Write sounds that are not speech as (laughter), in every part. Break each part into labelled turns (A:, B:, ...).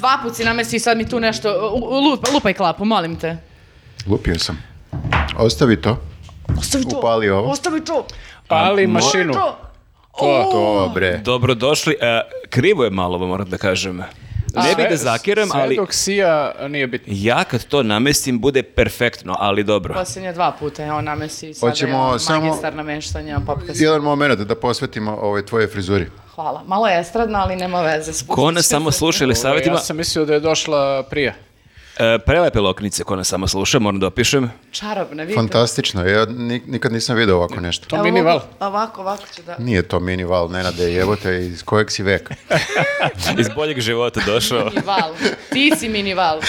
A: klapu E, si namesti i sad mi tu nešto, u, u, lupa- lupaj klapu, molim te.
B: Lupio sam. Ostavi to.
A: Ostavi to.
B: Upali ovo.
A: Ostavi to.
C: Pali mašinu.
A: Ostavi to.
C: To,
B: Dobre.
D: Dobrodošli. E, krivo je malo, vam moram da kažem. Ne bih da zakiram,
C: sve
D: ali
C: dok sija nije bitno.
D: ja kad to namestim bude perfektno, ali
C: Pa,
D: dobro.
A: Posljednje Pa dva puta je on namesti. Sada
B: Hoćemo
A: je on
B: samo-
A: magistar nameštanja popkast.
B: Jedan moment da posvetimo ovoj tvojoj frizuri.
A: Hvala. Malo je estradna, ali nema veze. Spustit
D: Ko nas
A: će
D: samo
A: se.
D: sluša ili savjetima,
C: Ovaj, Ja sam mislio da je došla prije.
D: e, prelepe loknice ko nas samo sluša, moram da opišem.
A: Čarobne, vidite.
B: Fantastično. Ja ni- nikad nisam video ovako nešto.
C: To
A: Evo
C: mini val.
A: mogu- Ovako, ovako će da...
B: Nije to mini val, Nenade, evo te, iz kojeg si veka.
D: Iz boljeg života došao.
A: Minival. Ti si
B: (laughs)
A: minival.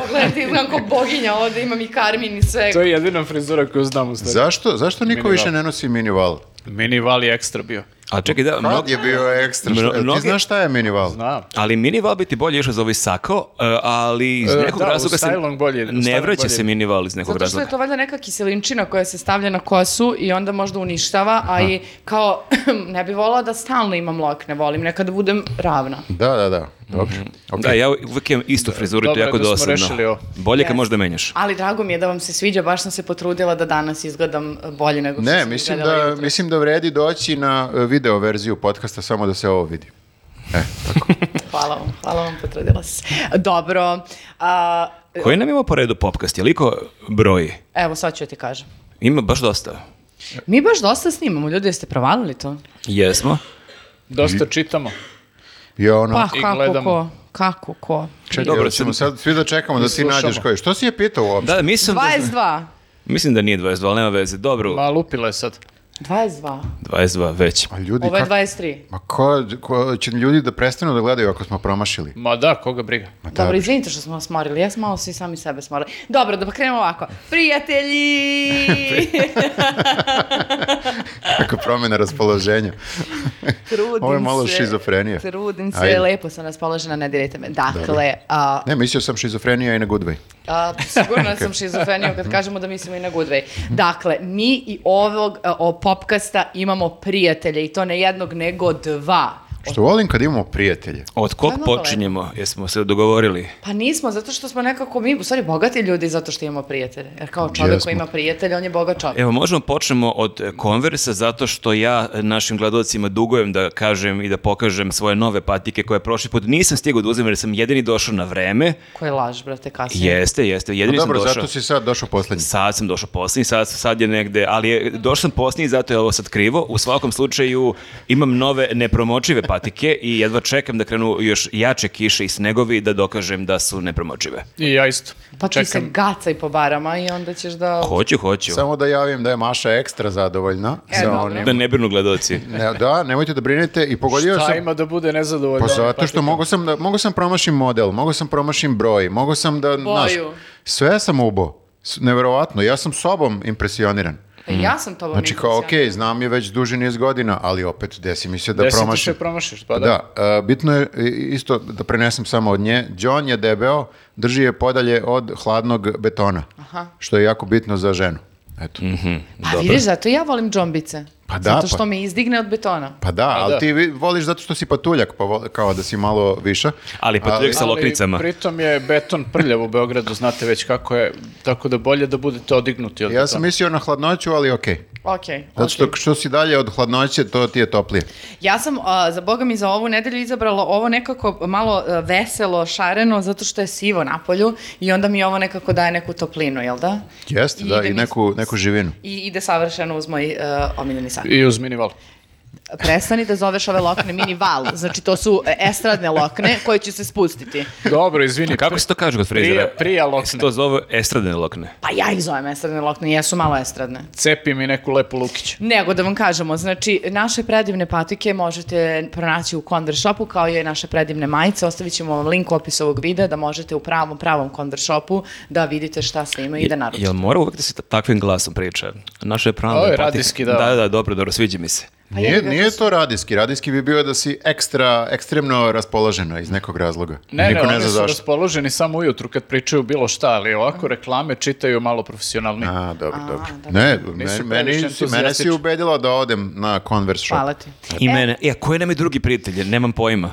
A: Pogledaj, ti izgledam ko boginja ovde, imam i karmin i sve.
C: To je jedina frizura koju znam u stvari.
B: Zašto, zašto niko
C: Mini
B: više
C: val.
B: ne nosi mini val?
C: Mini val je ekstra bio.
D: A čekaj, da,
B: Mnog...
D: mnogo-
B: je bio ekstra.
D: Mno-
B: Šta- jel
D: mnogi-
B: Ti znaš šta je mini val?
C: Znam.
D: ali minival bi ti bolje išao za ovaj sako, e, ali iz
C: E,
D: nekog
C: da, u
D: razloga se
C: stylong bolje, u
D: ne
C: stylong
D: vraća
C: bolje.
D: se minival iz nekog
A: Zato što
D: razloga.
A: je to valjda neka kiselinčina koja se stavlja na kosu i onda možda uništava, a i kao (clears throat) ne bi volao da stalno imam lokne, volim nekada budem ravna.
B: Da, da, da. Dobro. Ok.
D: Da, ja uvijek imam istu frizuru, to je
C: Dobro je
D: jako
C: da smo
D: dosadno.
C: rešili ovo.
D: Bolje kad
A: Jeste.
D: možda menjaš.
A: Ali drago mi je da vam se sviđa, baš sam se potrudila da danas izgledam e, bolje nego što
B: Ne,
A: sam
B: mislim
A: izgledala
B: da,
A: jutros.
B: mislim da vredi doći na e, video verziju podcasta samo da se ovo vidi.
A: Hvala vam, hvala vam, potrudila sam se. Dobro, a,
C: e-
D: Koji nam ima po redu popkast? Je liko broji?
A: evo sad ću ja ti kažem.
D: Ima baš dosta.
A: Mi baš dosta snimamo, ljudi, jeste provalili to?
D: Jesmo.
C: Dosta čitamo.
B: Ja ono,
A: Pa
C: i
A: kako
C: gledamo.
A: ko, kako ko.
B: čekaj,
D: Dobro,
B: jel ćemo
D: sad-
B: sad svi da čekamo da ti
C: Slušamo.
B: nađeš koji. Što si je pitao uopšte?
D: Da, mislim da,
A: 22,
D: mislim da nije 22, ali nema veze. Dobro,
C: Ma lupila je sad.
A: 22,
D: 22 već.
B: Ma ljudi,
A: ovo je
B: kako-
A: 23.
B: Ma ko, ko- će ljudi da prestanu da gledaju ako smo promašili?
C: Ma da, koga briga.
B: Ma
A: Dobro,
B: dobro.
A: izvinite što smo vas morili, ja sam malo svi sami sebe smorili. Dobro, da pa krenemo ovako.
B: (laughs)
A: Prijatelji!
B: Kako promjena raspoloženja.
A: Trudim
B: Ovo je malo
A: se,
B: šizofrenija.
A: Trudim se,
B: Ajde.
A: lepo sam raspoložena, ne dirajte me. Dakle, a,
B: Ne, mislio sam šizofrenija i na good way.
A: a, sigurno sam šizofrenija kad kažemo da mislimo i na Goodway. Dakle, mi i ovog a, o, popkasta imamo prijatelje i to ne jednog, nego dva.
B: Što volim kad imamo prijatelje.
D: Od kog
A: Ajmo dole.
D: počinjemo? Jesmo se dogovorili?
A: Pa nismo, zato što smo nekako mi, u stvari, bogati ljudi zato što imamo prijatelje. Jer kao čovjek
B: Jesmo.
A: koji ima prijatelje, on je bogat čovjek.
D: Evo, možemo da počnemo od e, konversa, zato što ja e, našim gledalcima dugujem da kažem i da pokažem svoje nove patike koje prošli put nisam stigao da uzem jer sam jedini došao na vreme.
A: Koji laž, brate, kasnije.
D: Jeste, jeste, jedini
B: Pa Dobro,
D: sam došao.
B: zato si sad došao poslednji.
D: Sad sam došao posljednji, sad, sad je negde, ali je, došao sam posljednji, zato je ovo sad krivo. U svakom slučaju imam nove nepromočive patike i jedva čekam da krenu još jače kiše i snegovi da dokažem da su nepromočive.
C: I ja isto.
A: Pa ti se
C: Čekam.
A: gacaj po barama i onda ćeš da...
D: Hoću, hoću.
B: Samo da javim da je Maša ekstra zadovoljna
A: E,
B: sa
A: dobro.
B: onim.
D: Da ne brinu gledalci.
B: Ne, da, nemojte da brinete i pogodio
C: Šta
B: sam.
C: ima da bude nezadovoljno?
B: Pa zato što mogu sam da mogu sam promašim model, mogu sam promašim broj, mogu sam da znaš, sve sam ubo. Neverovatno, ja sam sobom impresioniran.
A: E, Ja sam to
B: Znači kao, ok, znam je već duži niz godina, ali opet desi mi se da
C: Desi ti
B: promašim.
C: se promašiš, pa da.
B: Da, e, bitno je i- isto da prenesem samo od nje. John je debeo, drži je podalje od hladnog betona, što je jako bitno za ženu. Eto.
A: Pa vidiš, zato ja volim džombice.
B: Pa da,
A: Zato
B: pa-
A: što me izdigne od betona.
B: Pa da, ali
C: da.
B: ti vi- voliš zato što si patuljak, pa vo- kao da si malo viša.
D: Ali patuljak sa
C: Ali
D: loknicama.
C: pritom je beton prljav u Beogradu, znate već kako je, tako da bolje da budete odignuti od
B: Ja sam
C: betona.
B: mislio na hladnoću, ali okej.
A: Ok.
B: Zato što što si dalje od hladnoće, to ti je toplije.
A: Ja sam, a, za boga mi, za ovu nedelju izabrala ovo nekako malo a, veselo, šareno, zato što je sivo na polju i onda mi ovo nekako daje neku toplinu, jel da?
B: Jeste, da,
A: ide
B: i
A: mi-
B: neku, neku živinu.
A: I ide savršeno uz moj a, omiljeni san.
C: I uz minival.
A: Prestani da zoveš ove lokne mini val. Znači, to su e, estradne lokne koje će se spustiti.
C: Dobro, izvini.
D: E, Kako se to kaže kod frizera?
C: Prija, prija
D: Se
C: lokne.
D: to zove estradne lokne.
A: Pa ja ih zovem estradne lokne, jesu malo estradne.
C: Cepi mi neku lepu lukić.
A: Nego da vam kažemo, znači naše predivne patike možete pronaći u Converse shopu kao i naše predivne majice. Ostavit ćemo vam link u opisu ovog videa da možete u pravom, pravom Converse shopu da vidite šta sve ima i da naručite.
D: Jel mora uvek da se ta- takvim glasom priča? Naše pravo.
C: Ovo je radijski, da.
D: Da, da, dobro, dobro, sviđa mi se.
A: Pa jebi
B: Nije,
A: ga,
B: nije to radijski. Radijski bi bio da si ekstra, ekstremno raspoložena iz nekog razloga.
C: Ne,
B: Niko
C: ne,
B: ne
C: oni
B: zna
C: su
B: zašto.
C: raspoloženi samo ujutru kad pričaju bilo šta, ali
A: Mm.
C: ovako reklame čitaju malo profesionalnije.
B: A, dobro, dobro.
A: dobro.
B: Ne,
C: Nisu
B: me- meni,
C: previše
B: si, mene si
C: entuzijastični.
B: ubedila da odem na Converse shop.
A: Hvala ti.
D: e, I mene. E, a koji nam je drugi prijatelj? Nemam pojma.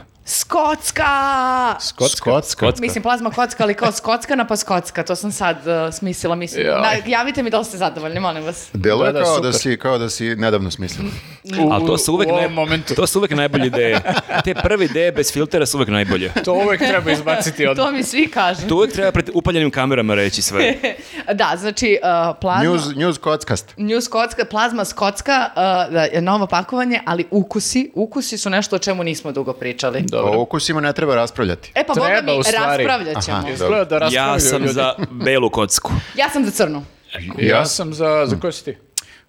A: Skocka!
C: Skocka.
B: Skocka.
A: Mislim, plazma kocka, ali kao skockana pa skocka. To sam sad uh, smislila. Mislim.
C: Jaj.
A: Na- javite mi da li ste zadovoljni, molim vas.
B: Delo je
C: Da, da,
B: kao da
C: super.
B: si, kao da si nedavno smislio.
C: U-
D: Ali to su uvek,
C: u ovom
D: naj-
C: momentu.
D: to su uvek najbolje ideje. Te prve ideje bez filtera su uvek najbolje.
C: To uvek
A: (laughs)
C: treba izbaciti od...
A: To mi svi kažu.
D: To uvek treba pred upaljenim kamerama reći sve.
A: Da, znači, uh, plazma... News.
B: News, news kockast.
A: kocka, plazma skocka, uh, da, je novo pakovanje, ali ukusi, ukusi su nešto o čemu nismo dugo pričali.
C: Dobro.
B: O ukusima ne treba raspravljati.
A: E pa
C: Da. Treba,
A: boga mi,
C: u stvari.
A: raspravljat ćemo.
B: Aha.
C: Izgleda da raspravljaju
D: Ja sam
C: ljudi.
D: za belu kocku.
A: Ja sam za crnu.
C: Ja sam za...
B: Mm.
C: Za koju si ti?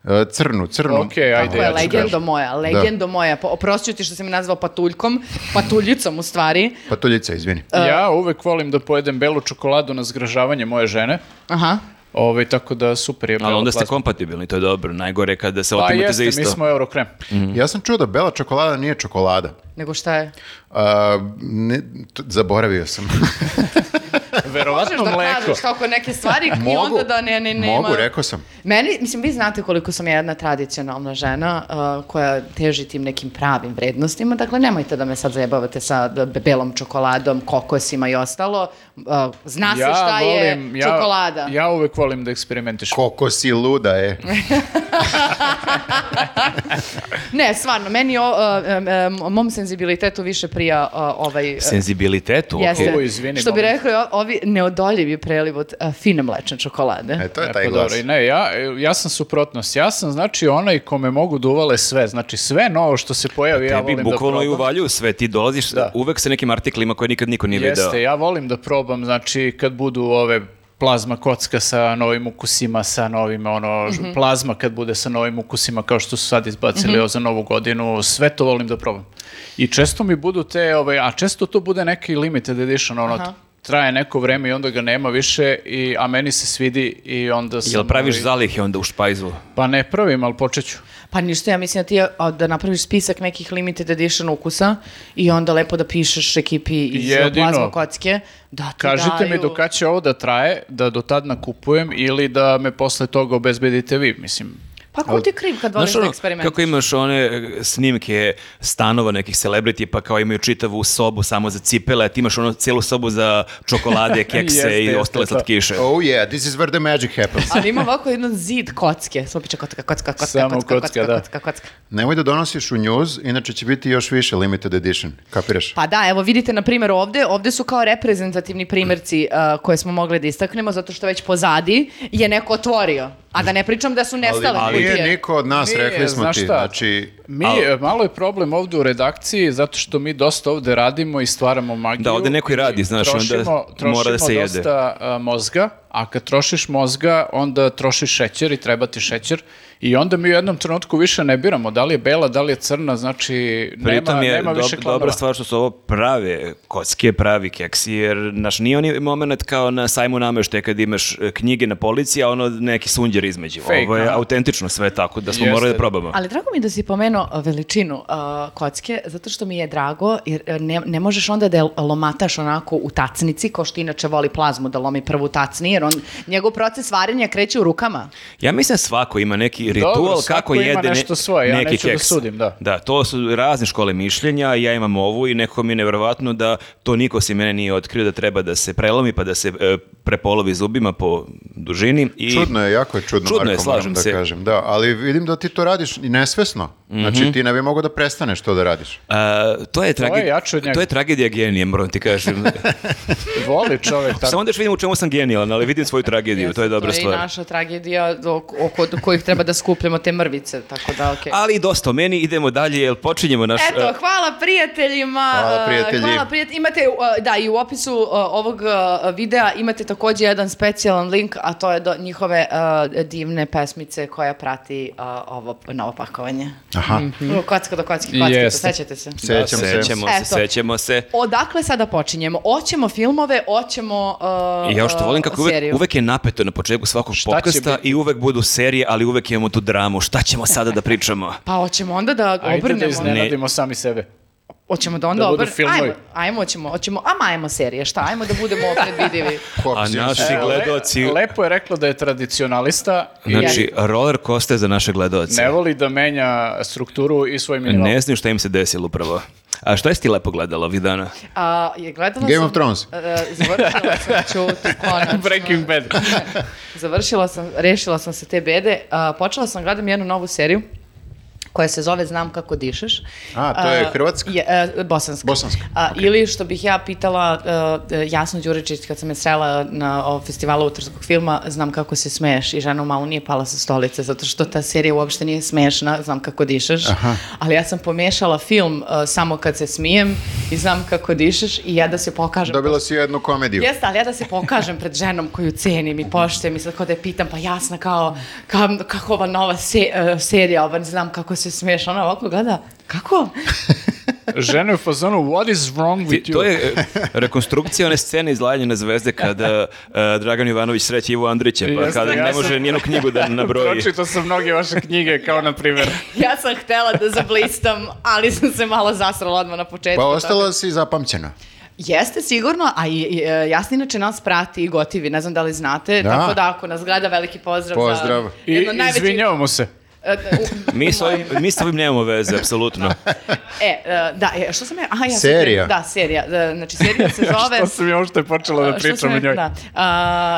B: E, Crnu, crnu.
C: Okej, ajde,
A: To je
C: ja ću
A: legendo
C: kažem.
A: moja, legendo moja. Po- Oprostit ću ti što si me nazvao patuljkom, patuljicom u stvari.
B: Patuljica, izvini.
A: E.
C: Ja uvek volim da pojedem belu čokoladu na zgražavanje moje žene.
A: Aha.
C: Ovaj tako da super je
D: Ali
C: bela
D: onda ste
C: plazma.
D: kompatibilni, to je dobro. Najgore je kada se
C: Pa
D: otimate za
C: jeste,
D: isto.
C: mi smo
A: (laughs)
C: eurokrem.
B: Ja sam čuo da bela čokolada nije čokolada.
A: Nego šta je?
B: A, ne, t- zaboravio sam.
C: Verovatno
A: Možeš da
C: mleko.
A: kažeš kako neke
C: (laughs)
A: stvari i onda da ne, ne, nema...
B: Mogu, rekao sam.
A: Meni, mislim, vi znate koliko sam ja jedna tradicionalna žena uh, koja teži tim nekim pravim vrednostima, dakle nemojte da me sad zajebavate sa d- belom čokoladom, kokosima i ostalo. Uh, zna se šta je čokolada.
C: Ja uvek volim da eksperimentiš.
B: Koliko si luda, e. je.
A: Ne, stvarno, meni o, em, em, mom senzibilitetu više prija o, ovaj... e,
D: Senzibilitetu, okej.
A: Jeste.
C: O, izvini,
A: Što bi
C: molim.
A: rekli o- ovi neodoljivi preliv od a, fine mlečne čokolade.
B: E, to
C: E,
B: je taj
C: pa
B: glas.
C: dobro, i ne, ja, ja sam suprotnost. Ja sam, znači, onaj kome mogu da uvale sve. Znači, sve novo što se pojavi, ja
D: Tebi
C: volim da
D: bukvalno i
C: probam.
D: uvaljuju sve, ti dolaziš
C: Da.
D: uvek sa nekim artiklima koje nikad niko nije video.
C: Jeste, ja volim da probam, znači, kad budu ove plazma kocka sa novim ukusima, sa novim, ono,
B: Mhm.
C: ž- plazma kad bude sa novim ukusima, kao što su sad izbacili evo, za novu godinu, sve to volim da probam. I često mi budu te, ove, a često to bude neki limited edition, ono,
A: Aha.
C: traje neko vreme i onda ga nema više, i, a meni se svidi i onda sam...
D: Jel praviš
C: ovaj,
D: zalihe onda u špajzu?
C: Pa ne pravim, ali počet ću.
A: Pa ništa, ja mislim da ti a, da napraviš spisak nekih limited edition ukusa i onda lepo da pišeš ekipi iz a,
C: Jedino.
A: plazma kocke. Da ti
C: Kažite mi
A: daju-
C: do kad će ovo da traje, da do tad nakupujem ili da me posle toga obezbedite vi, mislim.
A: Pa ko ti je kriv kad voliš
D: Znaš
A: da
D: ono,
A: eksperimentaš?
D: kako imaš one e, snimke stanova nekih celebrity, pa kao imaju čitavu sobu samo za cipele, a ti imaš ono cijelu sobu za
C: (laughs)
D: čokolade, kekse
C: Jeste,
D: i
C: jeste, to.
D: ostale slatkiše.
B: Oh yeah, this is where the magic happens.
A: Ali ima ovako jedan zid kocke. Samo piče kocka, kocka, kocka,
C: Samo
A: kocka, kocka,
C: kocka,
A: kocka,
C: da.
A: kocka, kocka.
B: Nemoj da donosiš u news, inače će biti još više limited edition. Kapiraš?
A: Pa da, evo vidite na primjer ovdje, ovdje su kao reprezentativni primjerci uh, koje smo mogli da istaknemo, zato što već pozadi je neko otvorio. A da ne pričam da su nestale
B: Ali
A: kutije.
B: nije niko od nas,
C: Nije,
B: rekli smo
C: znaš
B: ti.
C: šta?
B: Znači,
C: Mi, e, malo je problem ovdje u redakciji, zato što mi dosta ovdje radimo i stvaramo magiju.
D: Da, ovde neko i radi, znaš, onda mora da se
C: trošimo
D: jede.
C: dosta a, mozga, a kad trošiš mozga, onda trošiš šećer i treba ti šećer. I onda mi u jednom trenutku više ne biramo, da li je bela, da li je crna, znači
D: Pritom
C: nema,
D: je
C: nema
D: dob-
C: više klanova.
D: dobra stvar što su ovo prave kocke, pravi keksi, jer naš nije onaj moment kao na sajmu namešte kad imaš e, knjige na polici, a ono neki sunđer između.
C: Fake,
D: ovo je
C: aha.
D: autentično sve tako, da smo
C: Jeste.
D: morali da probamo.
A: Ali drago mi je da si pomenuo a, veličinu a, kocke, zato što mi je drago, jer e, ne, ne možeš onda da je lomataš onako u tacnici, kao što inače voli plazmu da lomi prvu tacni, jer on, njegov proces varenja kreće u rukama.
D: Ja mislim da svako ima neki ritual
C: svako
D: kako
C: ima
D: jede ne-
C: nešto svoje, ja
D: neki
C: neću da
D: keks.
C: sudim, da.
D: to su razne škole mišljenja, ja imam ovu i nekako mi je nevjerovatno da to niko si mene nije otkrio da treba da se prelomi pa da se e, prepolovi zubima po dužini. I...
B: čudno je, jako je čudno,
D: Čudno je,
B: Marko,
D: slažem
B: moram da
D: se.
B: kažem. Da, ali vidim da ti to radiš i nesvesno. Znači, ti ne bi mogao da prestaneš to da radiš.
D: A, to je, trage-
C: je jače od njega.
D: to je tragedija genije, moram ti
C: (laughs)
D: kažem.
C: Voli
D: (laughs)
C: čovek tako.
D: Samo da još vidim u čemu sam genijalan, ali vidim svoju tragediju, to je dobra
A: To je i
D: stvar.
A: naša tragedija do, oko do kojih treba da skupljamo te mrvice, tako da okej.
D: Ali dosta o meni, idemo dalje, jer počinjemo naš...
A: Eto,
D: e,
A: hvala prijateljima.
B: Hvala
A: e,
B: prijatelji.
A: hvala prijatelji. Imate, e, da, i u opisu e, ovog e, videa imate takođe jedan specijalan link, a to je do njihove e, divne pesmice koja prati e, ovo novo pakovanje.
B: Aha,
A: Mm. Kocka do kocki, kocki, to
C: Jeste.
A: sećate se.
B: sećam se.
D: Sećamo
A: se.
D: Mhm. se,
A: Eto.
D: sećamo se.
A: Odakle sada počinjemo? Oćemo filmove, oćemo e,
D: I ja što volim kako uvek,
A: seriju.
D: uvek je napeto na početku svakog podcasta
C: biti?
D: i uvek budu serije, ali uvek imamo tu dramu. Šta ćemo sada da
C: (laughs)
D: pričamo?
A: Pa hoćemo onda da
C: Ajde da
A: obrnemo.
C: iznenadimo sami sebe.
A: Hoćemo da onda
C: Da budu
A: obr-
C: filmovi.
A: Ajmo, ajmo, hoćemo, hoćemo, ama ajmo serije, šta? Ajmo da budemo
D: (laughs)
A: predvidivi.
D: A
B: Kopsi,
D: naši
C: E, le-
D: gledoci...
C: Lepo je reklo da je tradicionalista i
D: Znači, roller coaster za naše gledoce.
C: ne voli da menja strukturu i svoj minimal.
D: Ne znaju šta im se desilo upravo. A šta je ti lepo gledala ovih dana?
A: A, je gledala
B: Game
A: sam-
B: of Thrones.
A: E, završila
B: (laughs)
A: sam ćutu, konačno.
C: (laughs) Breaking Bad.
A: Završila sam, rešila sam se te bede. A, počela sam, gledam jednu novu seriju koja se zove Znam kako dišeš.
B: A, to je
A: A,
B: hrvatska?
A: Je, e, bosanska.
B: Bosanska,
A: A, Ili što bih ja pitala e, Jasnu Đuričić kad sam je srela na o, festivalu utorskog filma Znam kako se smeješ i žena malo nije pala sa stolice zato što ta serija uopšte nije smešna Znam kako dišeš. Ali ja sam pomešala film e, Samo kad se smijem i Znam kako dišeš i ja da se pokažem
B: Dobila si jednu komediju.
A: Jeste, ali ja da se pokažem pred ženom koju cenim i poštujem i sad kao da je pitam, pa jasna kao, ka- kako ova nova se, e, serija, ova ne znam kako se smiješ, ona ovako gleda,
B: (laughs)
A: kako?
C: Žena je u fazonu, what is wrong
D: Ti-
C: with you?
D: to je e, rekonstrukcija one scene iz Lajanje na zvezde
C: (laughs)
D: kada e, Dragan Jovanović sreće Ivo Andrića, pa
C: Jeste,
D: kada
C: ja
D: ne
C: sam-
D: može njenu knjigu
C: (laughs)
D: da nabroji.
C: Pročitao sam mnoge vaše knjige, kao na primjer.
A: Ja sam htela da zablistam, ali sam se malo zasrala odmah na početku.
B: Pa
A: tako-
B: ostala si zapamćena.
A: Jeste, sigurno, a i, i e, Jasna inače nas prati i gotivi, ne znam da li znate,
B: Da.
A: tako da ako nas gleda, veliki pozdrav.
B: Pozdrav.
A: Za
C: I
A: jedno od najvećih-
C: izvinjavamo se.
A: E,
B: (laughs)
A: u-
D: Mi s, ovim, mi s ovim nemamo veze,
C: (laughs)
D: apsolutno.
A: E, e, da, e, što sam ja... Aha, ja sam
B: Serija.
A: Da, serija. e, Znači, serija se zove...
C: (laughs) Što sam ja uopšte počela da
A: Što
C: pričam
A: sam
C: o njoj?
A: rekla, a,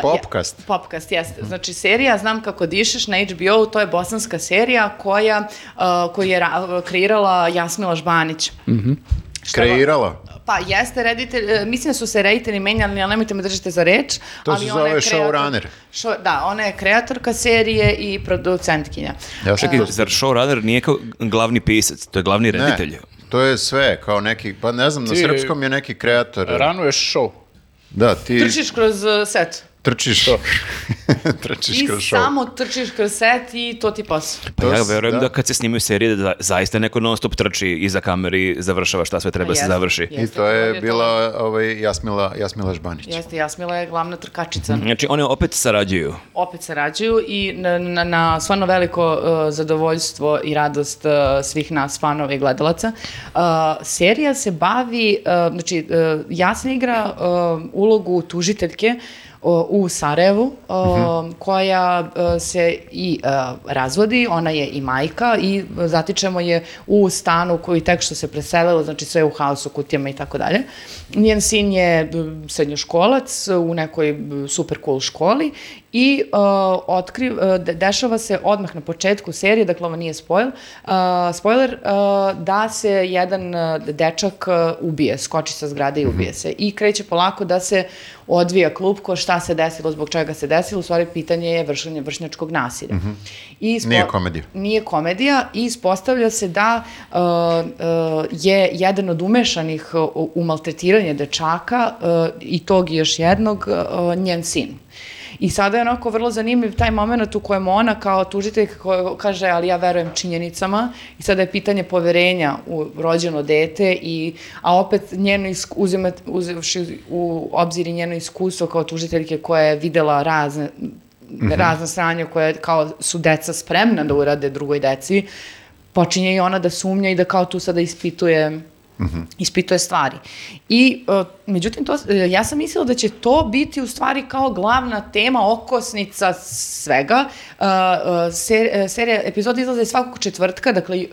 A: ja-
B: Popcast.
A: Popcast, jeste. Znači, serija Znam kako dišeš na HBO, to je bosanska serija koja, a, koju je ra- kreirala Jasmila Žbanić.
B: Mhm.
A: Šta-
B: Kreirala.
A: Pa jeste reditelj, e, mislim da su se reditelji menjali, ali nemojte me držite za reč.
B: To
A: ali
B: se
A: ona je
B: zove
A: kreator-
B: showrunner.
A: šo- da, ona je kreatorka serije i producentkinja.
B: Ja
D: Čekaj, zar showrunner nije kao glavni pisac, to je glavni reditelj?
B: Ne, to je sve, kao neki, pa ne znam, na
C: Ti-
B: srpskom je neki kreator.
C: Rano je show.
B: Da, ti
A: Trčiš kroz e, set.
B: trčiš. (laughs) trčiš
A: I
B: kroz show.
A: samo trčiš kroz set i to ti posao.
D: Pa
B: To
D: ja
B: s-
D: verujem da.
B: da.
D: kad se snimaju serije da zaista neko non stop trči iza kamere i završava šta sve treba da se
A: Jeste,
D: završi.
A: jeste.
B: I to je
A: Jeste,
B: bila ovaj, Jasmila, Jasmila Žbanić.
A: Jeste, Jasmila je glavna
B: Mhm.
A: trkačica.
D: Znači, one opet sarađuju.
A: Opet sarađuju i na, na, na stvarno veliko uh, zadovoljstvo i radost uh, svih nas fanova i gledalaca. Uh, serija se bavi, uh, znači uh, Jasna igra uh, ulogu tužiteljke uh, u Sarajevu uh, koja uh, se i uh, razvodi, ona je i majka i uh, zatičemo je u stanu koji tek što se preselila, znači sve je u haosu, kutijama i tako dalje. Njen sin je b, srednjoškolac uh, u nekoj b, super cool školi i uh, otkriv, uh, de- dešava se odmah na početku serije, dakle ovo nije spoil, uh, spoiler, uh, da se jedan uh, dečak uh, ubije, skoči sa zgrade i
B: Mhm.
A: ubije se. I kreće polako da se odvija klupko, šta se desilo, zbog čega se desilo, u stvari pitanje je vršenje vršnjačkog nasilja. I spo-
B: Mhm. Nije komedija.
A: nije komedija i ispostavlja se da uh, uh, je jedan od umešanih uh, u maltretiranje dečaka uh, i tog i još jednog uh, njen sin. I sada je onako vrlo zanimljiv taj moment u kojem ona kao tužitelj koja kaže ali ja verujem činjenicama i sada je pitanje poverenja u rođeno dete i, a opet njeno isk- uzima, uzevši u obzir i njeno iskustvo kao tužiteljke koja je videla razne Mhm. razna sranja koje kao su deca spremna da urade drugoj deci, počinje i ona da sumnja i da kao tu sada ispituje ispituje stvari. I, e, međutim, to, e, ja sam mislila da će to biti u stvari kao glavna tema, okosnica svega. E, e, ser- e, serija, epizode izlaze svakog četvrtka, dakle, e,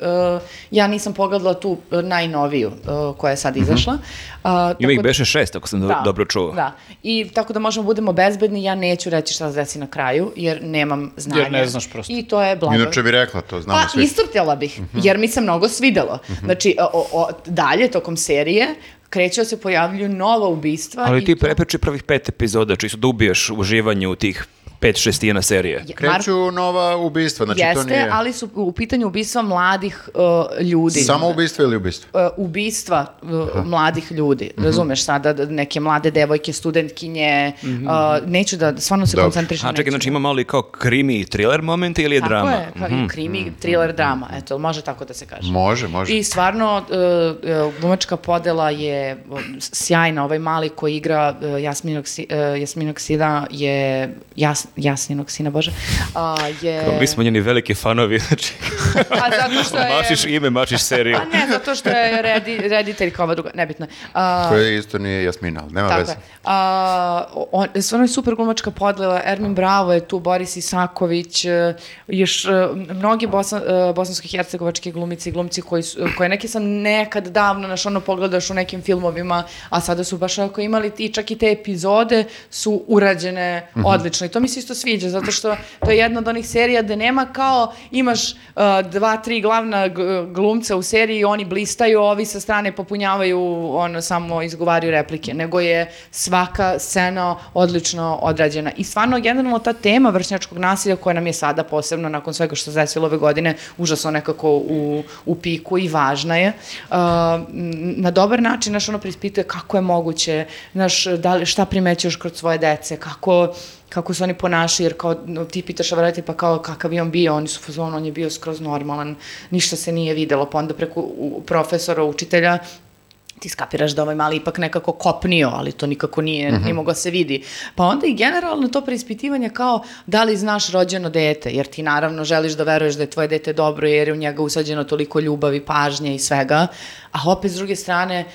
A: ja nisam pogledala tu e, najnoviju e, koja je sad izašla. A,
D: Ima
A: tako
D: ih
A: da-
D: beše šest, ako sam do-
A: da,
D: dobro čuo.
A: Da. I tako da možemo budemo bezbedni, ja neću reći šta se desi na kraju, jer nemam znanja.
C: Jer ne znaš prosto.
A: I to je blago.
B: Inače bi rekla to, znamo
A: Pa
B: svi. Mhm.
A: istrpjela bih, jer mi se mnogo svidelo. Znači, o- o- dalje tokom serije kreće da se pojavljuju nova ubistva.
D: Ali
A: i
D: ti
A: to-
D: prepeči prvih pet epizoda, čisto da ubiješ uživanje u tih pet šestina serije.
A: Je- Marko,
B: Kreću nova ubistva, znači
A: jeste,
B: to nije...
A: ali su u pitanju ubistva mladih uh, ljudi.
B: Samo ubistva ili ubistva?
A: e, ubistva e, mladih ljudi.
B: Mhm.
A: Razumeš sada da neke mlade devojke, studentkinje, e, neću da stvarno se
B: Dobro.
A: koncentrišem.
D: Mhm. A čekaj,
A: neću
D: znači ima malo i kao krimi i thriller moment ili je
A: Tako
D: drama? Mhm.
A: je, kao i krimi, thriller, drama, eto, jel može tako da se kaže.
B: Može, može.
A: I stvarno, e, e, glumačka podela je e, sjajna, ovaj mali koji igra e, Jasminog, Si- e, Jasminog Sina je jas, Jasninog sina Bože, a, je...
D: Mi smo njeni veliki fanovi, (laughs) znači,
A: A zato
D: (laughs)
A: što je...
D: mašiš ime, mašiš
A: (laughs)
D: seriju.
A: A ne, zato što je redi, rediteljka ova druga, nebitno. je. A,
B: Koja isto nije Jasmina, ali nema
A: Tako
B: veze.
A: je. A, on, stvarno je super glumačka podlela, Ermin Bravo je tu, Boris Isaković, e, još e, mnogi bosan, e, bosansko-hercegovački glumici i glumci koji su, e, koje neke sam nekad davno, naš ono pogledaš u nekim filmovima, a sada su baš ako imali i čak i te epizode su urađene
B: Mhm.
A: odlično. I to mi se isto sviđa, zato što to je jedna od onih serija gde nema kao imaš e, dva, tri glavna g- glumca u seriji i oni blistaju, ovi sa strane popunjavaju, ono, samo izgovaraju replike, nego je svaka scena odlično odrađena. I stvarno, generalno, ta tema vršnjačkog nasilja koja nam je sada posebno, nakon svega što se desilo ove godine, užasno nekako u, u piku i važna je. Uh, m, na dobar način, naš ono prispituje kako je moguće, naš, da li, šta primećuješ kroz svoje dece, kako kako se oni ponašaju, jer kao no, ti pitaš a vrati pa kao kakav je on bio, oni su fazon, on je bio skroz normalan, ništa se nije videlo, pa onda preko u- profesora, učitelja, ti skapiraš da ovaj mali ipak nekako kopnio, ali to nikako nije, nije mogao se vidi. Pa onda i generalno to preispitivanje kao da li znaš rođeno dete, jer ti naravno želiš da veruješ da je tvoje dete dobro, jer je u njega usađeno toliko ljubavi, pažnje i svega, a opet s druge strane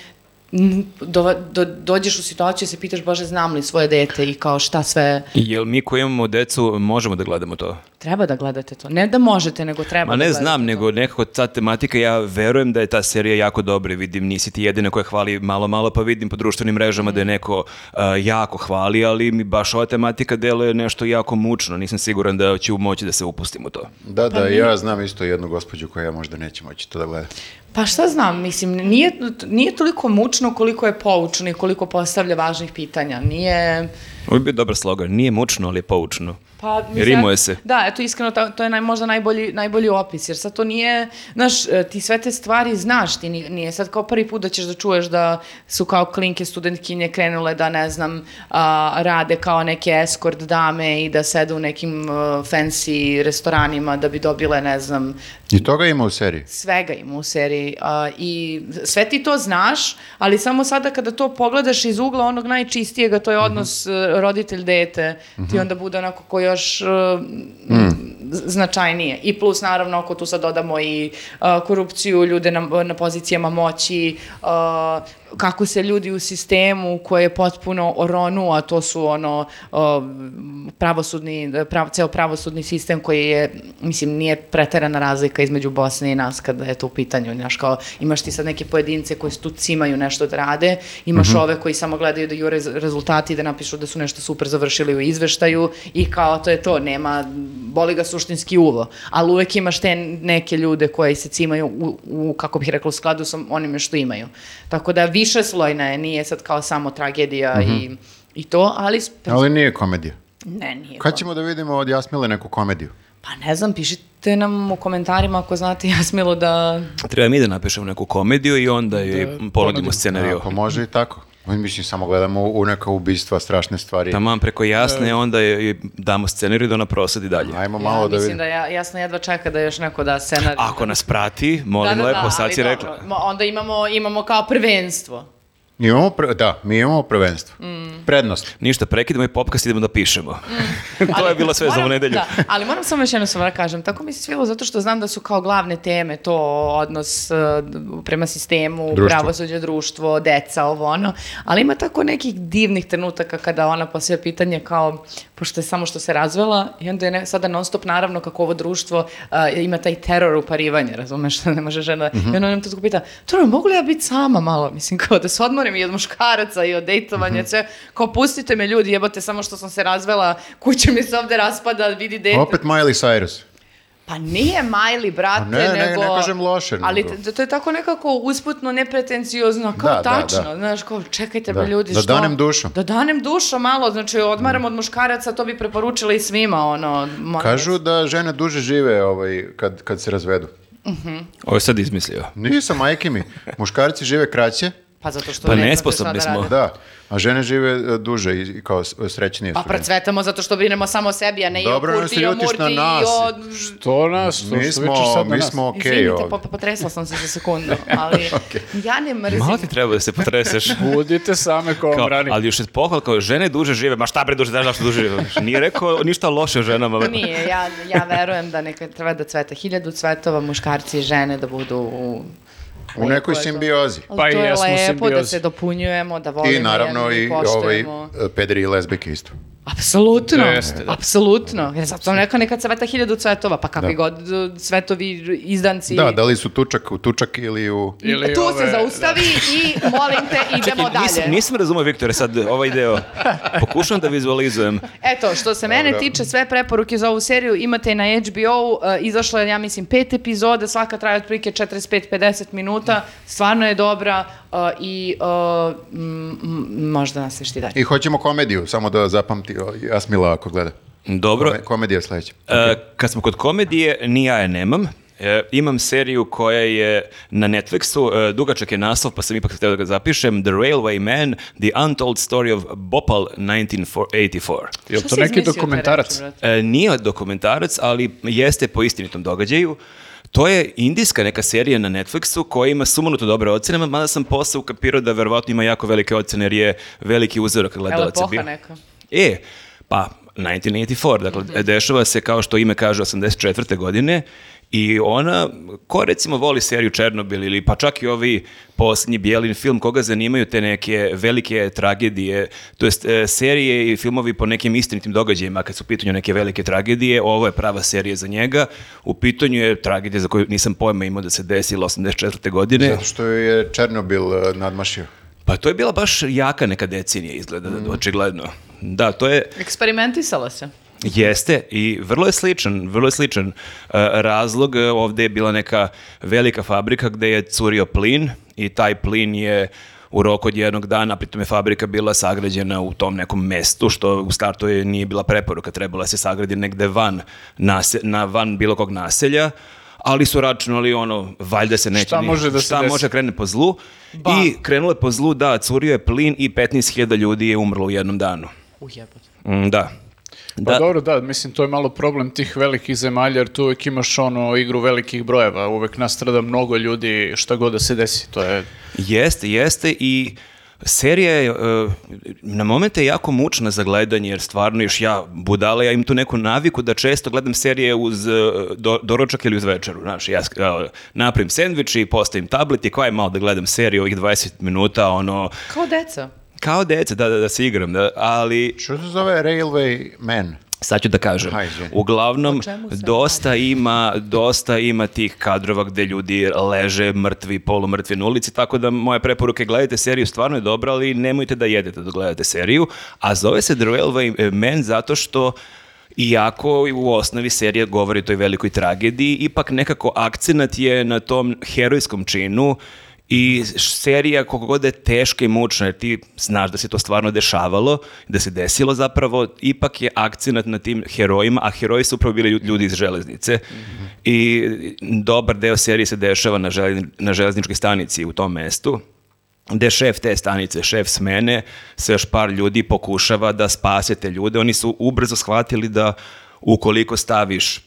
A: n- do, do, dođeš u situaciju i se pitaš, Bože, znam li svoje dete i kao šta sve
D: Jel mi koji imamo decu možemo da gledamo to?
A: Treba da gledate to. Ne da možete, nego treba
D: Ma
A: da
D: ne
A: gledate
D: znam,
A: to.
D: nego nekako ta tematika, ja verujem da je ta serija jako dobra, i vidim, nisi ti jedina koja hvali malo, malo, pa vidim po društvenim mrežama da
A: Mm.
D: je neko a, jako hvali, ali mi baš ova tematika deluje nešto jako mučno, nisam siguran da ću moći da se upustim u to.
B: Da, da, ja znam isto jednu gospođu koja možda neće moći to da gleda.
A: Pa šta znam, mislim, nije, nije toliko mučno koliko je poučno i koliko postavlja važnih pitanja. Nije...
D: Ovo bi bio dobar slogan, nije mučno, ali je poučno.
A: Pa, mislim,
D: Rimuje se.
A: Da, eto, iskreno, to, to je naj, možda najbolji, najbolji opis, jer sad to nije, znaš, e, ti sve te stvari znaš, ti ni- nije sad kao prvi put da ćeš da čuješ da su kao klinke studentkinje krenule da, ne znam, a, rade kao neke escort dame i da sedu u nekim e, fancy restoranima da bi dobile, ne znam,
B: I toga ima u seriji.
A: svega ima u seriji a, i sve ti to znaš, ali samo sada kada to pogledaš iz ugla onog najčistijega, to je odnos roditelj-dete, ti onda bude onako ko još e, z- značajnije. I plus naravno ako tu sad dodamo i a, korupciju, ljude na, na pozicijama moći, e, a, kako se ljudi u sistemu koje je potpuno oronu, a to su ono o, pravosudni, prav, ceo pravosudni sistem koji je, mislim, nije preterana razlika između Bosne i nas kada je to u pitanju. Znaš, kao, imaš ti sad neke pojedince koji tu cimaju nešto da rade, imaš ove koji samo gledaju da jure z- rezultati, da napišu da su nešto super završili u izveštaju i kao to je to, nema, boli ga suštinski uvo. Ali uvek imaš te neke ljude koji se cimaju u, u kako bih rekla, u skladu sa onime što imaju. Tako da više slojna je, nije sad kao samo tragedija i, i to, ali... sp-
B: Mhm. Ali nije komedija.
A: Ne, nije.
B: Kad
A: to.
B: ćemo da vidimo od Jasmile neku komediju?
A: Pa ne znam, pišite nam u komentarima ako znate (laughs) Jasmilu da...
D: Treba mi da napišemo neku komediju i onda joj ponudimo
C: ponudimo.
D: scenariju.
B: Pa može i tako. Mi mislim samo gledamo u neka ubistva, strašne stvari.
D: Taman preko jasne, onda joj damo scenariju da ona prosadi dalje.
B: Ajmo malo
A: ja,
B: da
A: Mislim
B: vidimo.
A: da ja, jasno jedva čeka da još neko da scenarij. Da,
D: Ako nas prati, molim lepo, sad
A: ali
D: si
A: dobro.
D: rekla.
A: Mo- Onda imamo, imamo kao prvenstvo.
B: Imamo pre- da, mi imamo prvenstvo.
A: Mm.
B: Prednost.
D: Ništa, prekidamo i popkast idemo da pišemo. (laughs) to je bilo sve za ovu
A: Moram-
D: nedelju.
A: Da, ali moram samo još jednu stvar da kažem. Tako mi se svilo zato što znam da su kao glavne teme to odnos eh, prema sistemu,
B: Društvo.
A: pravosuđe, društvo, deca, ovo ono. Ali ima tako nekih divnih trenutaka kada ona postavlja pitanje kao, pošto je samo što se razvela i onda je ne, sada non stop naravno kako ovo društvo eh, ima taj teror uparivanja, razumeš, (laughs) da ne može žena. I onda nam to tako pita, dobro, mogu li ja biti sama malo? Mislim, kao da se odmorim i od muškaraca i od dejtovanja, sve. Kao, pustite me ljudi, jebote, samo što sam se razvela, kuća mi se ovde raspada, vidi dete.
B: Opet Miley Cyrus.
A: Pa nije Miley, brate,
B: Pa ne, ne,
A: nego...
B: ne kažem loše,
A: Ali
B: nego-
A: t- to je tako nekako usputno, nepretenciozno, kao
B: Da, da,
A: tačno,
B: da.
A: znaš, kao čekajte
B: Da.
A: me ljudi,
B: Da
A: što...
B: danem dušom.
A: Da danem dušo malo, znači odmaram od muškaraca, to bi preporučila i svima, ono... molim
B: Kažu
A: vas.
B: da žene duže žive ovaj, kad, kad se razvedu.
D: Ovo je sad izmislio.
B: Nisam, majke mi. Muškarci žive kraće,
A: Pa zato što
D: Pa
A: ne znate
D: nesposobni
A: šta da
D: smo.
A: radite.
B: Da, a žene žive e, duže i- i kao s- srećnije
A: Pa
B: su. žene.
A: procvetamo zato što brinemo samo o sebi, a ne
B: Dobro,
A: i o
B: ne
A: Kurti,
B: se
A: i o
B: ljutiš
A: Murti,
B: na
A: i
B: nas.
A: o...
C: To nas, to
B: Mi
C: što vičeš
B: smo,
C: sad na
B: mi
C: nas.
B: smo okej
A: Izvinite, pa,
B: ovdje.
A: po- potresla sam se za sekundu,
B: (laughs)
A: ali ja ne mrzim.
D: Malo ti treba da se
A: (laughs)
D: potreseš.
C: Budite same ko
D: Kao,
C: vam rani.
D: ali još je pohval kao žene duže žive, ma šta bre duže, znaš zašto duže žive. Nije rekao ništa loše o ženama.
A: Nije, ja, ja verujem da neka treba da cveta hiljadu cvetova, muškarci i žene da budu u...
B: U nekoj
A: Lepo je to.
B: simbiozi.
A: Ali
C: Pa i
A: to je
C: ja smo u
A: lepo da
C: simbiozi.
A: se dopunjujemo, da volimo
B: I naravno
A: jedni
B: i
A: poštujemo.
B: ovaj e, pederi i lesbike isto.
A: Apsolutno,
C: Jeste, da.
A: apsolutno. Jer zato sam rekao neka cveta hiljadu cvetova, pa kakvi
B: Da.
A: god e, cvetovi izdanci.
B: Da, da li su tučak u tučak ili u...
C: Ili
A: tu se da.
C: ove-
A: zaustavi i molim te idemo dalje.
D: Nisam, nisam razumio, Viktore, sad ovaj
A: (laughs)
D: deo. Pokušam da vizualizujem.
A: Eto, što se mene
B: Dobro.
A: tiče, sve preporuke za ovu seriju imate i na HBO-u. e, izašlo je, ja mislim, pet epizoda, svaka traje otprilike 45-50 minuta. Stvarno je dobra e, i e, m, m, možda nas još ti dalje.
B: I hoćemo komediju, samo da zapamti o, Jasmila ako gleda.
D: Dobro,
B: Kome- Komedija je sledeća.
D: E, kad smo kod komedije, ni ja je nemam. E, imam seriju koja je na Netflixu, e, dugačak je naslov, pa sam ipak htio da ga zapišem, The Railway Man, The Untold Story of Bhopal 1984.
C: Jel
A: Šta
C: to
A: si
C: neki
A: izmislio taj
C: dokumentarac?
A: reč, brate?
D: E, nije dokumentarac, ali jeste po istinitom događaju. To je indijska neka serija na Netflixu koja ima sumanuto dobre ocene, mada sam posle ukapirao da verovatno ima jako velike ocene jer je veliki uzorak
A: Jel
D: gledalaca
A: epoha
D: bio.
A: neka?
D: E, pa 1984, dakle, dešava se kao što ime kaže 84. godine i ona, ko recimo voli seriju Černobil ili pa čak i ovi posljednji Bijelin film, koga zanimaju te neke velike tragedije, to jest e, serije i filmovi po nekim istinitim događajima, kad su u pitanju neke velike tragedije, ovo je prava serija za njega, u pitanju je tragedija za koju nisam pojma imao da se desila 84. godine.
B: Zato što je Černobil e, nadmašio.
D: Pa to je bila baš jaka neka decenija izgleda, očigledno. Da, to je,
A: Eksperimentisala se.
D: Jeste i vrlo je sličan, vrlo je sličan e, razlog. e, Ovdje je bila neka velika fabrika gdje je curio plin i taj plin je u roku od jednog dana, pritom je fabrika bila sagrađena u tom nekom mestu, što u startu je, nije bila preporuka, trebala da se sagradi negde van, nase, na van bilo kog naselja, ali su računali ono, valjda se neće...
C: Šta
D: ni-
C: može da se
D: šta
C: desi?
D: može krene po zlu.
A: Ba.
D: I krenulo je po zlu, da, curio je plin i 15.000 ljudi je umrlo u jednom danu.
A: Ujebote.
D: Mm, Da.
C: Pa dobro, da, mislim, to je malo problem tih velikih zemalja, jer tu uvek imaš ono igru velikih brojeva, uvek nastrada mnogo ljudi, šta god da se desi, to je...
D: Jeste, jeste i serija je e, na momente jako mučna za gledanje jer stvarno još ja budala ja imam tu neku naviku da često gledam serije uz e, do- doručak ili uz večeru znaš ja sk- kao, napravim sendvič i postavim tablet i koja je malo da gledam seriju ovih 20 minuta ono
A: Kao deca.
D: kao dece da da da se igram da, ali
B: Što se zove Railway Man?
D: sad ću da kažem.
B: Aha, izvini.
D: Uglavnom,
A: O čemu se
D: dosta ima, dosta ima tih kadrova gde ljudi leže mrtvi, polumrtvi na ulici, tako da moje preporuke, gledajte seriju, stvarno je dobra, ali nemojte da jedete dok gledate seriju, a zove se The Railway Man zato što iako i u osnovi serija govori o toj velikoj tragediji, ipak nekako akcenat je na tom herojskom činu i serija koliko god da je teška i mučna, jer ti znaš da se to stvarno dešavalo, da se desilo zapravo, ipak je akcenat na tim herojima, a heroji su upravo bili lju- ljudi iz železnice. I dobar deo serije se dešava na, želez- na železničkoj stanici u tom mestu gde šef te stanice, šef smene, sa još par ljudi pokušava da spase te ljude. Oni su ubrzo shvatili da ukoliko staviš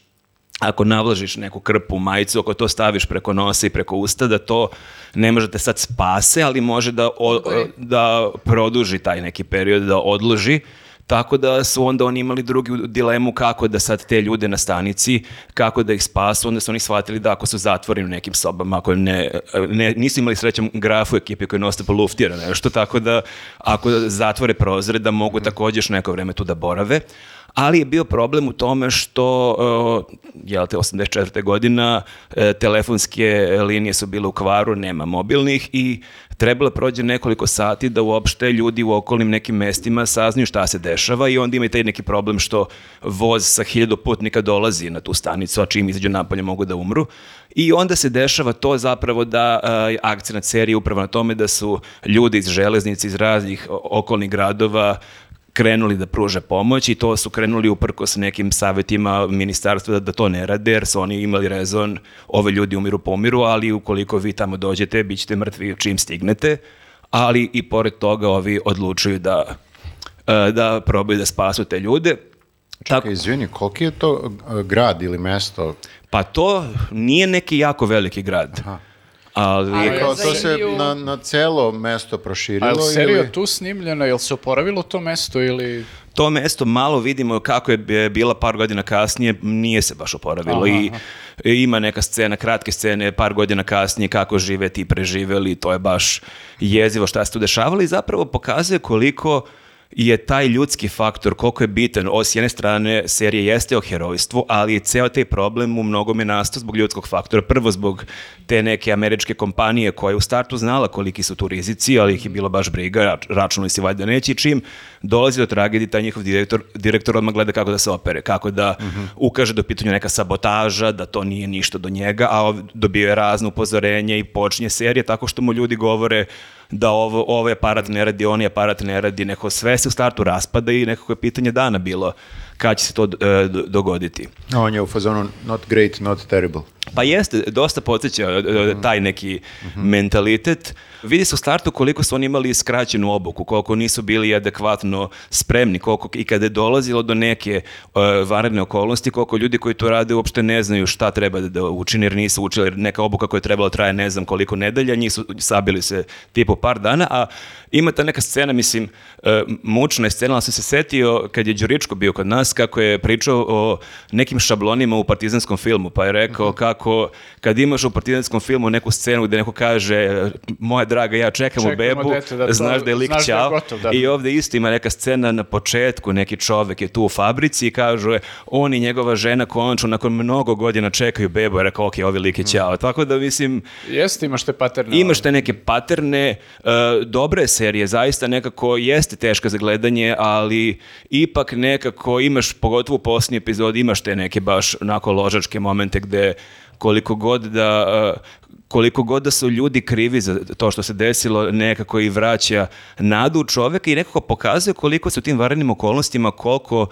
D: ako navlažiš neku krpu majicu, ako to staviš preko nosa i preko usta, da to ne može da te sad spase, ali može da, o- da produži taj neki period, da odloži. Tako da su onda oni imali drugu dilemu kako da sad te ljude na stanici, kako da ih spasu, onda su oni shvatili da ako su zatvoreni u nekim sobama, ako ne, ne- nisu imali srećan graf u ekipi koji je non-stop luftira nešto, tako da ako zatvore prozore da mogu također još neko vreme tu da borave. Ali je bio problem u tome što, e, jel te, 84. godina, e, telefonske linije su bile u kvaru, nema mobilnih i trebalo je prođe nekoliko sati da uopšte ljudi u okolnim nekim mestima saznaju šta se dešava i onda ima i taj neki problem što voz sa hiljadu putnika dolazi na tu stanicu, a čim izađu napolje mogu da umru. I onda se dešava to zapravo da e, akcenat serije je upravo na tome da su ljudi iz železnice, iz raznih o- okolnih gradova krenuli da pruže pomoć i to su krenuli uprko s nekim savjetima ministarstva da, da to ne rade jer su oni imali rezon ove ljudi umiru pomiru ali ukoliko vi tamo dođete bit ćete mrtvi čim stignete ali i pored toga ovi odlučuju da, e, da probaju da spasu te ljude. Tako,
B: Čekaj, izvini, koliki je to e, grad ili mesto?
D: pa to nije neki jako veliki grad. Ali,
A: Ali-
B: Kao
A: za
B: to se
A: Indiju-
B: na, na celo mesto
C: A
B: proširilo?
C: je li serio
B: ili-
C: tu snimljeno? Je li se oporavilo to mesto ili...
D: to mesto malo vidimo kako je bi- bila par godina kasnije, nije se baš oporavilo i i ima neka scena, kratke scene, par godina kasnije kako žive ti preživeli, to je baš jezivo šta se tu dešavalo i zapravo pokazuje koliko je taj ljudski faktor, koliko je bitan. O, s jedne strane, serija jeste o herojstvu, ali ceo taj problem u mnogome nastao zbog ljudskog faktora. Prvo zbog te neke američke kompanije koja je u startu znala koliki su tu rizici, ali ih je bilo baš briga, rač- računali si valjda neće i čim dolazi do tragedije, taj njihov direktor, direktor odmah gleda kako da se opere, kako da ukaže do pitanju neka sabotaža, da to nije ništa do njega, a ov- dobio je razno upozorenje i počinje serija tako što mu ljudi govore da ovo, ovaj aparat ne radi, onaj aparat ne radi, neko sve se u startu raspada i nekako je pitanje dana bilo kad će se to e, do- dogoditi.
B: A On je u fazonu not great, not terrible.
D: Pa jeste, dosta podsjeća e, e, taj neki mentalitet. Vidi se u startu koliko su oni imali skraćenu obuku, koliko nisu bili adekvatno spremni, koliko i kada je dolazilo do neke e, vanredne okolnosti, koliko ljudi koji to rade uopšte ne znaju šta treba da, da učine, jer nisu učili, jer neka obuka koja je trebala traje ne znam koliko nedelja, nisu sabili se tipu par dana, a ima ta neka scena, mislim, e, mučna je scena, ali sam se setio kad je Đuričko bio kod nas, kako je pričao o nekim šablonima u partizanskom filmu, pa je rekao
C: Mhm.
D: kako kad imaš u partizanskom filmu neku scenu gde neko kaže e, moja draga, ja čekam u
C: Čekamo
D: bebu,
C: dete, da to-
D: znaš da je lik
C: znaš da je
D: ćao.
C: gotov, da.
D: i ovde isto ima neka scena na početku, neki čovek je tu u fabrici i kažu je, on i njegova žena končno nakon mnogo godina čekaju bebu, je rekao, ok, ovi lik je
C: Mhm.
D: ćao. Tako da, mislim,
C: Jeste, imaš te paterne.
D: Imaš te neke paterne, e, dobre serije, zaista nekako jeste teška za gledanje, ali ipak nekako imaš, pogotovo u posljednji epizod, imaš te neke baš onako ložačke momente gde koliko god da... e, koliko god da su ljudi krivi za to što se desilo, nekako i vraća nadu u čoveka i nekako pokazuje koliko se u tim varenim okolnostima, koliko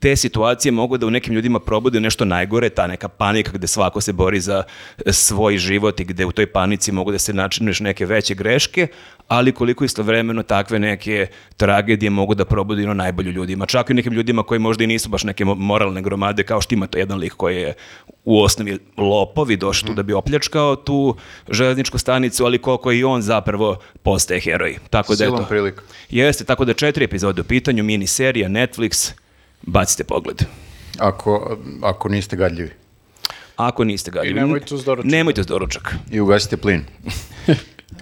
D: te situacije mogu da u nekim ljudima probude nešto najgore, ta neka panika gde svako se bori za e, svoj život i gde u toj panici mogu da se načinuješ neke veće greške, ali koliko istovremeno takve neke tragedije mogu da probude ono najbolju ljudima. Čak i nekim ljudima koji možda i nisu baš neke mo- moralne gromade, kao što ima to jedan lik koji je u osnovi lopovi došao tu da bi opljačkao tu železničku stanicu, ali koliko i on zapravo postaje heroj. Tako da je
B: Silom
D: to.
B: prilika.
D: Jeste, tako da četiri epizode u pitanju, miniserija, Netflix, bacite pogled.
B: Ako, ako niste gadljivi.
D: Ako niste ga...
C: I nemojte uz doručak.
D: Nemojte uz doručak.
B: I ugasite plin.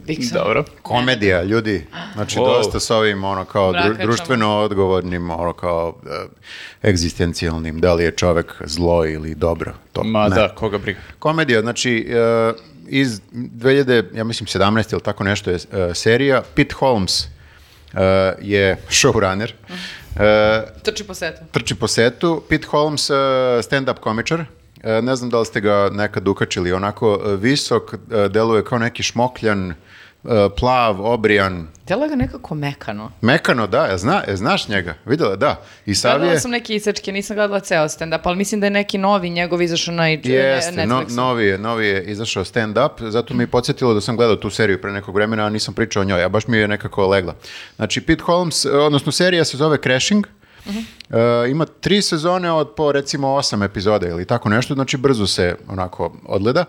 A: Viksa.
C: Dobro.
B: Komedija, ljudi. Znači,
D: Wow.
B: dosta s ovim, ono, kao dru-
A: Mrakačama.
B: društveno odgovornim, ono, kao e, egzistencijalnim. Da li je čovek zlo ili dobro. To,
C: Ma
B: Pa, ne.
C: da, koga briga.
B: Komedija, znači, e, iz 2000, ja mislim, 17 ili tako nešto je e, serija. Pete Holmes e, je showrunner. E,
A: Trči po setu.
B: trči po setu. Pete Holmes, eh, stand-up komičar. Eh, Ne znam da li ste ga nekad ukačili. Onako eh, visok, eh, deluje kao neki šmokljan, eh, plav, obrijan.
A: Tela ga nekako mekano.
B: Mekano, da, je zna, je znaš njega? Videla, da. I Sav
A: Gledala
B: je...
A: sam neke isečke, nisam gledala ceo stand-up, ali mislim da je neki novi njegov izašao na i-
B: Jeste, no,
A: Netflixu.
B: novi, je, novi je izašao stand-up, zato mi je podsjetilo da sam gledao tu seriju pre nekog vremena, a nisam pričao o njoj, a baš mi je nekako legla. Znači, Pete Holmes, eh, odnosno serija se zove Crashing,
A: Mhm.
B: Eh, ima tri sezone od po recimo osam epizoda ili tako nešto, znači brzo se onako odgleda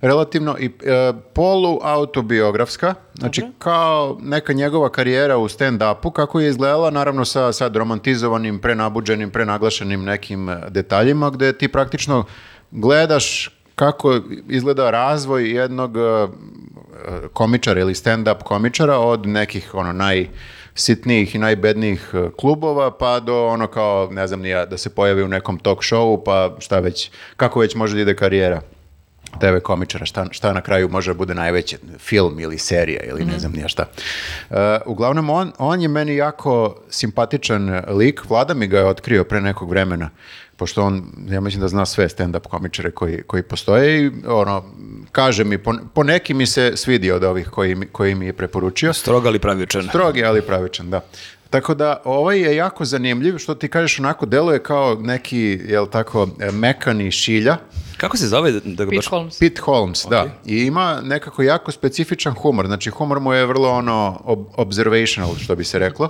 B: relativno i eh, poluautobiografska, znači kao neka njegova karijera u stand-upu, kako je izgledala, naravno sa sad romantizovanim, prenabuđenim, prenaglašenim nekim eh, detaljima, gde ti praktično gledaš kako izgleda razvoj jednog eh, komičara ili stand-up komičara od nekih ono najsitnijih i najbednijih eh, klubova pa do ono kao, ne znam ni ja, da se pojavi u nekom talk showu pa šta već, kako već može da ide karijera TV komičara, šta, šta na kraju može da bude najveće, film ili serija ili ne znam ni ja šta. Eh, uglavnom, on, on je meni jako simpatičan lik, Vlada mi ga je otkrio pre nekog vremena, pošto on, ja mislim da zna sve stand-up komičare koji, koji postoje i ono, kaže mi, po, po neki mi se svidi od ovih koji, mi- koji mi je preporučio.
D: Stroga li pravičan?
B: Strog je, ali pravičan, da. Tako da, ovaj je jako zanimljiv, što ti kažeš, onako, deluje kao neki, jel tako, e, mekani šilja,
D: Kako se zove da, da ga baš...
A: Pitch Holmes.
B: Pete Holmes, da. I ima nekako jako specifičan humor. Znači, humor mu je vrlo ono ob- observational, što bi se reklo.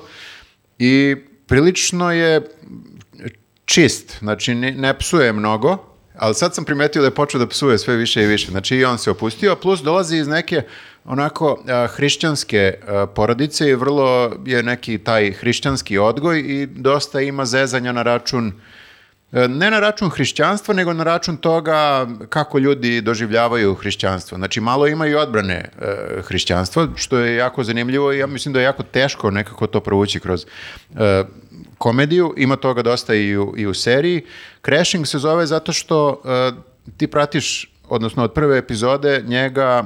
B: I prilično je čist. Znači, ne, ne psuje mnogo, ali sad sam primetio da je počeo da psuje sve više i više. Znači, i on se opustio, plus dolazi iz neke onako a, hrišćanske a, porodice i vrlo je neki taj hrišćanski odgoj i dosta ima zezanja na račun E, Ne na račun hrišćanstva, nego na račun toga kako ljudi doživljavaju hrišćanstvo. Znači, malo ima i odbrane e, hrišćanstva, što je jako zanimljivo i ja mislim da je jako teško nekako to provući kroz e, komediju. Ima toga dosta i u, i u seriji. Crashing se zove zato što e, ti pratiš, odnosno od prve epizode, njega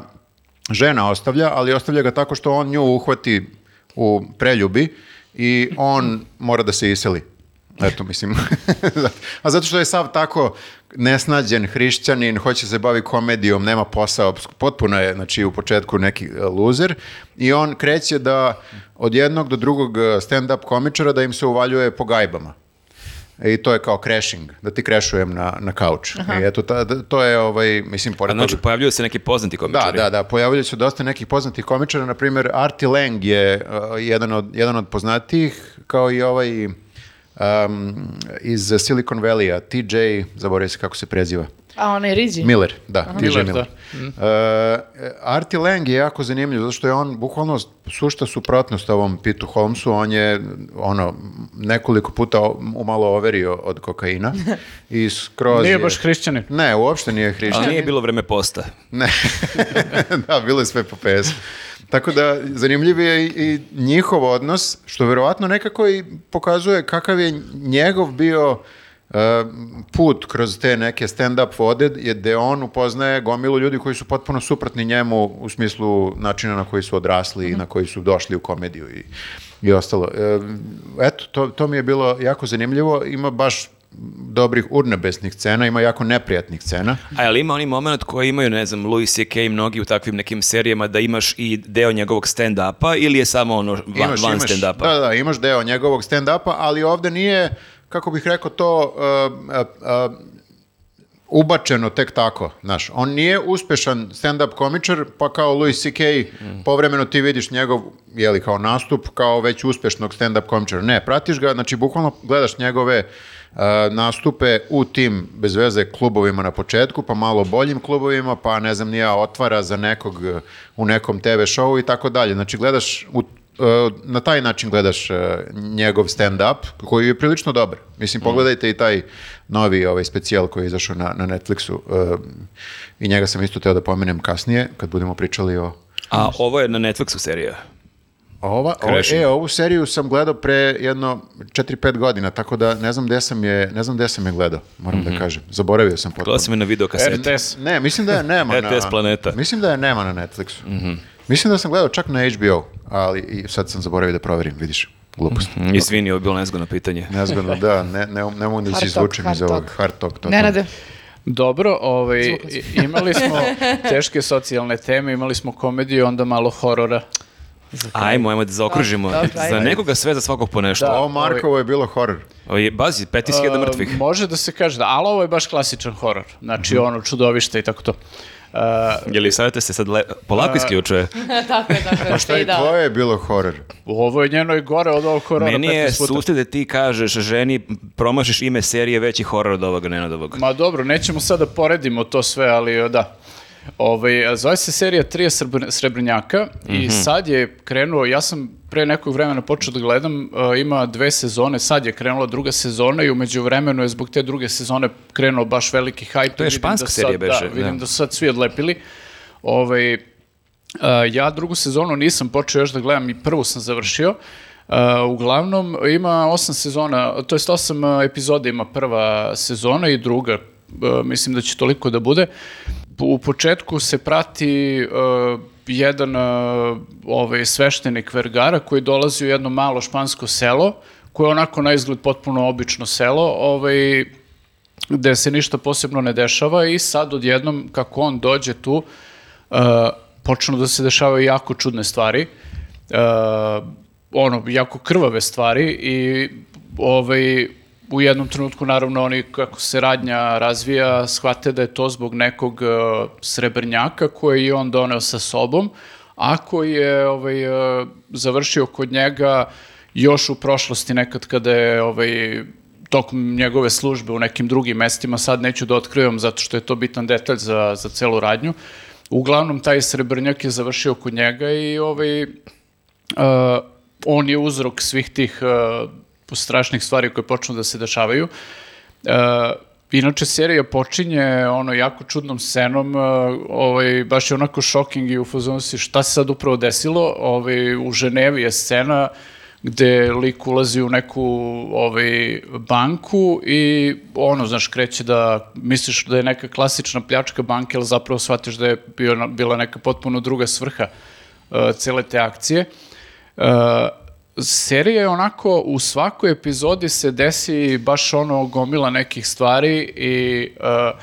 B: žena ostavlja, ali ostavlja ga tako što on nju uhvati u preljubi i on mora da se iseli. Eto, mislim. (laughs) A zato što je sav tako nesnađen hrišćanin, hoće se bavi komedijom, nema posao, potpuno je, znači, u početku neki e, luzer i on kreće da od jednog do drugog e, stand-up komičara da im se uvaljuje po gajbama. E, I to je kao crashing, da ti crashujem na, na kauč. I eto, ta, to je, ovaj, mislim,
D: A
B: pored
D: znači,
B: toga-
D: pojavljuju se neki poznati
B: Da,
D: komičari.
B: da, da, pojavljaju se dosta nekih poznatih komičara, na primjer Artie Lang je uh, jedan, od, jedan od poznatijih, kao i ovaj um, iz Silicon Valley-a, TJ, zaboravio se kako se preziva.
A: A onaj Riđi?
B: Miller, da, TJ Miller.
C: Miller, Mhm.
B: Uh, Artie Lang je jako zanimljiv, zato što je on bukvalno sušta suprotnost ovom Pitu Holmesu, on je ono, nekoliko puta umalo overio od
C: (laughs)
B: kokaina i skroz
C: Nije
B: je-
C: baš hrišćanin.
B: Ne, uopšte nije
D: Ali
B: hrišćan.
D: nije bilo vreme posta.
B: Ne, (laughs) da, bilo je sve po ps Tako da, zanimljiv je i, i njihov odnos, što verovatno nekako i pokazuje kakav je njegov bio e, put kroz te neke stand-up vode, je gde on upoznaje gomilu ljudi koji su potpuno suprotni njemu u smislu načina na koji su odrasli i na koji su došli u komediju i, i ostalo. E, eto, to, to mi je bilo jako zanimljivo. Ima baš dobrih urnebesnih scena, ima jako neprijatnih scena.
D: A je li ima oni moment koji imaju, ne znam, Louis C.K. i mnogi u takvim nekim serijama da imaš i deo njegovog stand-upa ili je samo ono van, van stand-upa?
B: Da, da, imaš deo njegovog stand-upa, ali ovde nije, kako bih rekao to, uh, uh, uh, ubačeno tek tako, znaš. On nije uspešan stand-up komičar, pa kao Louis C.K.
D: Mm.
B: povremeno ti vidiš njegov, jeli, kao nastup, kao već uspešnog stand-up komičara. Ne, pratiš ga, znači, bukvalno gledaš njegove uh, nastupe u tim, bez veze, klubovima na početku, pa malo boljim klubovima, pa ne znam, nija otvara za nekog uh, u nekom TV showu i tako dalje. Znači, gledaš u E, na taj način gledaš e, njegov stand-up, koji je prilično dobar.
D: Mhm.
B: Mislim, pogledajte i taj novi ovaj, specijal koji je izašao na, na Netflixu e, i njega sam isto teo da pomenem kasnije, kad budemo pričali o...
D: A ovo je na Netflixu serija.
B: Ova, o-
D: Crashing.
B: e, ovu seriju sam gledao pre jedno 4-5 godina, tako da ne znam gde sam je, ne znam gde sam je gledao, moram da kažem. Zaboravio sam potpuno.
D: Mhm. Gledao sam je na videokaseti.
C: RTS.
B: Ne, mislim da je
D: (laughs)
B: nema na...
D: RTS E, Planeta. Mhm.
B: Mislim da je nema na Netflixu. Mislim da sam gledao čak na HBO, ali i sad sam zaboravio da proverim, vidiš, glupost.
D: Mm, Izvini, ovo je bilo nezgodno pitanje.
B: Nezgodno, da, ne, ne, ne mogu da
A: Hard
B: se izvučem
A: talk,
B: iz
A: hard
B: ovog
A: talk.
B: hard talk. totalno.
A: Nenade.
C: Dobro, ovaj,
A: Zvukao si.
C: i- imali smo teške socijalne teme, imali smo komediju, onda malo horora.
D: Ajmo, ajmo da zaokružimo.
A: dobro, ajmo.
D: Za nekoga sve, za svakog po nešto.
C: Da.
B: Ovo Markovo je bilo horor.
D: Ovo je, bazi, 5000
C: E,
D: mrtvih.
C: Može da se kaže, da, ali ovo je baš klasičan horor. Znači,
B: Mhm.
C: ono, čudovište i tako to. E,
D: Je li savjeta se sad le... polako isključuje?
A: (laughs) tako je, tako je. e, da.
B: Šta je tvoje je bilo horor?
C: ovo je njeno i gore od ovog horora
D: Meni je
C: 15 puta.
D: sušte da ti kažeš ženi, promašiš ime serije veći horor od ovoga, ne od ovoga.
C: Ma dobro, nećemo sad da poredimo to sve, ali e, da. Ovaj, zove se serija Trija Srbr- Srebrnjaka
D: Mhm.
C: i sad je krenuo, ja sam pre nekog vremena počeo da gledam, e, ima dve sezone, sad je krenula druga sezona i umeđu vremenu je zbog te druge sezone krenuo baš veliki hype.
D: To je
C: Vidim
D: španska
C: sad-
D: serija beše,
C: Da, vidim
D: da.
C: da su sad svi odlepili. Ovaj, Uh, ja drugu sezonu nisam počeo još da gledam i prvu sam završio. Uh, uglavnom ima osam sezona, to jest osam uh, epizoda ima prva sezona i druga. Uh, mislim da će toliko da bude. U početku se prati uh, jedan uh, ovaj, sveštenik Vergara koji dolazi u jedno malo špansko selo koje je onako na izgled potpuno obično selo, ovaj, gde se ništa posebno ne dešava i sad odjednom kako on dođe tu e, počnu da se dešavaju jako čudne stvari uh, e, ono jako krvave stvari i ovaj u jednom trenutku, naravno, oni, kako se radnja razvija, shvate da je to zbog nekog e, srebrnjaka koji je on doneo sa sobom, a koji je ovaj, e, završio kod njega još u prošlosti nekad kada je ovaj, tokom njegove službe u nekim drugim mestima, sad neću da otkrivam zato što je to bitan detalj za, za celu radnju. Uglavnom, taj srebrnjak je završio kod njega i ovaj, Uh, on je uzrok svih tih uh, strašnih stvari koje počnu da se dešavaju. Uh, inače, serija počinje ono jako čudnom scenom, uh, ovaj, baš je onako šoking i u fazonu si šta se sad upravo desilo. Ovaj, u Ženevi je scena gde lik ulazi u neku ovaj, banku i ono, znaš, kreće da misliš da je neka klasična pljačka banke, ali zapravo shvatiš da je bio, bila neka potpuno druga svrha uh, cele te akcije. Uh, serija je onako, u svakoj epizodi se desi baš ono gomila nekih stvari i uh,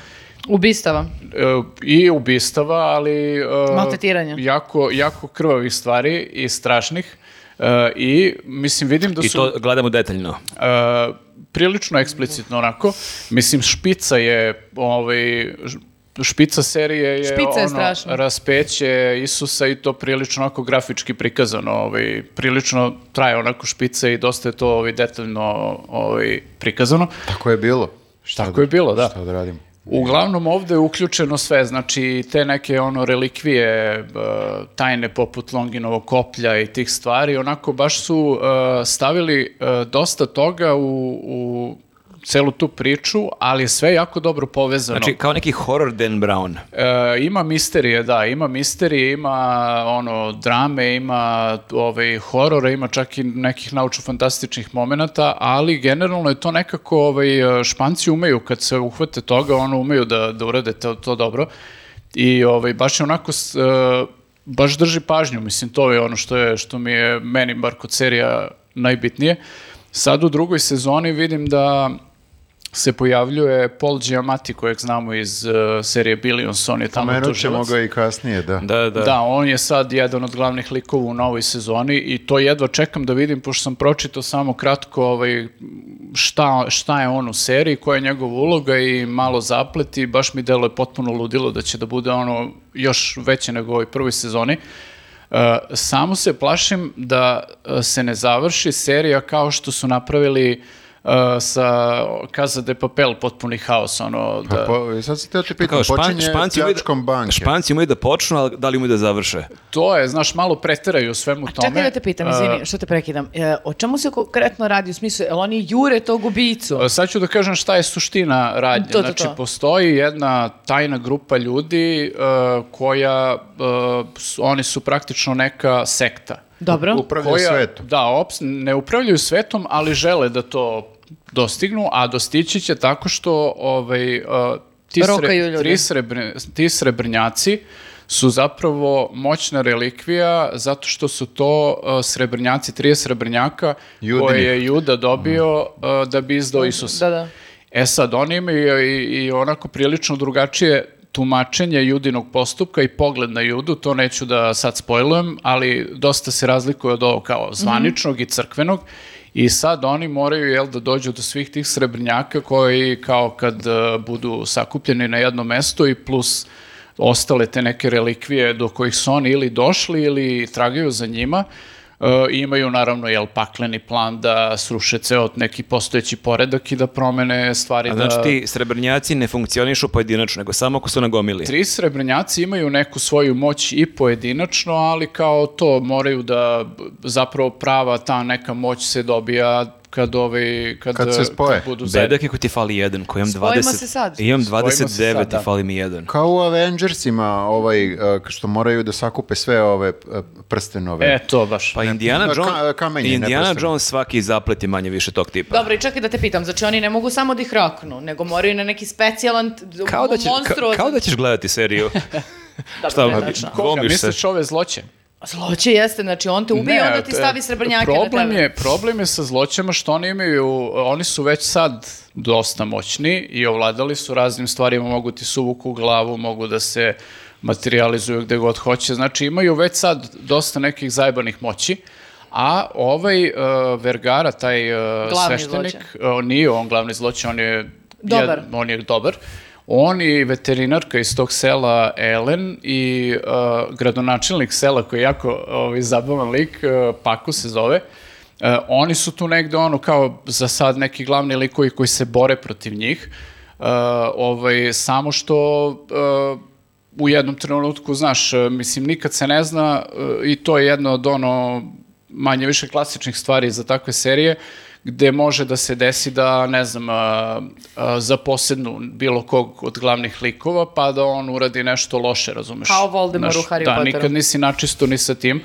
A: Ubistava.
C: e, i ubistava, ali... e,
A: Maltretiranja.
C: Jako, jako krvavih stvari i strašnih. E, I, mislim, vidim da
D: I
C: su...
D: to gledamo detaljno.
C: E, prilično eksplicitno onako. Mislim, špica je, ovaj, š- špica serije je,
A: Špica je
C: ono,
A: strašna.
C: raspeće Isusa i to prilično onako grafički prikazano. Ovaj, prilično traje onako špica i dosta je to ovaj, detaljno ovaj, prikazano.
B: Tako je bilo. Šta
C: Tako je bilo, da.
B: Šta da radimo?
C: Uglavnom ovde je uključeno sve, znači te neke ono relikvije e, tajne poput Longinovog koplja i tih stvari, onako baš su e, stavili e, dosta toga u, u celu tu priču, ali je sve jako dobro povezano.
D: Znači, kao neki horror Dan Brown.
C: E, ima misterije, da, ima misterije, ima ono drame, ima ovaj horora, ima čak i nekih naučno-fantastičnih momenata, ali generalno je to nekako ovaj e, Španci umeju kad se uhvate toga, ono umeju da da urade to, to dobro. I ovaj baš je onako s- e, baš drži pažnju, mislim to je ono što je što mi je meni bar kod serija najbitnije. Sad u drugoj sezoni vidim da se pojavljuje Paul Giamatti kojeg znamo iz uh, serije Billions, on je tamo
B: Pomenut ćemo
C: tužilac.
B: ga i kasnije, da.
D: Da, da.
C: Da, on je sad jedan od glavnih likova u novoj sezoni i to jedva čekam da vidim, pošto sam pročitao samo kratko ovaj, šta, šta je on u seriji, koja je njegova uloga i malo zaplet i baš mi deluje potpuno ludilo da će da bude ono još veće nego u ovoj prvoj sezoni. E, samo se plašim da e, se ne završi serija kao što su napravili e, sa Casa de Papel potpuni haos, ono, da,
B: Pa, po, sad se teo te pitam,
D: Kao, špan-
B: počinje
D: španci umeju da-
B: pljačkom banke.
D: Španci umeju da počnu, ali da li umeju da završe?
C: to je, znaš, malo preteraju u svemu tome.
A: Čekaj da te pitam,
C: E,
A: izvini, što te prekidam. E, o čemu se konkretno radi u smislu? Jel oni jure tog ubicu?
C: E, Sad ću da kažem šta je suština radnje.
A: To, to,
C: znači,
A: to.
C: postoji jedna tajna grupa ljudi e, koja, e, s- oni su praktično neka sekta.
A: Dobro.
B: Upravljaju
C: koja,
B: svetom.
C: Da, ops, ne upravljaju svetom, ali žele da to dostignu, a dostići će tako što ovaj, uh, ti,
A: Rokaju ljude.
C: tri srebrn, ti srebrnjaci su zapravo moćna relikvija zato što su to uh, srebrnjaci, tri srebrnjaka
B: Judini.
C: koje je Juda dobio uh, da bi izdao Isusa.
A: Da, da.
C: E sad, oni imaju i, i onako prilično drugačije tumačenje judinog postupka i pogled na judu, to neću da sad spojlujem, ali dosta se razlikuje od ovo
A: Mhm.
C: kao zvaničnog i crkvenog i sad oni moraju jel, da dođu do svih tih srebrnjaka koji kao kad e, budu sakupljeni na jedno mesto i plus ostale te neke relikvije do kojih su oni ili došli ili tragaju za njima. E, imaju naravno jel pakleni plan da sruše ceo neki postojeći poredak i da promene stvari
D: A
C: da
D: znači ti srebrnjaci ne funkcionišu pojedinačno, nego samo ako su nagomili.
C: Tri srebrnjaci imaju neku svoju moć i pojedinačno, ali kao to moraju da b- zapravo prava ta neka moć se dobija kad ovi kad,
B: Kad se
C: e,
B: spoje.
C: budu zajedno.
D: Bedak je ko ti fali jedan, ko imam
A: Spojimo
D: 20...
A: se sad.
D: Imam
C: Spojimo se
D: 29
C: sad, da.
D: i fali mi jedan.
B: Kao u Avengersima, ovaj, eh, što moraju da sakupe sve ove eh, prstenove.
C: E to baš.
D: Pa Indiana
B: ka-
D: Jones,
B: kamenje, ne
D: Indiana
B: prstene.
D: Jones svaki zaplet je manje više tog tipa.
A: Dobro, i čekaj da te pitam, znači oni ne mogu samo da ih roknu, nego moraju na neki specijalan t-
D: Kao da, ćeš, kao,
A: monstruozan-
D: kao da ćeš gledati seriju.
A: Dobro,
D: šta,
A: ne,
D: pa-
A: tačno.
C: Koga
D: Lomiš se.
C: misliš ove zloće?
A: Zloće jeste, znači on te ubije, onda ti
C: te-
A: stavi srebrnjake
C: problem
A: na tebe.
C: je, problem je sa zloćama što oni imaju, oni su već sad dosta moćni i ovladali su raznim stvarima, mogu ti suvuku u glavu, mogu da se materializuju gde god hoće, znači imaju već sad dosta nekih zajebanih moći, A ovaj uh, Vergara, taj uh,
A: Glavni
C: sveštenik, uh, nije on glavni zločin, on je
A: Dobar.
C: jed- on je dobar. On i veterinarka iz tog sela Elen i uh, gradonačelnik sela koji je jako ovaj, zabavan lik, uh, Paku se zove, uh, oni su tu negde ono kao za sad neki glavni likovi koji se bore protiv njih. Uh, ovaj, samo što uh, u jednom trenutku, znaš, e, mislim, nikad se ne zna e, i to je jedna od ono manje više klasičnih stvari za takve serije, gde može da se desi da, ne znam, a, a, zaposednu bilo kog od glavnih likova, pa da on uradi nešto loše, razumeš?
A: Kao Voldemort
C: Znaš,
A: u Harry
C: da,
A: Potteru.
C: nikad nisi načisto ni sa tim.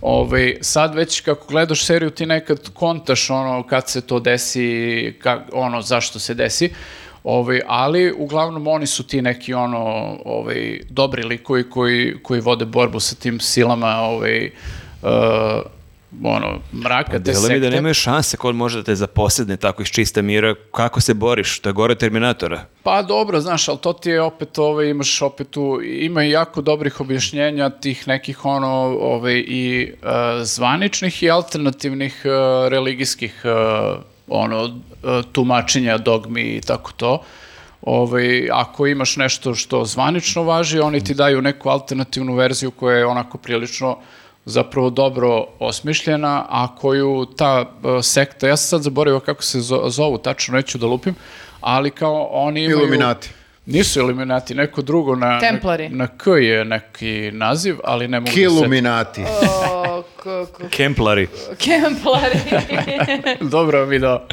C: Ovaj, sad već kako gledaš seriju ti nekad kontaš ono kad se to desi, ka, ono zašto se desi, ovaj, ali uglavnom oni su ti neki ono ovaj, dobri likovi koji, koji vode borbu sa tim silama ovaj, eh, ono, mraka, te
D: Delo
C: sekte.
D: mi da nemaju šanse ko može da te zaposedne tako iz čista mira. Kako se boriš? To je gore od Terminatora.
C: Pa dobro, znaš, ali to ti je opet, ovaj, imaš opet tu, ima i jako dobrih objašnjenja tih nekih ono, ovaj, i e, zvaničnih i alternativnih e, religijskih e, ono, e, tumačenja, dogmi i tako to. Ovaj, ako imaš nešto što zvanično važi, oni ti daju neku alternativnu verziju koja je onako prilično zapravo dobro osmišljena, a koju ta e, sekta, ja sam sad zaboravio kako se zo- zovu, tačno neću da lupim, ali kao oni imaju...
B: Iluminati.
C: Nisu Iluminati, neko drugo na...
A: Templari.
C: Na, na K je neki naziv, ali ne mogu da
B: Kiluminati.
A: O, k- k-
D: Kemplari.
C: (laughs)
A: Kemplari.
C: se... (laughs) Dobro mi da...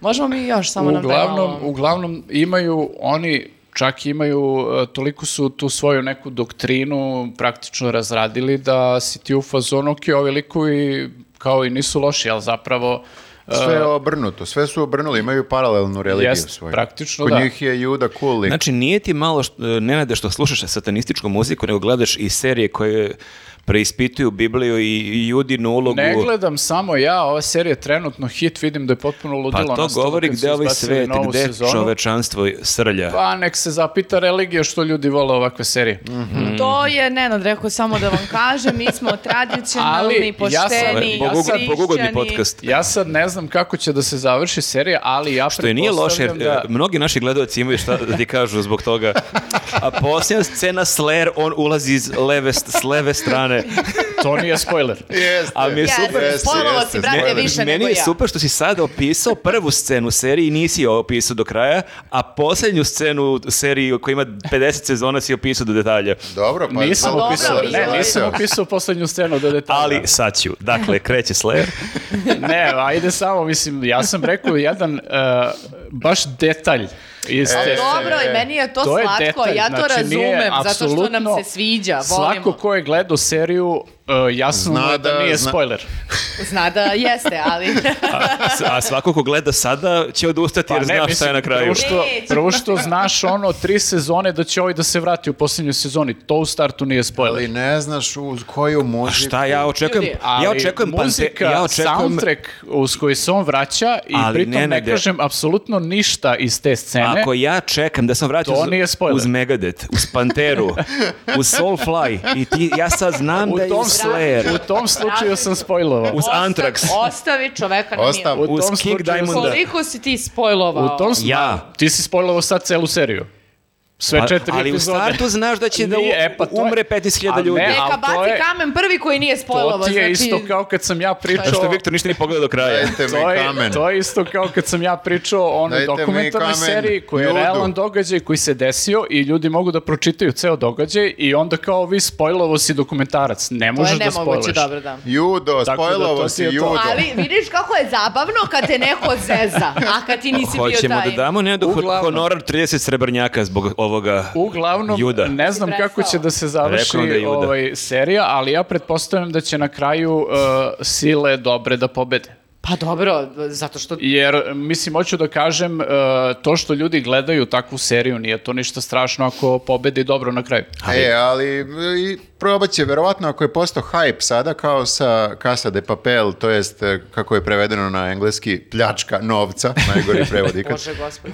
A: Možemo mi još samo nam
C: Uglavnom,
A: malo...
C: uglavnom imaju, oni čak imaju, e, toliko su tu svoju neku doktrinu praktično razradili da si ti u fazonu, ok, ovi likovi kao i nisu loši, ali zapravo... e,
B: Sve je obrnuto, sve su obrnuli, imaju paralelnu religiju
C: Jest,
B: svoju.
C: praktično
B: Kod
C: da.
B: njih je Juda cool lik.
D: Znači, nije ti malo, što, Nenade, što slušaš satanističku muziku, nego gledaš i serije koje preispituju Bibliju i, i judinu ulogu.
C: Ne gledam samo ja, ova serija je trenutno hit, vidim da je potpuno ludilo.
D: Pa to
C: nastalo
D: govori
C: kad su
D: gde ovaj
C: izbacili
D: svet,
C: novu
D: gde
C: sezonu.
D: čovečanstvo srlja.
C: Pa nek se zapita religija što ljudi vole ovakve serije.
A: To je Nenad rekao samo da vam kažem, mi smo
C: Ali,
A: tradicionalni,
C: ja sam-
A: pošteni,
C: Bogu-
D: Bogugod-
A: hrišćani.
D: Bogugodni podcast.
C: Ja sad ne znam kako će da se završi serija, ali ja
D: To je nije loše, jer,
C: pretpostavljam da...
D: e, mnogi naši gledalci imaju šta da ti kažu zbog toga. A posljedna scena Slayer, on ulazi iz leve, st- s leve
A: (laughs)
D: strane.
C: To nije spoiler.
B: Jeste.
D: A mi je
A: Ja,
D: super.
B: Jeste,
A: spojlovo si,
B: jeste,
A: brate,
B: spoiler.
A: više
D: Meni
A: nego
D: je
A: ja.
D: super što si sad opisao prvu scenu serije i nisi je opisao do kraja, a posljednju scenu seriji koja ima 50 sezona si opisao do detalja.
B: Dobro, pa...
C: (laughs) nisam
A: dobro,
C: opisao,
A: ali
C: ne,
A: je-
C: nisam opisao poslednju scenu do detalja.
D: Ali sad ću. Dakle, kreće Slayer.
C: (laughs) ne, ajde samo, mislim, ja sam rekao jedan eh, baš detalj iz te
A: Ali
C: serije.
A: E, dobro, i meni je to,
C: To je
A: slatko,
C: detalj,
A: ja to
C: znači, nije
A: razumem, zato što nam
C: apsolutno-
A: se sviđa, volimo.
C: Svako ko je gledao seriju, eh, jasno
B: Zna
C: mu je da,
B: da-
C: nije
B: zna-
C: spoiler.
A: Zna da jeste,
C: (laughs)
A: ali...
D: A, a svako ko gleda sada će odustati
C: Pa
D: jer zna šta je na kraju.
C: Prvo što,
A: Neće.
C: prvo što znaš ono tri sezone da će ovaj da se vrati u posljednjoj sezoni. To u startu nije
B: Ali
C: spoiler.
B: ne znaš uz koju muziku.
D: Šta ja očekujem?
A: Ljudi,
D: ja očekujem pante-
C: muzika,
D: ja očekujem
C: soundtrack uz koji se on vraća i
D: Ali
C: pritom ne,
D: Nenade-
C: kažem apsolutno ništa iz te scene.
D: Ako ja čekam da sam vratio
C: To
D: uz-
C: nije spoiler.
D: uz Megadeth, uz
C: (laughs)
D: Panteru, uz Soulfly i ti, ja sad znam
C: u,
D: da je
C: tom,
D: uz Slayer,
C: u tom slučaju sam spoilovao.
D: uz
A: Osta-
D: Anthrax,
A: Ostavi čoveka na
B: Ostav.
A: miru.
C: U
D: uz
C: tom
D: King
C: slučaju-
D: Diamonda.
A: Koliko si ti spojlovao?
C: U tom slu-
D: Ja.
C: Ti si spoilovao sad celu seriju. Sve
D: A-
C: četiri
D: ali u
C: epizode.
D: startu znaš da će da
C: Nije,
D: u-
C: e, pa to je-
D: umre 15.000
C: A ne,
D: ljudi.
C: a-
A: Neka
C: ali to
A: baci
C: je-
A: kamen prvi koji nije
C: To
A: spojlovao.
C: ti je
A: znači,
C: isto kao kad sam ja pričao...
D: Zašto Viktor ništa ni pogleda do kraja?
B: Dajte mi
C: To je,
B: kamen.
C: to je isto kao kad sam ja pričao o onoj
B: Dajte mi
C: dokumentarnoj
B: kamen,
C: seriji koji je
B: Judu.
C: realan događaj koji se desio i ljudi mogu da pročitaju ceo događaj i onda kao vi spojlovo si dokumentarac. Ne
A: To je
C: možeš da
A: nemoguće,
C: spojluješ.
A: dobro, da.
B: Judo,
C: Tako da
B: spojlovo
C: to
B: si
C: ti je to.
B: judo.
A: Ali vidiš kako je zabavno kad te neko zeza, a kad ti nisi bio
D: Hoćemo
A: taj.
D: da damo ne
C: Uglavnom.
D: honorar 30 srebrnjaka zbog ovoga
C: Uglavnom,
D: juda.
C: ne znam
A: Si
C: kako će
A: prestao.
C: da se završi
D: Rekao da je Juda.
C: ovaj, serija, ali ja pretpostavljam da će na kraju uh, sile dobre da pobede.
A: Pa dobro, zato što...
C: Jer, mislim, hoću da kažem, e, to što ljudi gledaju takvu seriju, nije to ništa strašno ako pobedi dobro na kraju.
B: E, ali e, i probat će, verovatno ako je postao hype sada kao sa Casa de Papel, to jest e, kako je prevedeno na engleski pljačka novca, najgori
C: (laughs)
B: prevod ikad.
A: Bože, gospod,